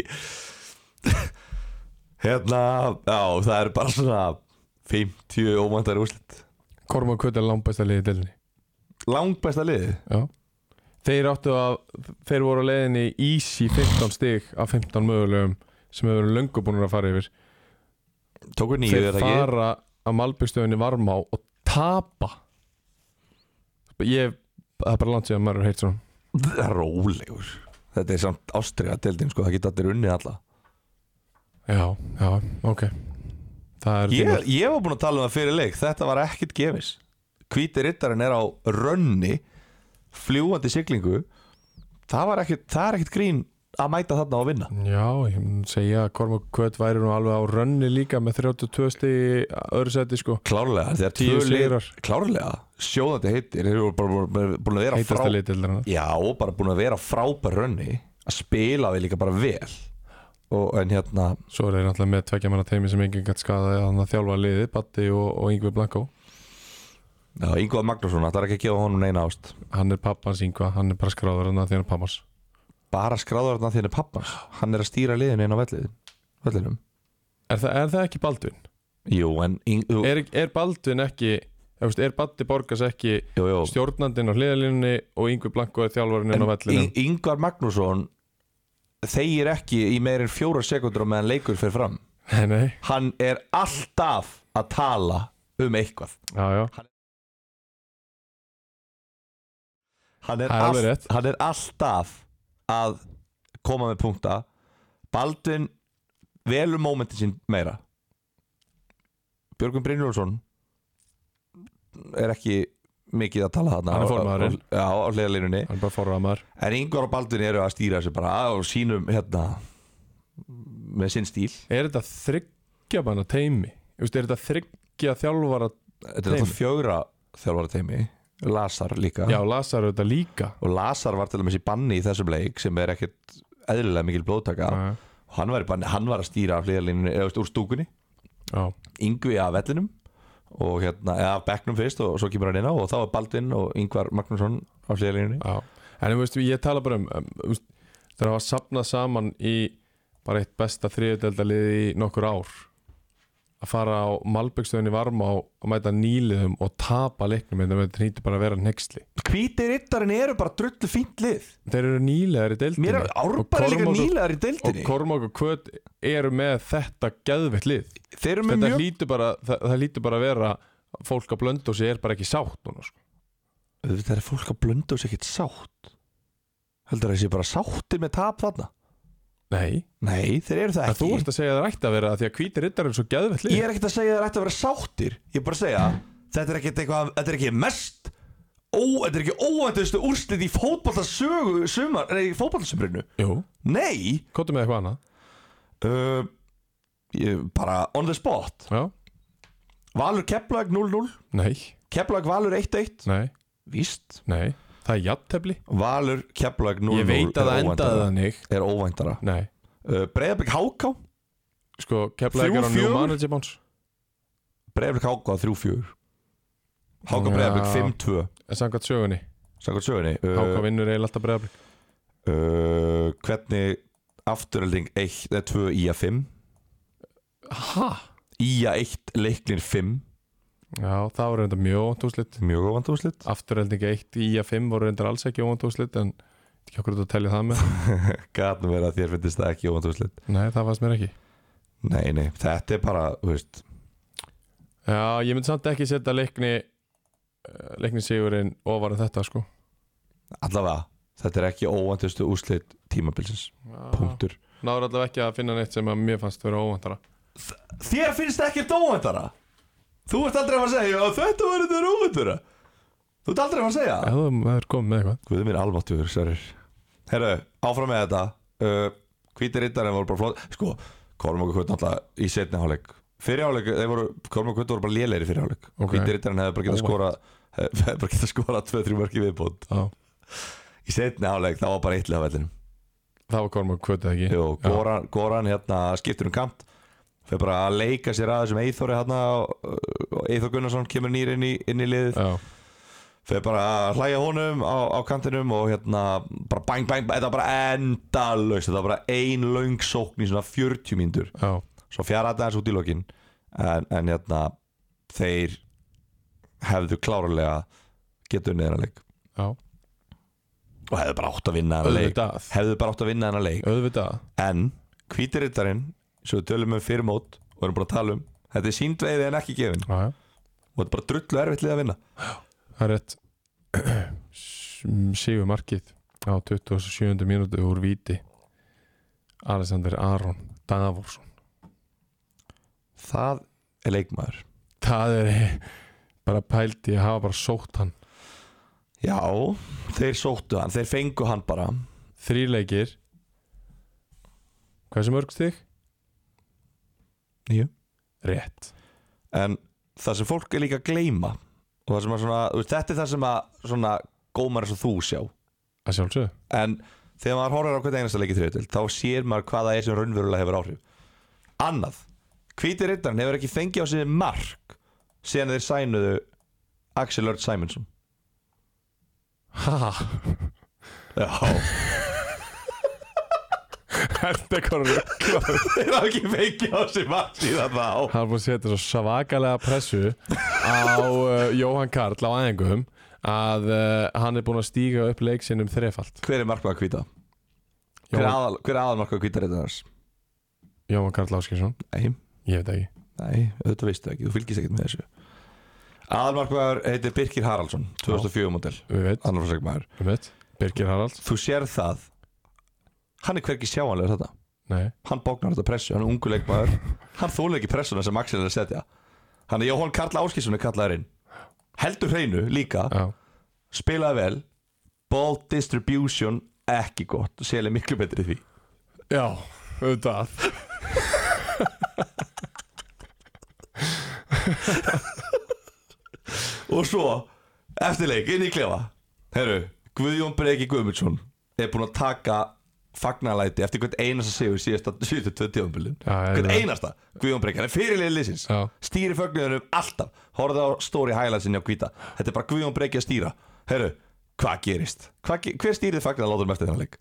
[SPEAKER 2] Hérna, já, það er bara svona 50 ómæntar úrslit
[SPEAKER 1] Korma Kutt er langbæsta liðið delinni
[SPEAKER 2] Langbæsta liðið
[SPEAKER 1] Já Þeir áttu að, þeir voru á leiðinni í Easy 15 stig af 15 mögulegum sem hefur verið löngu búin að fara yfir
[SPEAKER 2] Tóku nýju er
[SPEAKER 1] Þeir
[SPEAKER 2] það ekki
[SPEAKER 1] fara að Malbyggstöðinni varmá og tapa Ég, það er bara langt síðan maður heilt svona
[SPEAKER 2] Það er rólegur Þetta er samt ástriða deildin sko, það geta allir unnið alla
[SPEAKER 1] Já, já, ok Það er
[SPEAKER 2] ég, ég var búinn að tala um það fyrir leik Þetta var ekkit gefis Hvíti rittarinn er á rönni Fljúandi siglingu Það, var ekkit, það er ekkit grín að mæta þarna og vinna
[SPEAKER 1] Já, ég mun segja að Kormak Kvöt væri nú alveg á rönni líka með 32 stig í öðru seti sko
[SPEAKER 2] Klárlega, þegar
[SPEAKER 1] Tíu
[SPEAKER 2] tvö lið-
[SPEAKER 1] sigrar.
[SPEAKER 2] Klárlega, sjóðandi heitir Þeir eru bara búin- búin að vera frá
[SPEAKER 1] Heitasta litildarna
[SPEAKER 2] Já, og bara búin að vera frábær rönni Að spila við líka bara vel og, En hérna,
[SPEAKER 1] Svo er þeir náttúrulega með tveggja manna teimi sem enginn gætt skadaði að hann að þjálfa liði, Batti og, og Yngvi Blanko
[SPEAKER 2] já, Ingóð Magnússon Það er ekki að gefa honum neina ást
[SPEAKER 1] Hann er pappans Yngva, hann er bara skráður hann að því hann er pappans
[SPEAKER 2] Bara skráður þarna þínu pappans Hann er að stýra liðinu inn á vellið Vellinum
[SPEAKER 1] Er, það, er það ekki Baldvin?
[SPEAKER 2] Jú, en Ing- þú-
[SPEAKER 1] Er, er Baldvin ekki, eða, veist, er Batti Borgas ekki
[SPEAKER 2] jú, jú.
[SPEAKER 1] stjórnandinn á hliðalínunni og Yngvi Blanko er þjálfarinn inn á vellinum?
[SPEAKER 2] Yng- Yngvar Magnússon Þegir ekki í meirinn fjóra sekundur meðan leikur fyrir fram
[SPEAKER 1] Nei, nei,
[SPEAKER 2] Hann er alltaf að tala um eitthvað
[SPEAKER 1] já, já
[SPEAKER 2] Hann er,
[SPEAKER 1] Það er alveg rétt.
[SPEAKER 2] hann er alltaf að koma með punkta Baldvin velur mómentin sín meira Björgum Brynjólfsson er ekki mikið að tala þarna
[SPEAKER 1] Hann er
[SPEAKER 2] á- á-
[SPEAKER 1] formaðurinn.
[SPEAKER 2] Já, á hliðalínunni
[SPEAKER 1] Hann er bara forraðmaður
[SPEAKER 2] En Ingvar og Baldvin eru að stýra þessu bara á sínum hérna með sinn stíl
[SPEAKER 1] Er þetta þryggja manna teimi? Þú veist, Er þetta þryggja þjálfara?
[SPEAKER 2] Þetta er alltaf fjögra þjálfara teimi Lasar líka
[SPEAKER 1] Já, Lasar er þetta líka
[SPEAKER 2] Og Lasar var til dæmis í banni í þessum leik sem er ekkert eðlilega mikil blóðtaka
[SPEAKER 1] Nei.
[SPEAKER 2] og hann var, í banni, hann var að stýra af hliðalínunni eða veist, úr stúkunni,
[SPEAKER 1] Já,
[SPEAKER 2] Yngvi af vellinum og hérna, eða af bekknum fyrst og svo kemur hann inn á og þá er Baldvin og Yngvar Magnússon á hliðalínunni
[SPEAKER 1] já En þú veist, ég tala bara um um, þú veist, Það er að sapna saman í bara eitt besta þriðudeldalið í nokkur ár að fara á Malbyggstöðinni varma á að mæta nýliðum og tapa leiknum þetta með þetta bara að vera nexli
[SPEAKER 2] Hvíti rittarinn eru bara drullu fínt lið
[SPEAKER 1] Þeir eru nýlegar í
[SPEAKER 2] Mér
[SPEAKER 1] deildinni
[SPEAKER 2] er árbæri líka
[SPEAKER 1] Kormákur-
[SPEAKER 2] nýlegar í
[SPEAKER 1] og
[SPEAKER 2] deildinni
[SPEAKER 1] Kormák og Kvöt eru með þetta geðveitt lið
[SPEAKER 2] Þeir eru með
[SPEAKER 1] þetta
[SPEAKER 2] mjög
[SPEAKER 1] hlýtur bara það, það hlýtur bara að vera fólk að blönda og sé er bara ekki sátt núna sko.
[SPEAKER 2] Þetta er fólk að blönda og sér ekkert sátt Heldur það sé bara sáttir með tap þarna
[SPEAKER 1] nei,
[SPEAKER 2] Nei, þeir eru það
[SPEAKER 1] en
[SPEAKER 2] ekki
[SPEAKER 1] þú ert að segja að það ætti að vera það því að hvítir rittar er svo geðvett lið
[SPEAKER 2] Ég er ekkert að segja að það ætti að vera sáttir Ég er bara að segja Þetta er ekkert eitthvað Þetta er ekki mest ó, Þetta er ekki óæntustu úrslit í fótballasögu sumar, Nei, í fótballasumrinu
[SPEAKER 1] jú,
[SPEAKER 2] Nei
[SPEAKER 1] kóttu með eitthvað annað
[SPEAKER 2] uh, ég, Bara on the spot
[SPEAKER 1] já,
[SPEAKER 2] Valur Keflag 0-0
[SPEAKER 1] nei,
[SPEAKER 2] Keflag Valur 1-1
[SPEAKER 1] nei,
[SPEAKER 2] Víst
[SPEAKER 1] nei það er jattefli
[SPEAKER 2] Valur Keflag 0-0
[SPEAKER 1] ég veit að það endaði þannig
[SPEAKER 2] Er óvæntara
[SPEAKER 1] nei,
[SPEAKER 2] uh, Breiðablik Háká
[SPEAKER 1] sko keflaði
[SPEAKER 2] Þrjú,
[SPEAKER 1] ekki á njú
[SPEAKER 2] fjögur?
[SPEAKER 1] managerbáns
[SPEAKER 2] Breiðablik Háká 3-4 Háká Breiðablik
[SPEAKER 1] Já.
[SPEAKER 2] 5-2
[SPEAKER 1] en samkvæmt sögunni,
[SPEAKER 2] Sannkvæmt sögunni
[SPEAKER 1] háka vinnur eiginlega alltaf bregðarblik
[SPEAKER 2] uh, hvernig afturölding 1 eða 2 í að 5
[SPEAKER 1] ha?
[SPEAKER 2] í að 1 leiklin 5
[SPEAKER 1] já, það voru reynda mjög óvænt úrslit
[SPEAKER 2] mjög óvænt úrslit
[SPEAKER 1] afturreldingi 1 í að 5 voru reynda alls ekki óvænt úrslit en ekki okkur þetta að telja það með
[SPEAKER 2] gætnum verið að þér finnist það ekki óvænt úrslit
[SPEAKER 1] nei, það fannst mér ekki
[SPEAKER 2] nei, nei, þetta er bara þú veist,
[SPEAKER 1] Já, ég myndi samt ekki setja leikni eh, leikni sigurinn ofar en þetta sko
[SPEAKER 2] allavega þetta er ekki óvæntustu úrslit tímabilsins punktur
[SPEAKER 1] Náður allavega ekki að finna neitt sem að mér fannst vera óvæntara
[SPEAKER 2] þér finnst ekkert óvæntara þú ert aldrei að fara að segja "Já, þetta verður þér óvæntara þú ert aldrei að fara að segja
[SPEAKER 1] Ef þú er komið með eitthvað
[SPEAKER 2] Guðið minn almáttugur, særir Herru, áfram með þetta uh, Hvítir rittarinn voru bara flott Sko, Kormáku Kutt náttúrulega í setni hálfleik Fyrir hálfleik, þeir voru, Kormáku Kutt voru bara lélegir í fyrir hálfleik
[SPEAKER 1] Ok.
[SPEAKER 2] Hvítir rittarinn hefði bara getað
[SPEAKER 1] Óvænt.
[SPEAKER 2] skora hefði bara getað skora 2-3 mörki viðbúnd
[SPEAKER 1] Já,
[SPEAKER 2] Í setni hálfleik, það var bara eitlega vellinum
[SPEAKER 1] það var Kormák kvötið ekki
[SPEAKER 2] Jú,
[SPEAKER 1] Já.
[SPEAKER 2] Goran, Goran hérna, skiptur um kant Fyrir bara að leika sér að þessum Eithori hérna og, og Eithor Gunnarsson kemur nýr inn í, inn í liðið
[SPEAKER 1] Já,
[SPEAKER 2] Fyrir bara að hlæja honum á, á kantinum og hérna bara bang bang, bang þetta var bara endalaust, þetta var bara ein laung sókn í svona 40 mínútur
[SPEAKER 1] já,
[SPEAKER 2] svo fjara þetta eins út í lokin en, en hérna, þeir hefðu klárlega getur neðan leik
[SPEAKER 1] Já,
[SPEAKER 2] og hefðu bara átt að vinna þennan leik
[SPEAKER 1] auðvitað
[SPEAKER 2] hefðu bara átt að vinna þennan leik
[SPEAKER 1] Auðvitað
[SPEAKER 2] en hvítirittarinn sem við tölum um fyrir mót og erum bara að tala um þetta er sínd veiði en ekki gefin
[SPEAKER 1] Já, já
[SPEAKER 2] og þetta er bara drullu erfitt lið að vinna
[SPEAKER 1] Það er rétt Sigur markið á 27. mínútu úr Víti Alexander Aron Davorsson
[SPEAKER 2] það er leikmaður
[SPEAKER 1] Það er bara pælt í að hafa bara sótt hann
[SPEAKER 2] já, þeir sóttu hann, þeir fengu hann bara
[SPEAKER 1] Þríleikir Hversu mörg stig?
[SPEAKER 2] Níu.
[SPEAKER 1] Rétt
[SPEAKER 2] en það sem fólk er líka að gleyma og það sem að svona, þú veist, þetta er það sem að svona gómar eins og þú sjá
[SPEAKER 1] Að sjálfsögðu
[SPEAKER 2] en þegar maður horfir á hvernig einasta leik í þriðutil þá sér maður hvað það er sem raunverulega hefur áhrif annað, hvíti rittarinn hefur ekki fengið á sinni mark síðan þeir sænuðu Axel Örd Simonsson
[SPEAKER 1] Ha,
[SPEAKER 2] já,
[SPEAKER 1] þetta er konar rugglaður
[SPEAKER 2] þeir hafa ekki fengið á sinni mark síðan þá
[SPEAKER 1] hann er búin að setja svo svakalega pressu á uh, Jóhann Karl á aðengum að uh, hann er búin að stíga upp leik sinn um þrefald
[SPEAKER 2] hver er markmaður hvíta? hver er
[SPEAKER 1] Jóhann,
[SPEAKER 2] aðal, hver er aðal markmaður hvíta rittarins?
[SPEAKER 1] Jóhann Karl Áskilsson,
[SPEAKER 2] nei,
[SPEAKER 1] ég veit það ekki
[SPEAKER 2] nei, auðvitað veistu ekki, þú fylgist ekkert með þessu aðalmarkmaður heitir Birkir Haraldsson 2004 model,
[SPEAKER 1] við veit,
[SPEAKER 2] annar fórsækmaður
[SPEAKER 1] Ah, við veit, Birgir Haralds
[SPEAKER 2] þú sér það hann er hvergi sjáanlega þetta
[SPEAKER 1] nei,
[SPEAKER 2] hann bóknar þetta pressu, hann er ungu leikmaður hann þólar ekki pressuna sem Axel er að setja hann er Jóhann Karl Áskísson er kallaður inn heldur hreinu líka
[SPEAKER 1] já,
[SPEAKER 2] spilaði vel, ball distribution ekki gott, Sel er miklu betri í því
[SPEAKER 1] já, auðvitað
[SPEAKER 2] og svo, eftir leik, inn í klefa herru, Guðjón Breki Guðmundsson er búinn að taka fagnalæti eftir hvert einasta sigur síðasta 72 tíðanbílin,
[SPEAKER 1] Já,
[SPEAKER 2] hvert
[SPEAKER 1] já.
[SPEAKER 2] einasta Guðjón Breki, hann er fyrirlega liðsins
[SPEAKER 1] já,
[SPEAKER 2] stýri fögnuðunum alltaf horfðu á stóri hæglandsinni á hvita þetta er bara Guðjón Breki að stýra herru, hvað gerist? Hva, ge- hver stýrið fagnar látum eftir þennan leik?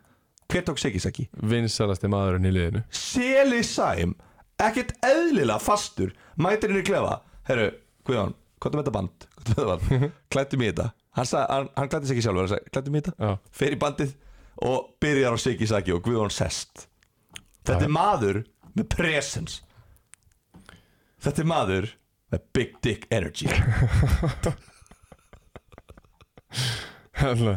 [SPEAKER 2] hver tók Sigisaki?
[SPEAKER 1] vinsalasti maðurinn í liðinu
[SPEAKER 2] Seli Sæm ekkert eðlilega fastur mætir inn í klefa herru, Guðjón, hvað er með þetta band? Hvað er með þetta band? klættum í þetta hann, sag, hann, hann klætti sig ekki sjálfur, hann sagði, klættum í þetta
[SPEAKER 1] já,
[SPEAKER 2] fer í bandið og byrjar á Sigisaki og Guðjón sest þetta er maður með presence þetta er maður með big dick energy
[SPEAKER 1] Þannig að Hérna,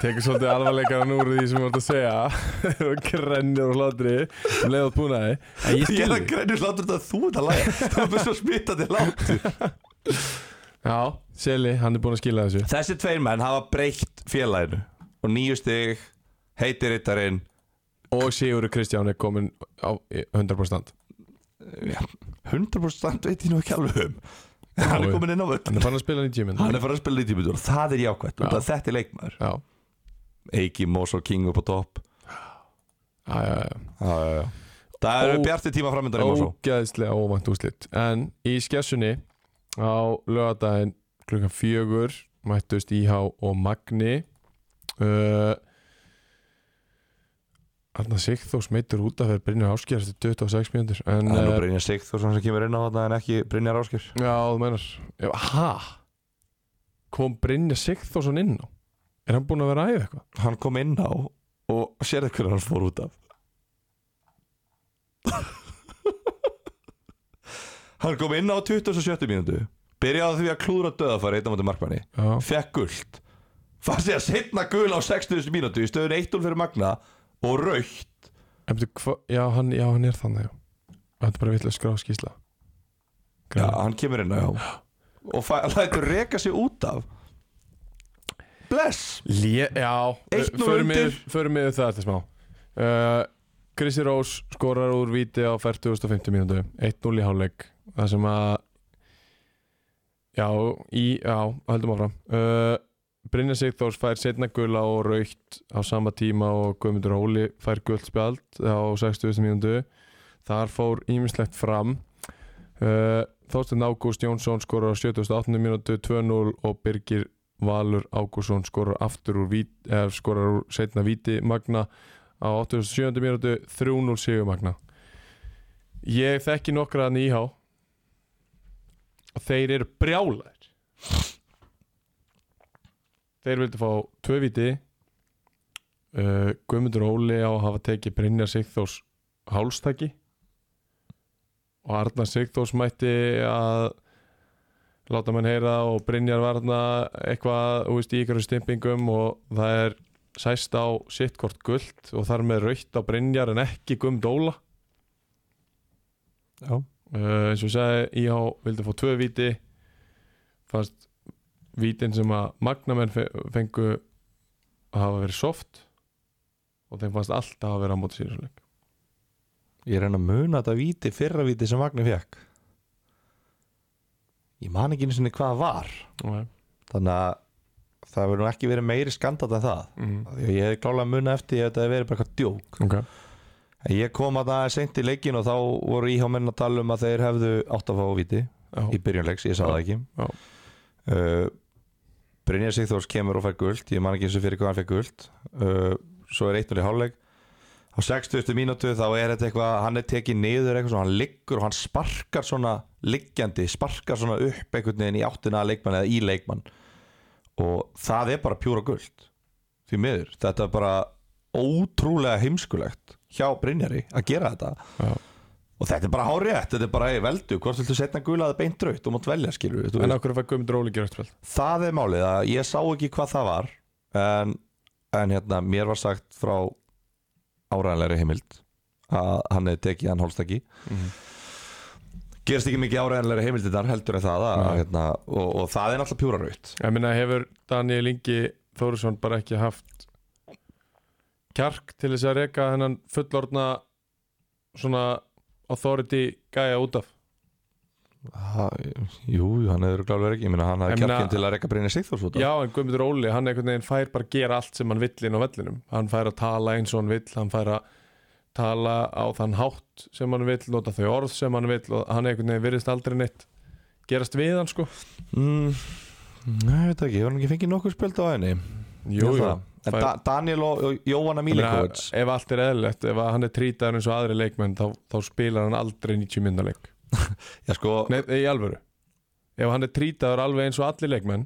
[SPEAKER 1] tekur svolítið alvarleikann úr því sem þú vart að segja og grennir og hlátri um leiðat búnaði en ég
[SPEAKER 2] Ég er
[SPEAKER 1] skilði
[SPEAKER 2] að grænur hlátur þetta að þú ert að læga Þú ert með svo smittandi hlátur
[SPEAKER 1] já, Seli, hann er búin að skila þessu
[SPEAKER 2] Þessi tveir menn hafa breytt félaginu Og nýju stig, heitir yttarinn
[SPEAKER 1] og Sigurður Kristján er komin á 100%
[SPEAKER 2] 100% veit ég nú ekki alveg um En Hann er
[SPEAKER 1] Já,
[SPEAKER 2] komin inn á völl
[SPEAKER 1] Hann er fann að spila 90 minn
[SPEAKER 2] Hann er farið að spila lítið mjög og það er jákvæmt og
[SPEAKER 1] Já.
[SPEAKER 2] Þetta er leikmaður
[SPEAKER 1] Já,
[SPEAKER 2] Eiki, Mós og King upp á topp
[SPEAKER 1] já, já, já.
[SPEAKER 2] Það
[SPEAKER 1] Ó-
[SPEAKER 2] eru bjartir tíma framöndan í Mós
[SPEAKER 1] Ógæðislega óvænt úslit En í skessunni á lögadaginn klukkan fjögur mættust Íhá og Magni uh, Arna Sigþós meittur út að vera Brynjar Áskjær eftir 26 mínútur En
[SPEAKER 2] Það er nú
[SPEAKER 1] eh,
[SPEAKER 2] Brynjar Sigþórsson sem kemur inn á þetta en ekki Brynjar Áskir
[SPEAKER 1] Já, þú meinar Já, Ha? Kom Brynjar Sigþórsson inn á? Er hann búinn að vera að æfa eitthvað?
[SPEAKER 2] Hann kom inn á og sér það hvernig hann fór út af Hann kom inn á 27. mínútu Byrjaði á því að klúðra döðafæri eitt á móti markmanni
[SPEAKER 1] Já,
[SPEAKER 2] Fekk gult Fann sig að setna gul á 60. mínútu í stöðun 1-0 fyrir Magna og raukt
[SPEAKER 1] eftir, hva, já, hann, já, hann er þannig já. Þetta er bara vill að skrá skísla
[SPEAKER 2] Já, hann kemur inn á og fæ- lætur reka sig út af Bless
[SPEAKER 1] Lé, já,
[SPEAKER 2] 1-0
[SPEAKER 1] förum
[SPEAKER 2] undir.
[SPEAKER 1] yfir- förum yfir það eftir smá uh, Krissi Rós skorar úr víti á 40.50 mínútu 1-0 í hálfleik það sem að já, í, já, höldum áfram uh, Brynja Sigþórs fær setna gula og raukt á sama tíma og Guðmundur Óli fær gult spjald á 60. mínútu þar fór ímislegt fram uh, Þorstein Ágúst Jónsson skorar á 78. mínútu 2-0 og Birgir Valur Ágússon skorar aftur úr vít, eh, skorar úr setna víti Magna á 87. mínútu 3-0 sigur Magna Ég þekki nokkra hann í íhá og þeir eru brjálaðir Þeir vildu fá tvö viti uh, Guðmundur Óli á að hafa tekið Brynjar Sigþós hálstaki og Arnar Sigþós mætti að láta menn heyra og Brynjar var þarna eitthvað þú veist, í ykkur stimpingum og það er sæst á sittkort gult og þar með rautt á Brynjar en ekki Guðmund Óla
[SPEAKER 2] Já.
[SPEAKER 1] uh, eins og ég sagði, IH vildi fá tvö víti fannst vítin sem að magnamenn fe- fengu að hafa verið soft og þeim fannst allt að hafa verið á móti síðusleik
[SPEAKER 2] Ég reyna að muna þetta víti, fyrra víti sem Magni fekk Ég man ekki einu sinni hvað það var
[SPEAKER 1] okay.
[SPEAKER 2] Þannig að það verður nú ekki verið meiri skandat en það
[SPEAKER 1] Mm.
[SPEAKER 2] Af því að Ég hefði klálega munað eftir því að þetta hefði verið bara eitthvað djók
[SPEAKER 1] okay.
[SPEAKER 2] En ég kom að það seint í leikin og þá voru íhjá menn að tala um að þeir hefðu átt að fá víti
[SPEAKER 1] Já.
[SPEAKER 2] í byrjunleiks, ég sá
[SPEAKER 1] Já.
[SPEAKER 2] það ekki
[SPEAKER 1] Já.
[SPEAKER 2] uh, Brynjar Sigþórs kemur og fær guld ég man ekki eins og fyrir hvað hann fær guld uh, svo er 1-0 í hálfleik á 60. mínútu þá er þetta eitthvað hann er tekið niður eitthvað svona, hann liggur og hann sparkar svona liggjandi sparkar svona upp einhvern veginn í áttina að leikmann eða í leikmann og það er bara pjúra guld því miður, þetta er bara ótrúlega heimskulegt hjá Brynjari að gera þetta
[SPEAKER 1] Já.
[SPEAKER 2] og þetta er bara hárétt, þetta er bara hey, veldu, hvort viltu setna gulaði beint draut og mátt velja skilur við, þú
[SPEAKER 1] en okkur fæk Guðmundur Óli gera öll
[SPEAKER 2] það er málið að ég sá ekki hvað það var en, en hérna, mér var sagt frá áræðanlegri heimild að hann hefði tekið hann hólstaki
[SPEAKER 1] Mhm.
[SPEAKER 2] gerist ekki mikið áræðanlegri heimildinar heldur en það að,
[SPEAKER 1] Nei.
[SPEAKER 2] hérna, og, og það er náttúrulega pjúra raut
[SPEAKER 1] ég minna hefur Daniel Ingi Þórisson bara ekki haft kjark til þess að reka hennan fullorna svona authority gæja út af
[SPEAKER 2] Jú, jú, hann hefur glálega ekki, ég meina hann
[SPEAKER 1] Ég
[SPEAKER 2] hafði
[SPEAKER 1] meina-
[SPEAKER 2] kjarkinn til að reyka Brynja Sigþórs út af.
[SPEAKER 1] Já, en Guðmundur Óli, hann einhvern veginn fær bara að gera allt sem hann vill inn á vellinum hann fær að tala eins og hann vill hann fær að tala á þann hátt sem hann vill, nota þau orð sem hann vill og hann einhvern veginn virðist aldrei neitt gerast við hann sko
[SPEAKER 2] mm, Nei, ég veit ekki, ég var ekki fengið nokkuð spjöld á henni
[SPEAKER 1] Jú, jú,
[SPEAKER 2] En
[SPEAKER 1] Fær-
[SPEAKER 2] da Daniel og og
[SPEAKER 1] Ég
[SPEAKER 2] Jóhanna
[SPEAKER 1] meina,
[SPEAKER 2] Milinkovic
[SPEAKER 1] ef allt er eðlilegt, ef hann er trýtaður eins og aðri leikmenn þá, þá spilar hann aldrei 90 minna leik
[SPEAKER 2] Já, sko,
[SPEAKER 1] Nei, í alvöru Ef hann er trýtaður alveg eins og allir leikmenn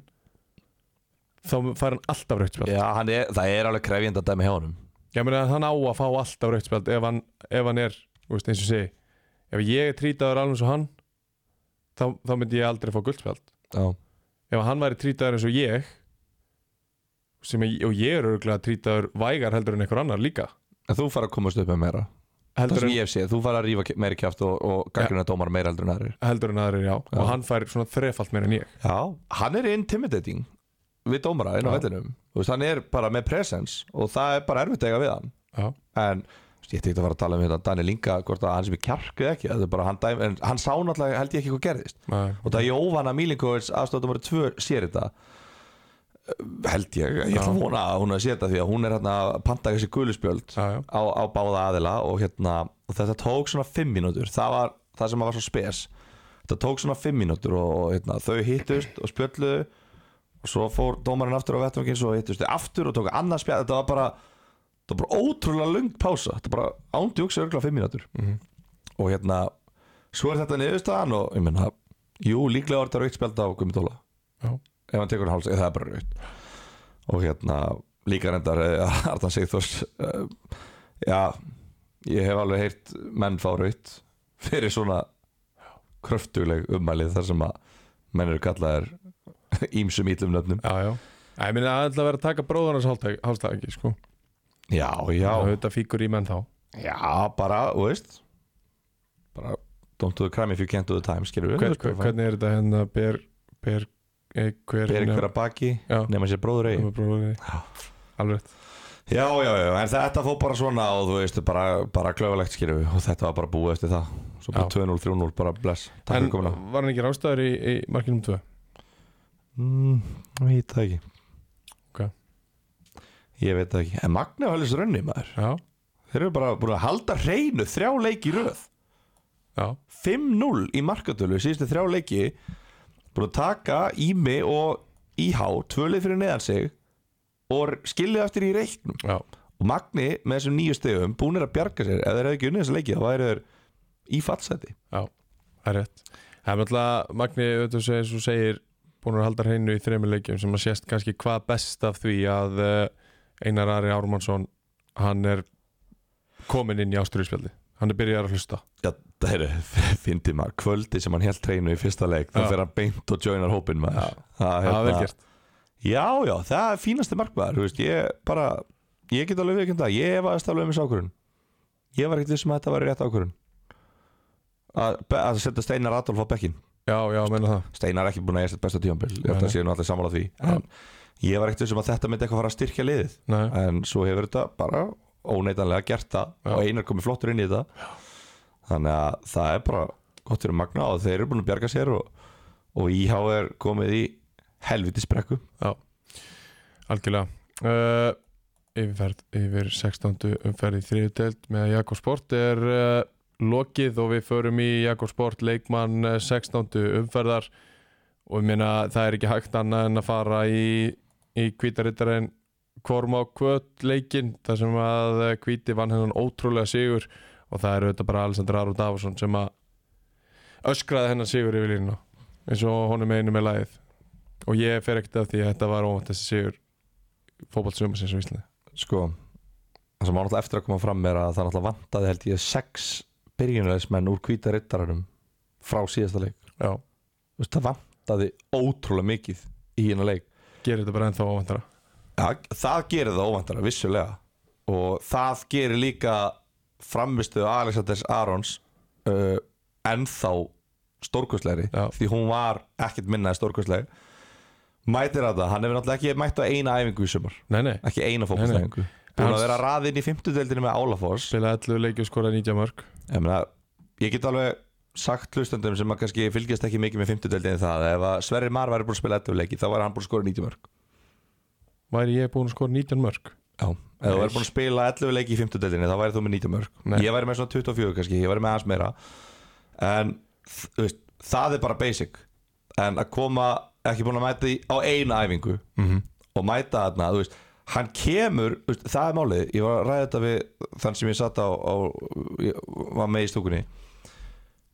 [SPEAKER 1] þá fær hann alltaf rautt spjald
[SPEAKER 2] já, hann er, það er alveg krefjandi að dæmi hjá honum
[SPEAKER 1] Ég meina að hann á að fá alltaf rautt spjald ef hann, ef hann er, þú veist, eins og segi ef ég er trýtaður alveg eins og hann þá, þá myndi ég aldrei fá guldspjald
[SPEAKER 2] Já
[SPEAKER 1] ef hann væri trýtaður eins og ég sem ég, og ég er örgulega trýtaður vægar heldur en einhver annar líka
[SPEAKER 2] En þú fara að komast upp með meira Það
[SPEAKER 1] heldur
[SPEAKER 2] sem
[SPEAKER 1] en,
[SPEAKER 2] ég hef séð, þú fara að rífa ke- meiri kjáft og, og gaggruna dómar meira heldur en aðrir
[SPEAKER 1] heldur en aðrir, já,
[SPEAKER 2] Já.
[SPEAKER 1] og hann fær svona þrefalt meira en ég
[SPEAKER 2] Já, hann er intimidating við dómara inn
[SPEAKER 1] Já.
[SPEAKER 2] á vellinum Þú veist, hann er bara með presence og það er bara erfitt að eiga við hann
[SPEAKER 1] já,
[SPEAKER 2] en þú veist, ég ætti ekki að fara að tala um þetta Daniel Inga, hvort að hann sem er kjark eða ekki þetta er bara, hann, dæm, en hann sá náttúrulega held ég ekki hvað gerðist
[SPEAKER 1] nei,
[SPEAKER 2] og það Jóhanna Milinkovic aðstofnum verið tvö sér þetta Eh, held ég, ég ætla að vona að hún að sé þetta því að hún er hérna að panta þessi guðluspjöld
[SPEAKER 1] já, já,
[SPEAKER 2] á, á báða aðila og hérna og þetta tók svona 5 mínútur það var það sem var svo spes þetta tók svona 5 mínútur og, og hérna, þau hittust og spjölluðu og svo fór dómarinn aftur á vettvangin svo hittust þau aftur og tók annað spjall þetta var bara, þetta var bara ótrúlega lung pása þetta var bara ándi uksa örgla 5 mínútur
[SPEAKER 1] Mhm.
[SPEAKER 2] og hérna svo er þetta niðurstaðan og ég menna jú líklega var þetta raukt spjald á Guðmundóla
[SPEAKER 1] já,
[SPEAKER 2] ef hann tekur hálsa, það er bara raut og hérna líka reyndar eh, Arnar Sigþórs uh, já, ég hef alveg heyrt menn fá raut fyrir svona kröftuleg ummælið þar sem að menn eru kallaðir ímsum ítlum nöfnum
[SPEAKER 1] já, já. Æ, ég meina að ætla að vera að taka bróðarnas hálstæki, sko
[SPEAKER 2] já, já,
[SPEAKER 1] þetta fíkur í menn þá
[SPEAKER 2] já, bara, þú veist bara don't do the crime if you can't do the time skilur við
[SPEAKER 1] Hver, hver, hvernig er þetta hérna ber, ber, eh, hver,
[SPEAKER 2] er ykkur að baki
[SPEAKER 1] Já.
[SPEAKER 2] nema sér bróður eigi
[SPEAKER 1] bróði
[SPEAKER 2] Já.
[SPEAKER 1] alveg rétt.
[SPEAKER 2] Já, já, já, en þetta fór bara svona og þú veist, bara, bara klöfulegt skýrðu og þetta var bara búið eftir það svo bara
[SPEAKER 1] Já.
[SPEAKER 2] 2-0, 3-0, bara bless Takk
[SPEAKER 1] en
[SPEAKER 2] fyrir komuna
[SPEAKER 1] var hann ekki rástaður í, um í markinum 2
[SPEAKER 2] mm, Ég veit það ekki
[SPEAKER 1] Ok.
[SPEAKER 2] Ég veit það ekki, en Magna Hallis Rönni maður
[SPEAKER 1] já,
[SPEAKER 2] þeir eru bara búin að halda hreinu þrjá leiki í röð
[SPEAKER 1] já,
[SPEAKER 2] 5-0 í markatölu, síðustu þrjá leiki búin að taka Ími og Íhá, tvölið fyrir neðan sig og skilið eftir í reiknum
[SPEAKER 1] já,
[SPEAKER 2] og Magni með þessum nýju stegum búinir að bjarga sér ef þeir hefði ekki unnið þessu leiki þá væri þeir í fallseti
[SPEAKER 1] það er rétt Það er náttúrulega, Magni, auðvitað segir, svo segir búin að halda hreinu í þreymur leikjum sem að sést kannski hvað best af því að eh, Einar Ari Ármannsson hann er komin inn í ásturíspjaldi hann er byrjað að hlusta
[SPEAKER 2] Já, það er, fyndi maður, kvöldi sem hann held treinu í fyrsta leik, þá
[SPEAKER 1] Já.
[SPEAKER 2] fyrir hann beint og joinar hópin maður.
[SPEAKER 1] Já.
[SPEAKER 2] Það hérna-
[SPEAKER 1] það er vel gert
[SPEAKER 2] Já, já, það er fínasti markmaður, þú veist, ég bara, ég get alveg viðkjönda, ég efaðist alveg um þessu ákvörun. Ég var ekkert vissum að þetta var rétt ákvörun. Að, be- að setja Steinar Adolf á bekkin.
[SPEAKER 1] já, já, meina það
[SPEAKER 2] Steinar er ekki búin að eiga sitt besta tíambil, ég
[SPEAKER 1] Nei,
[SPEAKER 2] ætla
[SPEAKER 1] nei.
[SPEAKER 2] að sé nú allir sammála því. En ég var ekkert vissum að þetta myndi eitthvað fara að styrkja liðið
[SPEAKER 1] Nei.
[SPEAKER 2] en svo hefur þetta bara óneitanlega gert það
[SPEAKER 1] Já.
[SPEAKER 2] og einar komið flottur inn í þetta þannig að það er bara gott fyrir magna og þeir eru búin að bjarga sér og, og íhá er komið í helviti sprekku
[SPEAKER 1] algjörlega uh, yfirferð yfir 16. umferð í þriðu deild með Jakob Sport er uh, lokið og við förum í Jakob Sport leikmann eh, 16. umferðar og ég meina það er ekki hægt annað en að fara í, í kvítarittarinn Kormá Kvöt leikinn þar sem að eh, kvíti vann hennan ótrúlega sigur og það er auðvitað bara Alessandr Aron Davosson sem að öskraði hennan sigur yfir línuna eins og honum einu með lagið og ég fer ekkert af því að þetta var óvænt þessi sigur fótballtsumar sem svo Íslandi
[SPEAKER 2] sko það sem var náttúrulega eftir að koma fram er að það náttúrulega vantaði held ég sex byrjunulegismenn úr hvíta rittaranum frá síðasta leik
[SPEAKER 1] Já,
[SPEAKER 2] Þú veist, það vantaði ótrúlega mikið í hérna leik
[SPEAKER 1] gerir þetta bara ennþá óvæntara
[SPEAKER 2] Ja, það gerir það óvandara, vissulega og það gerir líka framistuðu Alexander Arons uh, ennþá stórkostlegri
[SPEAKER 1] Já.
[SPEAKER 2] því hún var ekkert minnaði stórkostlegri mætir að það, hann hefur náttúrulega ekki mætt á eina æfingu í sumar,
[SPEAKER 1] Nei, nei,
[SPEAKER 2] ekki eina fótbolstæfingu búin
[SPEAKER 1] Hans-
[SPEAKER 2] að vera raðinn í fimmtudeldinu með Álafoss
[SPEAKER 1] spilaði 11 leiki og skoraði 90 mörg
[SPEAKER 2] ég, meina, ég get alveg sagt hlustendum sem að kannski fylgjast ekki mikið með fimmtudeldinu það, að ef að Sverri Mar væri búin að spila 11 leiki, þá væri hann búin að skora 90 mörg
[SPEAKER 1] Væri ég búinn að skora 19 mörg?
[SPEAKER 2] Já, ef þú væri búin að spila 11 leiki í 50 delinni þá væri þú með 90 mörg
[SPEAKER 1] Nei.
[SPEAKER 2] Ég væri með svona 24 kannski, ég væri með aðeins meira En þ- þú veist, það er bara basic En að koma ekki búin að mæta í, á eina æfingu -hmm. Og mæta þarna, þú veist Hann kemur, þú veist, það er málið Ég var að ræða þetta við þann sem ég satt á, á ég Var með í stúkunni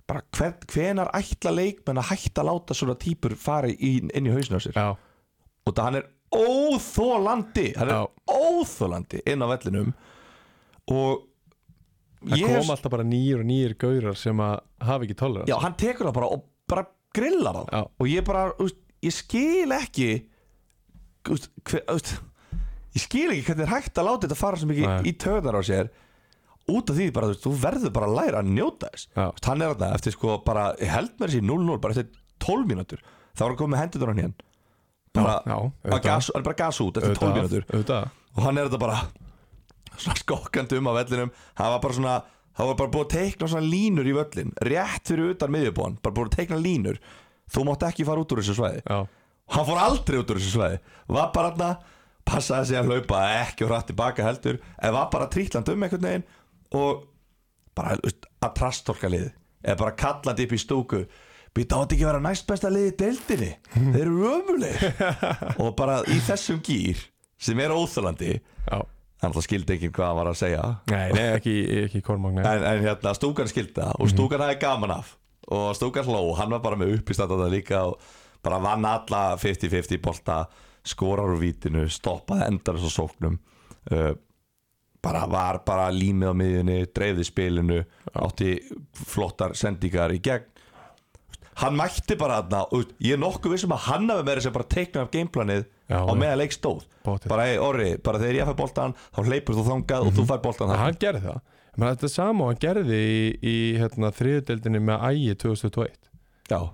[SPEAKER 2] Bara hver, hvenar ætla leikmenn að hætta að láta svona típur fara í, inn í hausinu á sér
[SPEAKER 1] Já,
[SPEAKER 2] og það hann er óþólandi hann
[SPEAKER 1] Já.
[SPEAKER 2] er óþólandi inn á vellinum og
[SPEAKER 1] það
[SPEAKER 2] ég
[SPEAKER 1] kom alltaf bara nýjur og nýjur gaurar sem að hafa ekki tolerans
[SPEAKER 2] já, hann tekur það bara og bara grillar það
[SPEAKER 1] Já.
[SPEAKER 2] og ég bara, úst, ég skil ekki úst, hver, úst, ég skil ekki hvernig er hægt að láta þetta fara svo mikið
[SPEAKER 1] Nei.
[SPEAKER 2] í töðnar á sér út af því bara, þú, veist, þú verður bara að læra að njóta þess
[SPEAKER 1] Já.
[SPEAKER 2] Þú veist, hann er þarna eftir sko bara, ég held mér þessi 0-0 bara eftir 12 mínútur, þá var hann komið hendur hann hérna bara,
[SPEAKER 1] Já, já,
[SPEAKER 2] hann,
[SPEAKER 1] auðvitað.
[SPEAKER 2] gas, hann bara gas út eftir 12 mínútur
[SPEAKER 1] Auðvitað,
[SPEAKER 2] og hann er þetta bara svona skokkandi um á vellinum það var bara svona það var bara búið að teikna svona línur í völlin rétt fyrir utan miðjubón bara búið að teikna línur þú mátt ekki fara út úr þessu svæði
[SPEAKER 1] já,
[SPEAKER 2] hann fór aldrei út úr þessu svæði var bara hann passaði sig að hlaupa ekki og rætt tilbaka heldur en var bara trítland um einhvern veginn og bara þú veist, að trastorka lið eða bara kallandi upp í stúku býta átt ekki að vera næst besta lið í deildinni þeir eru ömulegir og bara í þessum gýr sem er óþalandi
[SPEAKER 1] já
[SPEAKER 2] þannig að skildi ekki hvað hann var að segja
[SPEAKER 1] Nei, nei, ekki, ekki kormagn nei.
[SPEAKER 2] en, en hérna stúkan skilda og
[SPEAKER 1] Mhm.
[SPEAKER 2] stúkan hafði gaman af og stúkan hló, hann var bara með uppistandana líka og bara vann alla 50-50 bolta, skorar úr vítinu stoppaði endar þessu sóknum uh, bara var bara límið á miðjunni, dreifði spilinu átti flottar sendingar í gegn hann mætti bara þarna, og ég er nokkuð vissum að hann hafi verið sem bara teikna af gameplanið
[SPEAKER 1] Já,
[SPEAKER 2] á
[SPEAKER 1] já.
[SPEAKER 2] meða leik stóð
[SPEAKER 1] Pottþétt.
[SPEAKER 2] bara, hey, orri, bara þegar ég fæ boltan þá hleypur þú þangað og
[SPEAKER 1] Mhm.
[SPEAKER 2] þú fæ boltan
[SPEAKER 1] En
[SPEAKER 2] þarna.
[SPEAKER 1] Hann gerði það Men þetta er sama og hann gerði í, í hérna, þriðudeldinni með ægi 2021
[SPEAKER 2] já,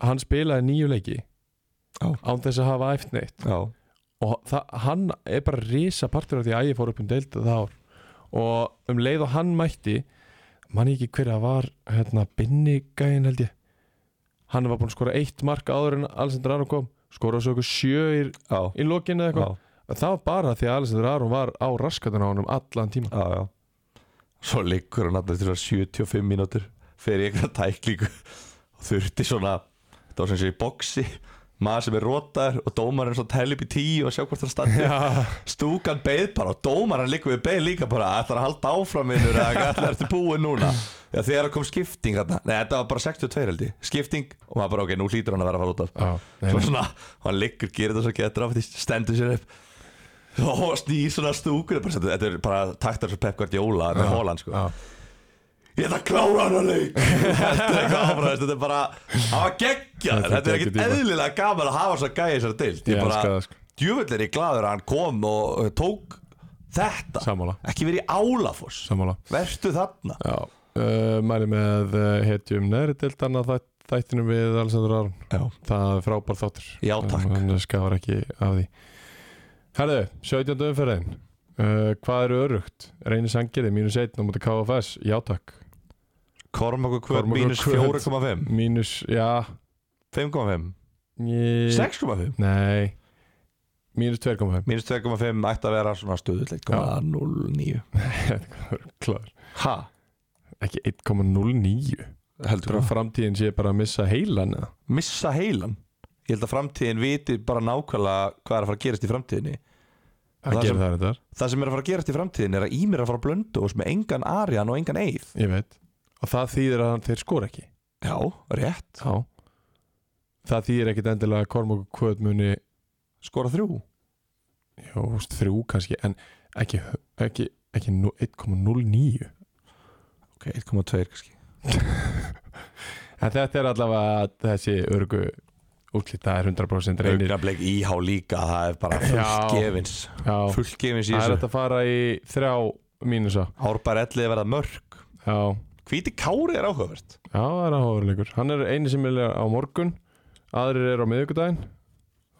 [SPEAKER 1] Hann spilaði nýju leiki
[SPEAKER 2] Já.
[SPEAKER 1] án þess að hafa æft neitt
[SPEAKER 2] já
[SPEAKER 1] og það, hann er bara risa partur af því að ég fór upp um deild það ár og um leið og hann mætti mann ég ekki hverja var hérna binnigæin held ég hann var búinn að skora eitt mark áður en Alessandr Aron kom skora svo okkur sjö í,
[SPEAKER 2] já,
[SPEAKER 1] í lokinu eða
[SPEAKER 2] já,
[SPEAKER 1] eitthvað það var bara því að Alessandr Aron var á raskatun á honum allan tíma
[SPEAKER 2] já, já. svo liggur hann alltaf til 75 mínútur fyrir einhverja tæklingu og þurfti svona það var sem sé í boksi maður sem er rótar og dómarinn svo telli upp í tíu og sjá hvort hann standi stúkan beið bara og dómarinn líka við beið líka bara ætlar að halda áfram innur eða ætlar ertu búin núna Já, þegar kom skipting þarna, nei þetta var bara 62 heldig skipting og maður bara ok, nú hlýtur hann að vera að fara út af
[SPEAKER 1] Já, nei,
[SPEAKER 2] svo
[SPEAKER 1] nei.
[SPEAKER 2] svona, og hann liggur, gerir þetta svo getur af því stendur sér upp og snýr svona stúkur bara, þetta er bara taktar svo Pep Guardiola með Holland sko
[SPEAKER 1] já.
[SPEAKER 2] ég ætla að klára hann að leik þetta er eitthvað áfram, veist, þetta er bara það var geggja,
[SPEAKER 1] Þetta er
[SPEAKER 2] þetta er ekkit
[SPEAKER 1] geggjað típa.
[SPEAKER 2] eðlilega gaman að hafa svo gæði þessar deilt ég
[SPEAKER 1] Ég elska
[SPEAKER 2] bara,
[SPEAKER 1] það, sko.
[SPEAKER 2] djúvill er ég gladur að hann kom og eh, tók þetta
[SPEAKER 1] Sammála.
[SPEAKER 2] ekki verið í Álafoss
[SPEAKER 1] sammála
[SPEAKER 2] verstu þarna
[SPEAKER 1] Já, uh, mæli með uh, hetjum neðri deildana þætt, þættinum við Alessandro Arn
[SPEAKER 2] já,
[SPEAKER 1] Það er frábær þáttur
[SPEAKER 2] já takk
[SPEAKER 1] Hann skafar ekki af því Herðu, 17. umferðin uh, Hvað eru örugt? Reynir Sangerði, mínus 1 á móti KFS Já takk
[SPEAKER 2] Kormakur kvöld
[SPEAKER 1] Kormákur
[SPEAKER 2] mínus
[SPEAKER 1] Kvöt.
[SPEAKER 2] 4,5
[SPEAKER 1] Mínus, já
[SPEAKER 2] 5,5
[SPEAKER 1] ég...
[SPEAKER 2] 6,5
[SPEAKER 1] Nei Mínus 2,5
[SPEAKER 2] mínus 2,5 ætti að vera svona stöðullegt
[SPEAKER 1] Já.
[SPEAKER 2] 0,09
[SPEAKER 1] Klar.
[SPEAKER 2] ha,
[SPEAKER 1] Ekki 1,09
[SPEAKER 2] heldur
[SPEAKER 1] Trá framtíðin sé bara að missa heilan eða?
[SPEAKER 2] missa heilan ég held að framtíðin viti bara nákvæmlega hvað er að fara að gerast í framtíðinni
[SPEAKER 1] Það
[SPEAKER 2] Það
[SPEAKER 1] gerir
[SPEAKER 2] sem-
[SPEAKER 1] það reyndar,
[SPEAKER 2] það sem er að fara að gerast í framtíðin er að Ímir er að fara að blöndu með engan Arjan og engan Eið
[SPEAKER 1] ég veit Og það þýðir að hann- þeir skora ekki
[SPEAKER 2] já, rétt,
[SPEAKER 1] Já Það þýðir ekkit endilega að Kormok og Kvöt muni
[SPEAKER 2] skora þrjú
[SPEAKER 1] Jó, þú veist, þrjú kannski En ekki, ekki, ekki nú- 1,09
[SPEAKER 2] ok, 1,2 kannski
[SPEAKER 1] En þetta er allavega þessi örgu útlít Það er 100% reynir
[SPEAKER 2] augnablik íhá líka, það er bara
[SPEAKER 1] Já.
[SPEAKER 2] fullgefins
[SPEAKER 1] Já,
[SPEAKER 2] fullgefins í
[SPEAKER 1] það er hægt
[SPEAKER 2] þessu
[SPEAKER 1] að fara í þrjá mínusa
[SPEAKER 2] Árbær ellið verða mörg
[SPEAKER 1] Já,
[SPEAKER 2] hvíti kári er áhugavert
[SPEAKER 1] já það er áhverjuleikur Hann er eini sem vilja á morgun Aðrir eru á miðvikudaginn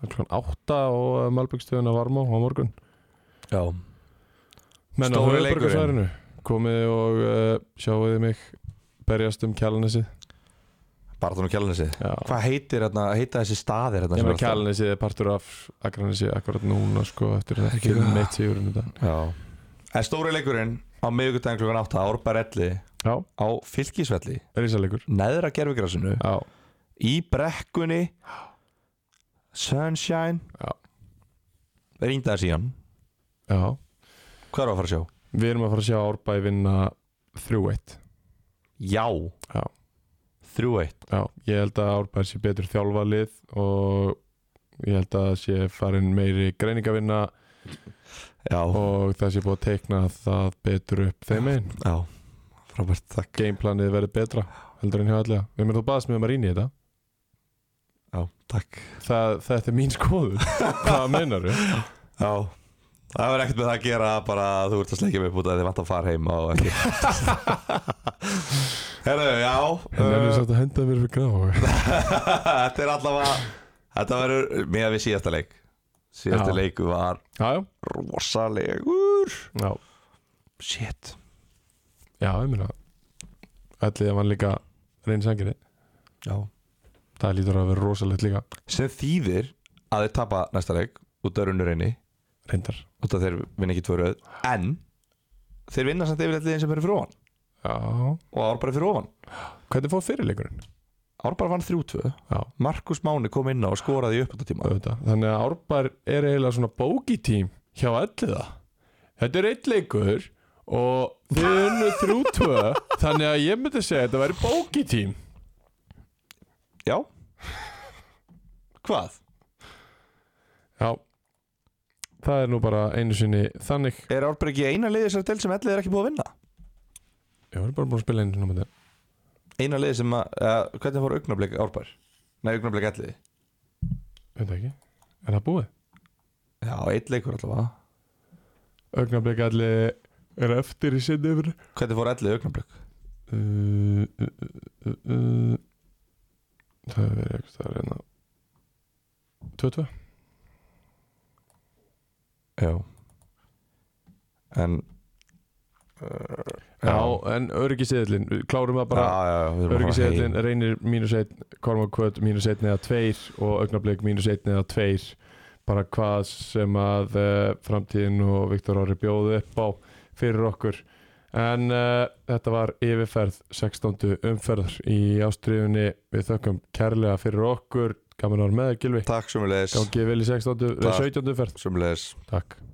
[SPEAKER 1] Það er klokkan 8 og uh, Malbyggstöðun að varma á morgun
[SPEAKER 2] já,
[SPEAKER 1] Menn á
[SPEAKER 2] Stóri
[SPEAKER 1] höfuborgarsvæðinu Komið og uh, sjáuði mig Berjast um kjalanesið
[SPEAKER 2] bara þannig kjálnesið
[SPEAKER 1] Já.
[SPEAKER 2] hvað heitir hérna, heita þessi staðir hérna
[SPEAKER 1] Ég meina
[SPEAKER 2] sem er alltaf-
[SPEAKER 1] kjalanesið er partur af Akranesið akkurat núna sko Eftir
[SPEAKER 2] er
[SPEAKER 1] þetta
[SPEAKER 2] ekki
[SPEAKER 1] fyrir
[SPEAKER 2] það.
[SPEAKER 1] meitt sigurinn í dag
[SPEAKER 2] já, en stóri leikurinn á miðvikudaginn klukkan 8, Árbær ellið
[SPEAKER 1] Já,
[SPEAKER 2] á fylgisvelli,
[SPEAKER 1] risalegur
[SPEAKER 2] neðra gerfigrasinu
[SPEAKER 1] Já,
[SPEAKER 2] í brekkunni Sunshine
[SPEAKER 1] Já.
[SPEAKER 2] Ringdaði síðan
[SPEAKER 1] já
[SPEAKER 2] Hvað er að fara að sjá?
[SPEAKER 1] Við erum að fara að sjá Árbæ vinna 3-1
[SPEAKER 2] Já,
[SPEAKER 1] Já.
[SPEAKER 2] 3-1
[SPEAKER 1] Já, ég held að Árbæ sé betur þjálfalið og ég held að sé farin meiri greiningavinna
[SPEAKER 2] Já,
[SPEAKER 1] og það sé búið að teikna það betur upp þeim einn.
[SPEAKER 2] já Frábært, takk
[SPEAKER 1] Gameplanið verið betra heldur en hjá allega. Við mér þú baðast með maður í þetta.
[SPEAKER 2] Já, takk
[SPEAKER 1] Það, þetta er mín skoður. Hvað meinar þú?
[SPEAKER 2] Já Það verður ekkert með það að gera bara að þú ert að sleikja mig út að þið vant að fara heim og ekki Herru, já
[SPEAKER 1] En er
[SPEAKER 2] uh,
[SPEAKER 1] þú satt að henda mér fyrir gráðu?
[SPEAKER 2] Þetta er allavega Þetta verður með við síðasta leik Síðasta
[SPEAKER 1] Já.
[SPEAKER 2] leiku var
[SPEAKER 1] Já, já.
[SPEAKER 2] rosalegur
[SPEAKER 1] Já,
[SPEAKER 2] Shit
[SPEAKER 1] já, ég meina. Ætlið að mann líka reyni sangirni.
[SPEAKER 2] Já
[SPEAKER 1] Það lítur að vera rosalegt líka.
[SPEAKER 2] sem þýðir að þeir tapa næsta leik út af runnureinni
[SPEAKER 1] Reyndar.
[SPEAKER 2] út af þeir vinna ekki tvö röð en þeir vinna samt yfirleitt liðin sem eru fyrir ofan
[SPEAKER 1] Já.
[SPEAKER 2] og árbara fyrir ofan
[SPEAKER 1] Hvernig fóð fyrirleikurinn?
[SPEAKER 2] árbara vann 3-2
[SPEAKER 1] Já.
[SPEAKER 2] Markus Máni kom inn á og skoraði í uppbúttatíma
[SPEAKER 1] auðvitað. Þannig að Árbær er eiginlega svona bókitím hjá alliða. Þetta er eitt leikur og þið unnu þrjú tvö þannig að ég myndi segja að þetta væri bókitím.
[SPEAKER 2] já hvað?
[SPEAKER 1] Já, það er nú bara einu sinni þannig.
[SPEAKER 2] er árbara ekki eina liði sem til sem ellið er ekki búið að vinna?
[SPEAKER 1] Ég var bara búin að spila einu sinni á þetta.
[SPEAKER 2] eina liði sem að uh, hvernig fór augnablik árbara? nei augnablik ellið
[SPEAKER 1] Veit ekki. Er það búið?
[SPEAKER 2] já eitt leikur allavega
[SPEAKER 1] Augnablik allir er eftir í sinni yfir.
[SPEAKER 2] hvernig fór ellið augnablik?
[SPEAKER 1] Uh, uh, uh, uh, uh. Það hefur verið hérna. eitthvað að reyna. 2-2.
[SPEAKER 2] já en
[SPEAKER 1] Já, en öryggiseðlin, klárum það bara
[SPEAKER 2] já, já, já, við erum að fara
[SPEAKER 1] Öryggiseðlin
[SPEAKER 2] heim.
[SPEAKER 1] reynir mínus 1 Kormak Kvöt mínus 1 eða 2 og augnablik mínus 1 eða 2 bara hvað sem að uh, framtíðin og Viktor Ári bjóðu upp á fyrir okkur en uh, þetta var yfirferð 16. umferðar í ástriðunni við þökkum kærlega fyrir okkur Gaman að vera með þér, Gilvi
[SPEAKER 2] Takk sömulegis
[SPEAKER 1] Gangið vel í 16. eh,
[SPEAKER 2] Takk.
[SPEAKER 1] 17. ferð
[SPEAKER 2] Sömulegis
[SPEAKER 1] Takk